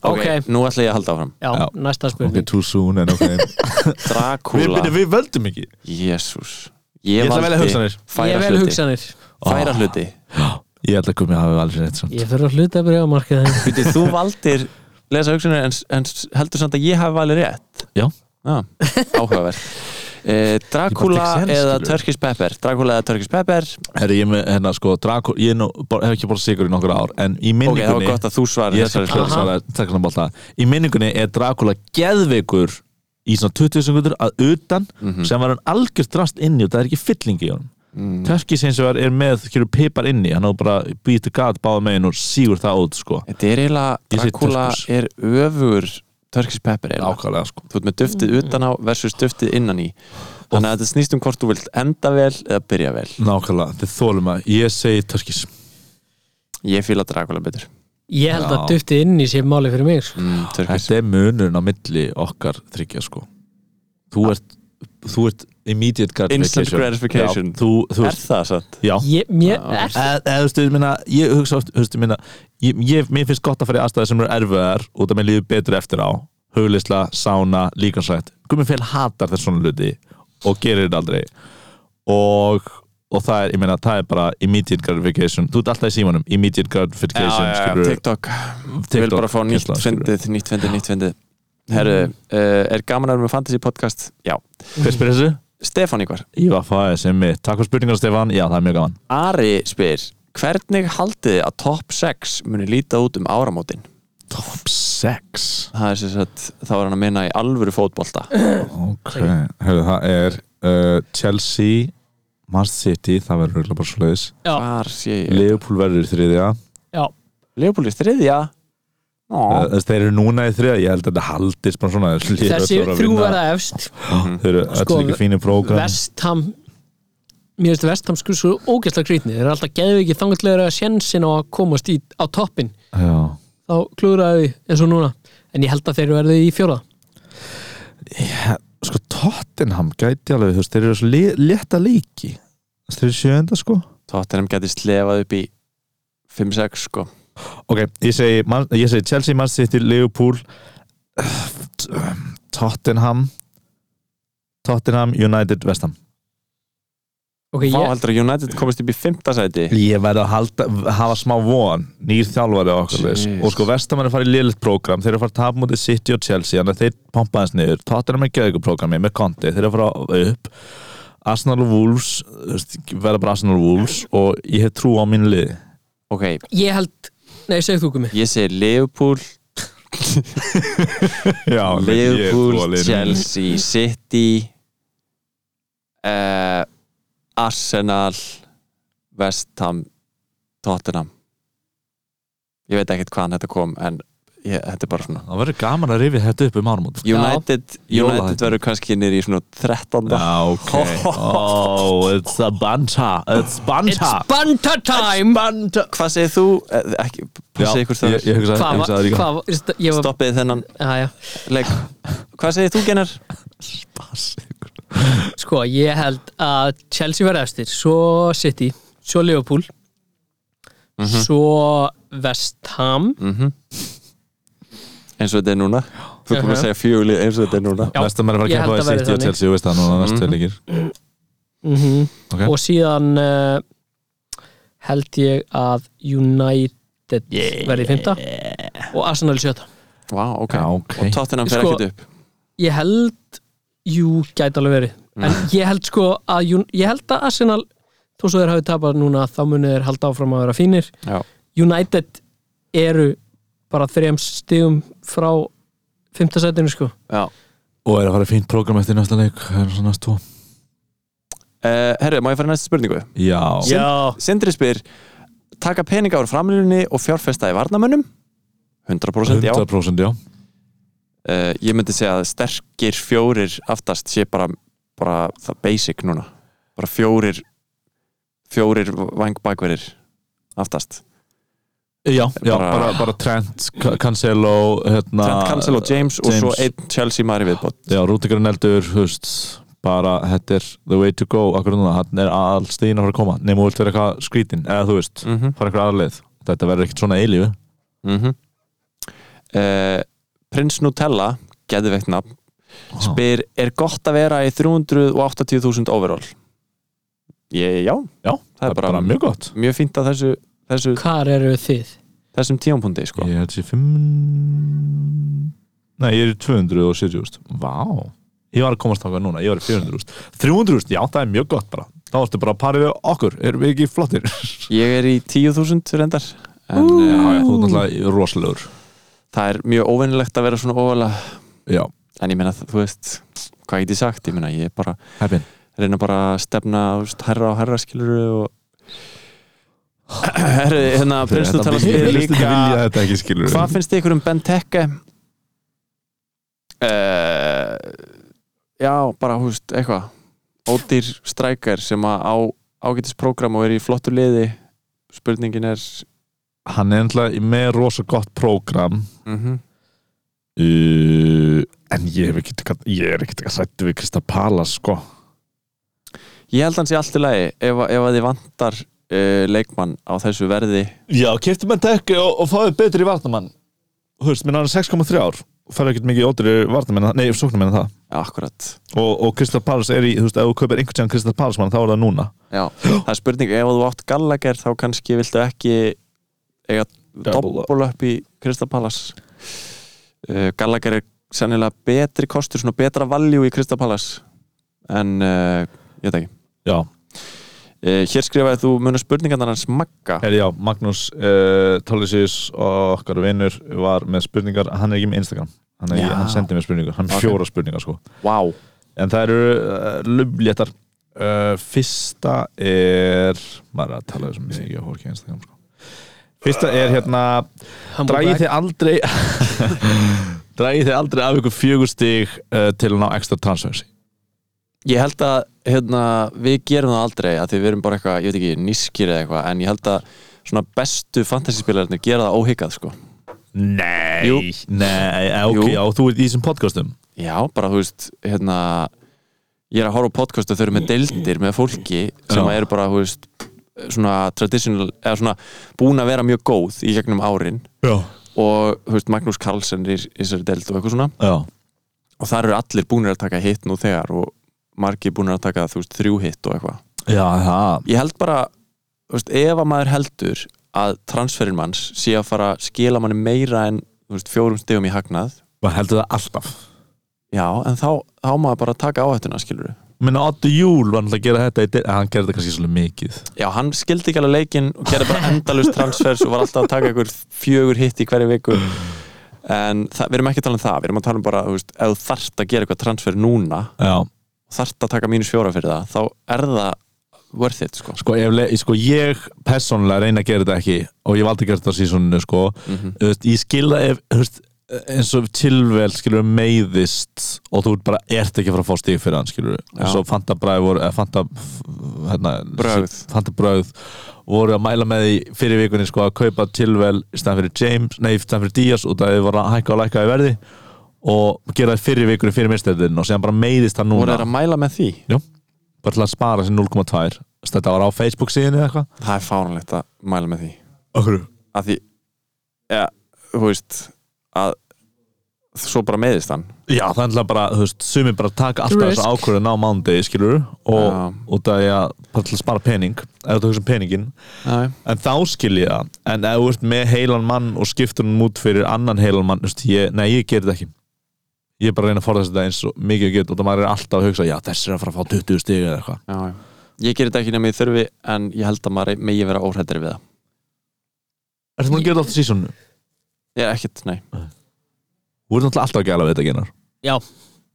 Speaker 4: Ok.
Speaker 5: nú ætla ég að halda áfram
Speaker 4: Já,
Speaker 3: Já.
Speaker 4: næsta
Speaker 3: Ok,
Speaker 4: spurning
Speaker 3: too soon, en ok Við,
Speaker 5: Dracula,
Speaker 3: byrju, við völdum ekki
Speaker 5: jésús
Speaker 3: Ég
Speaker 5: ég,
Speaker 3: ætla að velja
Speaker 5: valdi
Speaker 3: hugsanir.
Speaker 4: Ég
Speaker 5: færa
Speaker 4: vel
Speaker 5: hluti
Speaker 4: hugsanir
Speaker 5: færa hluti
Speaker 3: Ég ætla að koma að hafa alveg rétt samt
Speaker 4: Ég fyrir að hluta bara á markið þeim
Speaker 5: Viti, þú valdir lesa hugsanir en, en heldur samt að ég hafi valið rétt
Speaker 3: Já.
Speaker 5: Já, áhugaverð Eh,
Speaker 3: Ég bara tek séns,
Speaker 5: Dracula eða
Speaker 3: skilurðu.
Speaker 5: Turkish Pepper Dracula eða Turkish Pepper
Speaker 3: Herri, ég er með, hérna, sko, Draco Ég er nú, bor, hef ekki borðið sigur í nokkur ár En í
Speaker 5: Ok, það var
Speaker 3: minningunni
Speaker 5: gott að þú svarir
Speaker 3: Ég skal
Speaker 5: þessari spurningu.
Speaker 3: svara, takk svona bólta Í minningunni er Dracula geðveikur Í svona 20 sekundur að utan Sem var hann algjörst drast inni Og það er ekki fylling í honum
Speaker 5: Mhm.
Speaker 3: mm. Törkis eins og er með, skilur, pipar inni Hann á bara býtu gat báða megin og sígur það út, sko
Speaker 5: Þetta er eiginlega
Speaker 3: Ég segi
Speaker 5: Dracula
Speaker 3: Turkish.
Speaker 5: er öfugur Turkish Pepper eiginlega
Speaker 3: Ákvæðlega, sko
Speaker 5: Þú ert með
Speaker 4: Mm.
Speaker 5: duftið utan á versus duftið innan í Þannig að þetta snýst um hvort þú vilt enda vel eða byrja vel
Speaker 3: Nákvæmlega, þið þólum að ég segi törkis
Speaker 5: Ég fíla Dracula betur
Speaker 4: Ég held
Speaker 3: Já.
Speaker 4: að dufti inn í sér máli fyrir mig sko.
Speaker 5: mm, Turkish
Speaker 3: Þetta er munurinn á milli okkar þryggja sko Þú ert, þú ert immediate gratification
Speaker 5: Instant gratification.
Speaker 3: Já, þú, þú
Speaker 5: Er
Speaker 3: ert,
Speaker 5: það satt?
Speaker 3: já
Speaker 4: Ég, mér, er það
Speaker 3: Eða, eða, þú veist, ég minna, ég hugsa oft, þú veist, ég minna ég, ég, mér finnst gott að fara í aðstæði sem eru erfiðar og það mér líður betur eftir á huglisla, sána, líkansrætt Gumi fél hatar þess svona hluti og gerir þetta aldrei og, og það er, ég meina, það er bara immediate gratification, þú ert alltaf í símanum immediate gratification, skilurðu,
Speaker 5: TikTok Ég vil bara fá nýtt
Speaker 3: kynslóð, skilurðu.
Speaker 5: fyndið, nýtt fyndið, nýtt fyndið Herru, uh, er gaman að vera með fantasy podcast? Já
Speaker 3: Hver spyrir þessu?
Speaker 5: Stefán Ívar,
Speaker 3: Ívar Fæðis, einmitt. Takk fyrir spurningar Stefán, já það er mjög gaman
Speaker 5: Ari spyr Hvernig haldið þið að top 6 muni líta út um áramótin?
Speaker 3: Top 6
Speaker 5: Það er sem sagt, þá er hann að minna í alvöru fótbolta
Speaker 3: Ok, Heru, það er uh, Chelsea, Man City það verður örugglega bara svo leiðis
Speaker 5: Hvar sé ég?
Speaker 3: Liverpool verður í þriðja uh,
Speaker 4: Já,
Speaker 5: Leopold er þriðja Ó,
Speaker 3: þess- Eh, Þeir eru núna í þriðja, ég held að þetta haldist bara svona þeir hlýta
Speaker 4: þessi
Speaker 3: öll að
Speaker 4: þrjú
Speaker 3: vinna.
Speaker 4: verða efst
Speaker 3: Þeir eru
Speaker 4: Sko,
Speaker 3: öll líka fínir prógram
Speaker 4: Vestham Mér finnst Vestham skur svo ógæslega grýtni Þeir eru alltaf geðviki þangutlega sjensin á að komast í, á toppin
Speaker 3: Já,
Speaker 4: Þá klúraði því eins og núna En ég held að þeir verði í fjóra
Speaker 3: sko Tottenham gæti alveg, þú veist, þeir eru svo lé- létta leiki Þú veist, Þeir eru sjönda sko
Speaker 5: Tottenham geti slefað upp í 5-6 sko
Speaker 3: Ok, ég segi, Man- ég segi Chelsea, Man City, Liverpool Tottenham Tottenham, United, West Ham
Speaker 4: Ok,
Speaker 5: Fá
Speaker 4: ég,
Speaker 5: heldur að United komist upp í 5. sæti
Speaker 3: Ég verði að halda, hafa smá von nýr þjálfari og okkur leis
Speaker 5: Jeez.
Speaker 3: og sko West Ham er að fara í liðlitt prógram þeir eru að fara að tapa mútið City og Chelsea þannig að þeir pompa hans niður Tottenham er gjöðugur prógrami með Conte þeir eru að fara upp Arsenal og Wolves þú veist, verða bara Arsenal og Wolves og ég hef trú á mínu liði
Speaker 5: Ok,
Speaker 4: ég held Nei, segðu þú gumi
Speaker 5: ég segi Leopold
Speaker 3: Já,
Speaker 5: Liverpool, Chelsea, City uh, Arsenal West Ham Tottenham Ég veit ekkert hvaðan þetta kom en ég, þetta er bara svona
Speaker 3: Það verður gaman að rifja þetta upp um ármúti
Speaker 5: United,
Speaker 3: Jólahættu.
Speaker 5: United verður kannski nýri í svona 13.
Speaker 3: Ah, okay. Oh, it's a banta. It's banta.
Speaker 4: It's Banta time
Speaker 3: banta.
Speaker 5: Hvað segir þú? Eh, Ekki,
Speaker 3: Já,
Speaker 5: passið ykkur
Speaker 3: ég,
Speaker 5: stöður
Speaker 3: ég hugsa ég hugsa
Speaker 4: Hvað var,
Speaker 3: það líka.
Speaker 4: hvað var Ég var,
Speaker 5: Stoppið þennan
Speaker 4: aðja
Speaker 5: leik Hvað segir þú, Gennar?
Speaker 4: Sko, ég held að Chelsea verði efstir Svo City, svo Liverpool Svo Vestham
Speaker 5: Eins og þetta er núna Þú komið að segja fjögulið eins og þetta er núna
Speaker 3: Vestum er að fara að
Speaker 4: Ég held
Speaker 3: kempa
Speaker 4: að
Speaker 3: í City
Speaker 4: verði
Speaker 3: og
Speaker 4: þannig.
Speaker 3: Chelsea, þú veist það núna næstu leikir. Ok.
Speaker 4: og síðan uh, held ég að United verði fymta og Arsenal sjötta
Speaker 5: Vá, ok,
Speaker 3: Já, ok.
Speaker 5: Og Tottenham fer
Speaker 4: Sko-
Speaker 5: ekkert upp
Speaker 4: ég held, jú, gæti alveg verið en ég held sko að Jún- ég held að Arsenal þó svo þeir hafi tapað núna þá muni þeir halda áfram að vera fínir
Speaker 5: Já.
Speaker 4: United eru bara þrejum stigum frá fymtasætinu sko
Speaker 5: Já.
Speaker 3: Og er að fara fínt prógram eftir næsta leik Það er svona næst tvo
Speaker 5: Uh, herru, má ég fara í næstu spurningu?
Speaker 3: Já,
Speaker 4: Já,
Speaker 5: Sindri spyr Taka peninga úr framlunni og fjárfesta í varnamönnum? 100% já
Speaker 3: 100% já
Speaker 5: uh, Ég myndi segja að sterkir fjórir aftast sé bara, bara það basic núna bara fjórir fjórir vangbakverir aftast
Speaker 3: Já, já,
Speaker 5: Bara-
Speaker 3: bara, bara Trent, Ca- Cancelo hérna,
Speaker 5: Trent Cancel og James, og svo
Speaker 3: James.
Speaker 5: einn Chelsea maður í viðbót
Speaker 3: Já, Rúdikar Neldur, húst bara, þetta er the way to go akkur núna, hann er all stíðin að fara að koma nema þú vilt vera eitthvað skrítin, eða þú veist
Speaker 5: mm -hmm.
Speaker 3: fara eitthvað aðra leið, þetta verður ekkert svona eilífu
Speaker 5: mm Prins Eh, Nutella geðveikt nafn spyr, er gott að vera í 380.000 overall? Ég, já,
Speaker 3: Já, það er bara, mjög gott
Speaker 5: mjög fínt að þessu, þessu,
Speaker 4: hvar eru þið?
Speaker 5: þessum tíampundi sko.
Speaker 3: Ég held sér 5 Nei, ég er í 200 og 70 úst. Vá, ég var að komast þangað núna ég var í 400 úst. 300 úst, já, það er mjög gott bara þá ertu bara að pari við okkur, erum við ekki flottir
Speaker 5: ég er í 10.000 reyndar
Speaker 3: Já,
Speaker 5: en
Speaker 3: já,
Speaker 5: uh,
Speaker 3: þú er náttúrulega rosalegur
Speaker 5: það er mjög óvennilegt að vera svona óvalega
Speaker 3: Já,
Speaker 5: en ég meina, þú veist, hvað get ég sagt ég meina, ég er bara,
Speaker 3: heppin
Speaker 5: reyna bara að stefna, þú veist, herra og herra skilur og herru, hérna, prinstu tala spyr líka
Speaker 3: vilja þetta ekki skilur
Speaker 5: hvað finnst ykkur um Ben Tekke? Uh, já, bara, þú veist, eitthvað ódýr strækar sem að á ágætisprógram og er í flottu liði spurningin er
Speaker 3: Hann er náttúrulega með rosa gott prógram
Speaker 5: mm
Speaker 3: uh, En ég hef ekki ég er ekki sættu við Krista Palas sko
Speaker 5: Ég held hans í allt í lagi ef, ef að þið vantar uh, leikmann á þessu verði
Speaker 3: Já, kefti menn tekki og, og fáið betri varnamann Þú veist, minn hann er 6,3 ár og fær ekkert mikið ótri varnamenn nei, sóknamenn en það
Speaker 5: Akkurat
Speaker 3: og, og Krista Palas er í, þú veist, ef þú kaupir einhvern tíðan Krista Palas mann, þá er það núna
Speaker 5: Já. Það er spurning, ef þú átt Gallagher þá kannski viltu ekki eiga
Speaker 3: Double up.
Speaker 5: doppul upp í Krista Palace uh, Gallagher er sennilega betri kostur svona betra valjú í Krista Palace en uh, ég veit ekki
Speaker 3: Já,
Speaker 5: uh, Hér skrifaði þú muna spurningarnar hans Magga
Speaker 3: er, já Magnús uh, Tólisís og okkar vinur var með spurningar, hann er ekki með Instagram hann, er,
Speaker 5: Já.
Speaker 3: hann sendi mér spurningar, hann er
Speaker 5: Ok.
Speaker 3: okay. fjóra spurningar sko
Speaker 5: Vá,
Speaker 3: en það eru uh, lubléttar uh, fyrsta er maður er að tala þessum mikið að fólki á Instagram sko. fyrsta er hérna dragið þið aldrei dragið þið aldrei af ykkur fjögur stig uh, til að ná ekstra transversi
Speaker 5: ég held að hérna, við gerum það aldrei að því við erum bara eitthvað, ég veit ekki, nískir eða eitthvað en ég held að svona bestu fantasyspilarnir gera það óhyggjað sko
Speaker 3: nei,
Speaker 5: Jú.
Speaker 3: nei, eh, ok,
Speaker 5: Jú.
Speaker 3: já, þú ert í þessum podcastum
Speaker 5: Já, bara þú veist, hérna ég er að horfa á podcast og þau eru með deildir með fólki sem
Speaker 3: Já.
Speaker 5: eru bara, þú veist svona traditional, eða svona búin að vera mjög góð í gegnum árin
Speaker 3: já,
Speaker 5: og, þú veist, Magnús Karlsson er í í þessari deild og eitthvað svona
Speaker 3: já,
Speaker 5: og þar eru allir búinir að taka hitt nú þegar og margir búinir að taka, þú veist, þrjú hitt og eitthvað
Speaker 3: já, það
Speaker 5: ég held bara þú veist, ef að maður heldur að transferinn manns sé að fara að skila manni meira en þú veist, fjórum stegum í hagnað
Speaker 3: maður heldur það alltaf
Speaker 5: já, en þá, þá maður bara taka áhættuna skilur
Speaker 3: minna Otto Júl var náttúrulega að gera þetta í deil- en hann gerði þetta kannski svolítið mikið
Speaker 5: já, hann skildi ekki alveg leikinn og gerði bara endalust transfers og var alltaf að taka ykkur fjögur hitt í hverju viku en það, við erum ekki að tala um það við erum að tala um bara, þú veist, ef þú þarft að gera eitthvað transfer núna,
Speaker 3: já,
Speaker 5: þarft að taka mínus fjóra fyrir það, þá er það worth it, sko
Speaker 3: Sko, ef, le- sko ég persónulega reyna að gera þetta ekki og ég valdi að gera þetta sísoninu sko mm
Speaker 5: Mhm.
Speaker 3: veist, ég skilða ef þú veist, eins og tilvel skilur meiðist og þú bara ert ekki að fara að fá stíg fyrir hann skilur eins og Fanta Bræð voru eða Fanta, hérna,
Speaker 5: Brögð.
Speaker 3: Fanta Bröð voru að mæla með því fyrir vikunni sko að kaupa tilvel í stæðan fyrir James, nei, í stæðan fyrir Díaz út af því voru að hækka og lækka í verði og gera það fyrir vikunni fyrir mistöðin og séðan bara meiðist hann
Speaker 5: voru
Speaker 3: núna
Speaker 5: þeir að mæla með því?
Speaker 3: bara til að spara sér 0,2 þetta var á Facebook síðan eða eitthvað
Speaker 5: Það er fáránlegt að mæla með því
Speaker 3: Okkur,
Speaker 5: að því ja, þú veist að svo bara meðist hann
Speaker 3: Já, það er alltaf bara, þú veist, sumi bara taka alltaf
Speaker 4: Risk.
Speaker 3: þessa ákvörðun á mándegi, skilur og
Speaker 5: Já.
Speaker 3: út af því að bara til að spara pening eða þú hugsa um peningin,
Speaker 5: Æ.
Speaker 3: en þá skil ég það en ef þú ert með heilan mann og skiptur hann út fyrir annan heilan mann, þú veist, ég, nei, ég ger þetta ekki ég er bara að reyna að forðast þetta eins og mikið að geta og það maður er alltaf að hugsa, já þess er að fara að fá 20 stig eða eitthvað
Speaker 5: já, já. Ég ger þetta ekki nema í þurfi en ég held að maður megi vera óhrættir við það
Speaker 3: Er það múin að gera þetta alltaf sísonu?
Speaker 5: Ég er ekkert, nei
Speaker 3: Þú ert náttúrulega alltaf að gæla við þetta genar
Speaker 4: Já.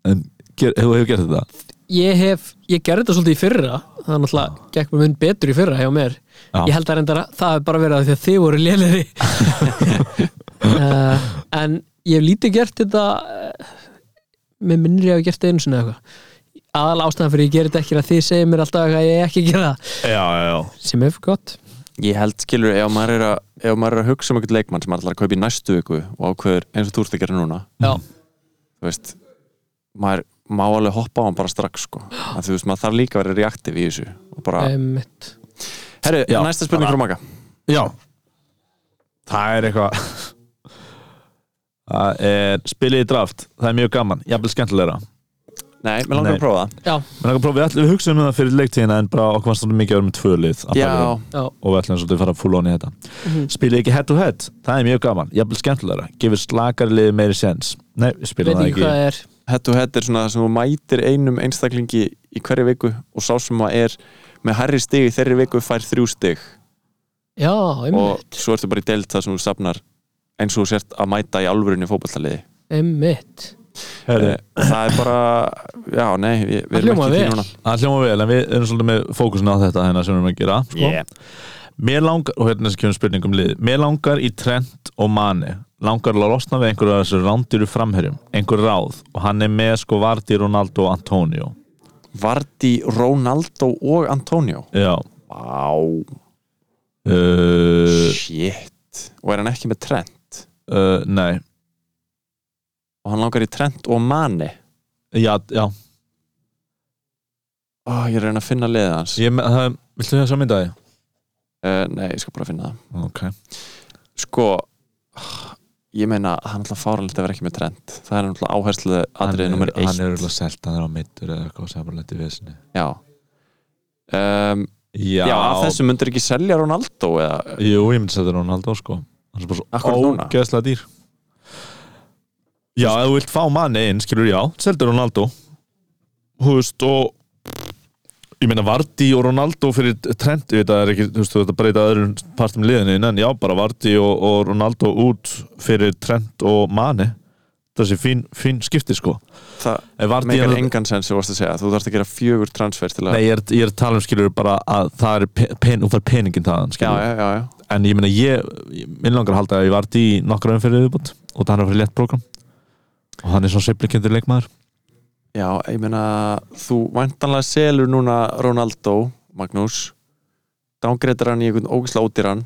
Speaker 3: En ger, hefur hefur gert þetta?
Speaker 4: ég hef, ég gerði þetta svolítið í fyrra það er náttúrulega, gekk mér mun betur í fyrra hjá mér
Speaker 3: Já.
Speaker 4: ég held að reyndar að það hef bara verið af því að þið voru léleri uh, en ég hef lítið gert þetta uh, með minnir ég hef gert þetta einu sinni eða eitthvað aðal ástæðan fyrir ég gerði þetta ekki er að þið segir mér alltaf að ég eigi ekki að gera það
Speaker 3: Já, já, já
Speaker 4: sem er gott
Speaker 5: Ég held skilur, ef maður er að, ef maður er að hugsa um eitthvað leikmann sem maður ætlar að kaupa í næstu viku og ákveður eins og þú ert að gera núna
Speaker 4: Já.
Speaker 5: þú veist maður má alveg hoppa á hann bara strax sko. að þú veist, maður þarf líka að vera reaktiv í þessu og bara,
Speaker 4: einmitt.
Speaker 5: herru,
Speaker 3: Eh, Já,
Speaker 5: næsta spurning
Speaker 3: bara-
Speaker 5: frá maka
Speaker 3: Já Það er eitthvað Það er spilið í draft Það er mjög gaman, jafnvel skemmtilegra
Speaker 5: Nei, mér langar
Speaker 3: Nei.
Speaker 5: að prófa það
Speaker 4: já,
Speaker 3: Mér langar að prófa, við, ætlum, við hugsaum um það fyrir leiktíðina en bara okkur fannst svolítið mikið að vera með tvö lið að baka
Speaker 5: Já,
Speaker 3: þeim.
Speaker 4: já, Mhm.
Speaker 3: og við ætlum svolítið að fara full on í þetta Spilið ekki head to head, það er mjög gaman jafnvel skemmtilegra, gefur slakari liði meiri séns Nei, við
Speaker 4: veit
Speaker 3: spilum það
Speaker 4: ekki
Speaker 3: ekki
Speaker 4: hvað það er
Speaker 5: hett og hett er svona það sem þú mætir einum einstaklingi í hverju viku og sá sem að er með herri stig í þeirri viku fær þrjú stig
Speaker 4: já,
Speaker 5: og
Speaker 4: einmitt,
Speaker 5: svo ertu bara í deild það sem þú safnar eins og þú sért að mæta í alvörunni fótballaliði
Speaker 4: einmitt
Speaker 3: Herri,
Speaker 5: Eh, og það er bara, já, nei við, við
Speaker 4: það
Speaker 5: erum
Speaker 4: hljóma
Speaker 5: ekki í því
Speaker 4: vel
Speaker 5: núna
Speaker 3: Það hljóma vel, en við erum svolítið með fókusin á þetta hérna sem við erum að gera sko. Mér langar, og hérna sem kemur spurning um lið Mér langar í trend og mani Langar að losna við einhverju af þessu rándýru framherjum Einhver ráð Og hann er með sko Vardi, Ronaldo og Antonio
Speaker 5: Vardi, Ronaldo og Antonio
Speaker 3: Já
Speaker 5: Vá,
Speaker 3: uh,
Speaker 5: shit Eh, og er hann ekki með Trent
Speaker 3: uh, Nei
Speaker 5: og hann langar í Trent og Mane
Speaker 3: Já, já
Speaker 5: Ó, ég er að reyna að finna liðið hans
Speaker 3: ég, me- það, Viltu þess að mynda því?
Speaker 5: uh, Nei, ég skal bara finna það
Speaker 3: Ok
Speaker 5: sko ég meina að hann alltaf fáralegt að vera ekki með trend það er alltaf áherslu atriðið nummer eitt
Speaker 3: Hann er örugglega selt, hann er á mittur eða eitthvað sem er bara lendið við sinni
Speaker 5: já. Um,
Speaker 3: Já,
Speaker 5: já, af þessu myndur ekki selja Ronaldo eða,
Speaker 3: Jú, ég myndi setja Ronaldo sko Hann er bara
Speaker 5: Akkurat
Speaker 3: svo
Speaker 5: núna?
Speaker 3: ógeðslega dýr Já, ef þú vilt fá manni inn, skilur já, seldu Ronaldo Þú veist, og ég meina Vardí og Ronaldo fyrir trend, ég veit að það er ekki, þú veist, þú veist að breyta öðrum partum liðinu, en já, bara Vardí og, og Ronaldo út fyrir trend og manni þessi fín, fín skipti sko
Speaker 5: það
Speaker 3: Ef Vardy
Speaker 5: meikar
Speaker 3: er-
Speaker 5: engan sens sem þú varst að segja, þú þarfst að gera fjögur transfer til að
Speaker 3: Nei, ég er, ég er að tala um skilur bara að það er pe- pen, hún fær peningin þaðan
Speaker 5: já,
Speaker 3: skilur
Speaker 5: já, já, já.
Speaker 3: en ég meina ég, ég minn langar að halda að ég vart í nokkra umfyrir viðbútt og það hann er að fyrir létt program og hann er svona sveiflikendur leikmaður
Speaker 5: já, ég meina þú væntanlega selur núna Ronaldo Magnús dángreitar hann í einhvern ógisla ódýran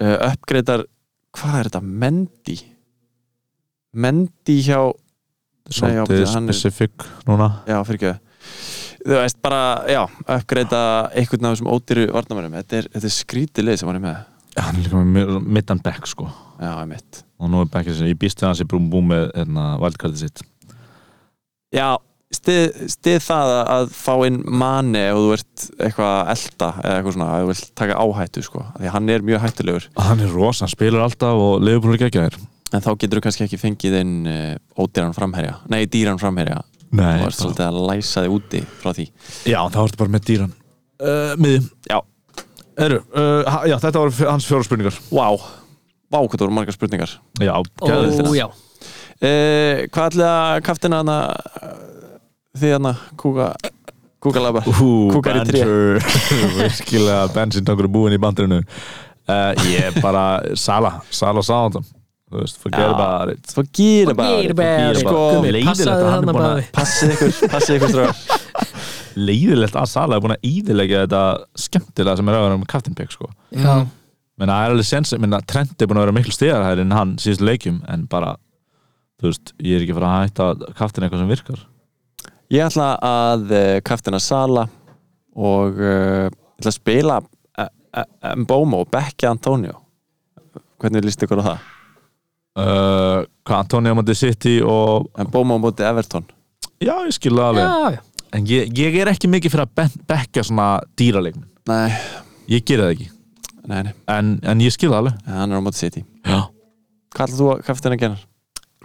Speaker 5: uh, uppgreitar hvað er þetta, Mendy Mendy hjá já,
Speaker 3: svolítið
Speaker 5: betur, hann er-
Speaker 3: specific núna
Speaker 5: Já, fyrir ekki Þú veist, bara, já, uppgreita einhvern af þessum ódýru varnamönnum Þetta er, þetta er skrítið lið sem hann er með
Speaker 3: Já, hann er líka með mi- middan back sko
Speaker 5: Já, ég mitt
Speaker 3: og nú er backið sinni, ég býst við að hans í brúm búm með hérna, valdkartið sitt
Speaker 5: Já, stið, stið það að- að fá inn manni ef þú ert eitthvað að elta eða eitthvað svona, ef þú vilt taka áhættu sko Af Því að hann er mjög hættulegur
Speaker 3: hann er rosa, hann spilur alltaf og leifur ekki ekki þær
Speaker 5: En þá getur þú kannski ekki fengið inn uh, ódýran framherja Nei, dýran framherja
Speaker 3: Nei,
Speaker 5: Þú
Speaker 3: bara,
Speaker 5: ert svolítið að læsa þig úti frá því
Speaker 3: já, þá ertu bara með dýran uh, miði,
Speaker 5: Já,
Speaker 3: eru uh, ha- já, þetta var hans fjóra spurningar
Speaker 5: vá Vá, hvað þú eru margar spurningar
Speaker 3: já, geðveikt.
Speaker 4: ó já,
Speaker 5: Eh, hvað ætlaði að kaftina hana eh, því hana kúka kúkalaba
Speaker 3: Hú,
Speaker 5: Kúkar í tré.
Speaker 3: bandur virkilega bensintankur er búinn í bandurinu uh, ég bara Sala, Sala Sáðan þú veist, forget
Speaker 5: Já.
Speaker 3: about it
Speaker 5: Svo
Speaker 4: Forget
Speaker 5: gýra bara
Speaker 4: about it.
Speaker 5: Sko,
Speaker 4: Gummi,
Speaker 3: leiðilegt
Speaker 4: passaðu
Speaker 3: að hann er
Speaker 4: þarna
Speaker 3: búinn að-
Speaker 4: bara við.
Speaker 5: passið ykkur, passið ykkur stráð
Speaker 3: leiðilegt að Sala er búin að íðilegja þetta skemmtilega sem er að vera með Captain Pick sko.
Speaker 4: já,
Speaker 3: menna það er alveg sens menna Trent er búin að vera miklu stegarhæri en hann síðust leikjum en bara þú veist, ég er ekki að fara að hætta að Captain eitthvað sem virkar
Speaker 5: Ég ætla að eh, kaftina Sala og uh, ætla að spila eh, eh, Mbomo og Beckja Antonio Hvernig líst ykkur á það?
Speaker 3: uh, hvað Antonio Mandi City og
Speaker 5: Mbomo á móti Everton
Speaker 3: já, ég skil það alveg
Speaker 4: já, já.
Speaker 3: en ég, ég er ekki mikið fyrir að ben- bekka svona dýraleikmin
Speaker 5: Nei,
Speaker 3: ég gera það ekki
Speaker 5: nei, nei,
Speaker 3: en, en ég skil það alveg
Speaker 5: hann er á móti City
Speaker 3: já.
Speaker 5: Hvað ætla þú að kaftina gennar?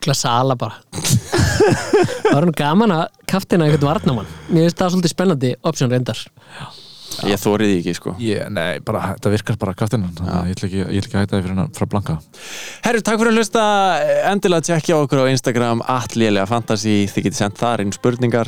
Speaker 4: Kla sala bara Það var hann gaman að kaftina einhvern varnamann Mér finnst það svolítið spennandi option reyndar
Speaker 5: Ég þóriði ekki, sko
Speaker 9: Yeah, nei, bara, þetta virkar bara kaftinnan ég ætla ekki, ég ætla ekki að hætta því fyrir hennar frá Blanka
Speaker 5: Herru, takk fyrir að hlusta endilega að tjekkja okkur á Instagram atlélega fantasy, þið getið sendt þar inn spurningar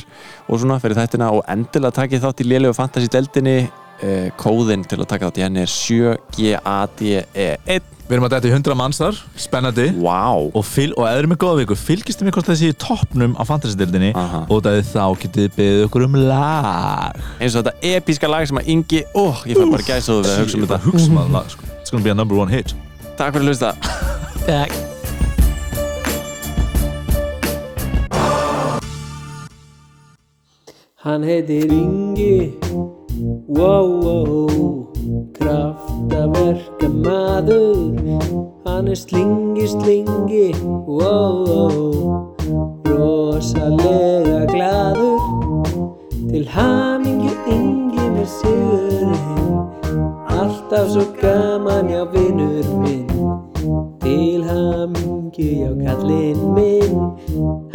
Speaker 5: og svona fyrir þættina og endilega takkið þátt í lélega fantasy deldinni eh, kóðin til að taka þátt í henni er 7GADE1
Speaker 9: Við erum að dæta í 100 manns þar, spennandi
Speaker 5: Wow
Speaker 3: og, fylg, og eða erum við góða vikur fylgist þið mér hvort það sé í toppnum á fantasy-dildinni
Speaker 5: Aha.
Speaker 3: og það er þá getið beðið okkur um lag
Speaker 5: eins og þetta episka lag sem að Ingi ó, ég fær bara gæsa þú við að hugsa um
Speaker 3: bara
Speaker 5: þetta
Speaker 3: hugsa maður lag sko. it's gonna be a number one hit
Speaker 5: Takk fyrir að hlusta
Speaker 4: Þegar
Speaker 8: Hann heitir Ingi Wow, wow Kraftaverka maður Hann er slingi, slingi Wow, wow Rosalega glaður Til hamingju Ingi með sigurinn Alltaf svo gaman já vinur minn Til hamingju já kallinn minn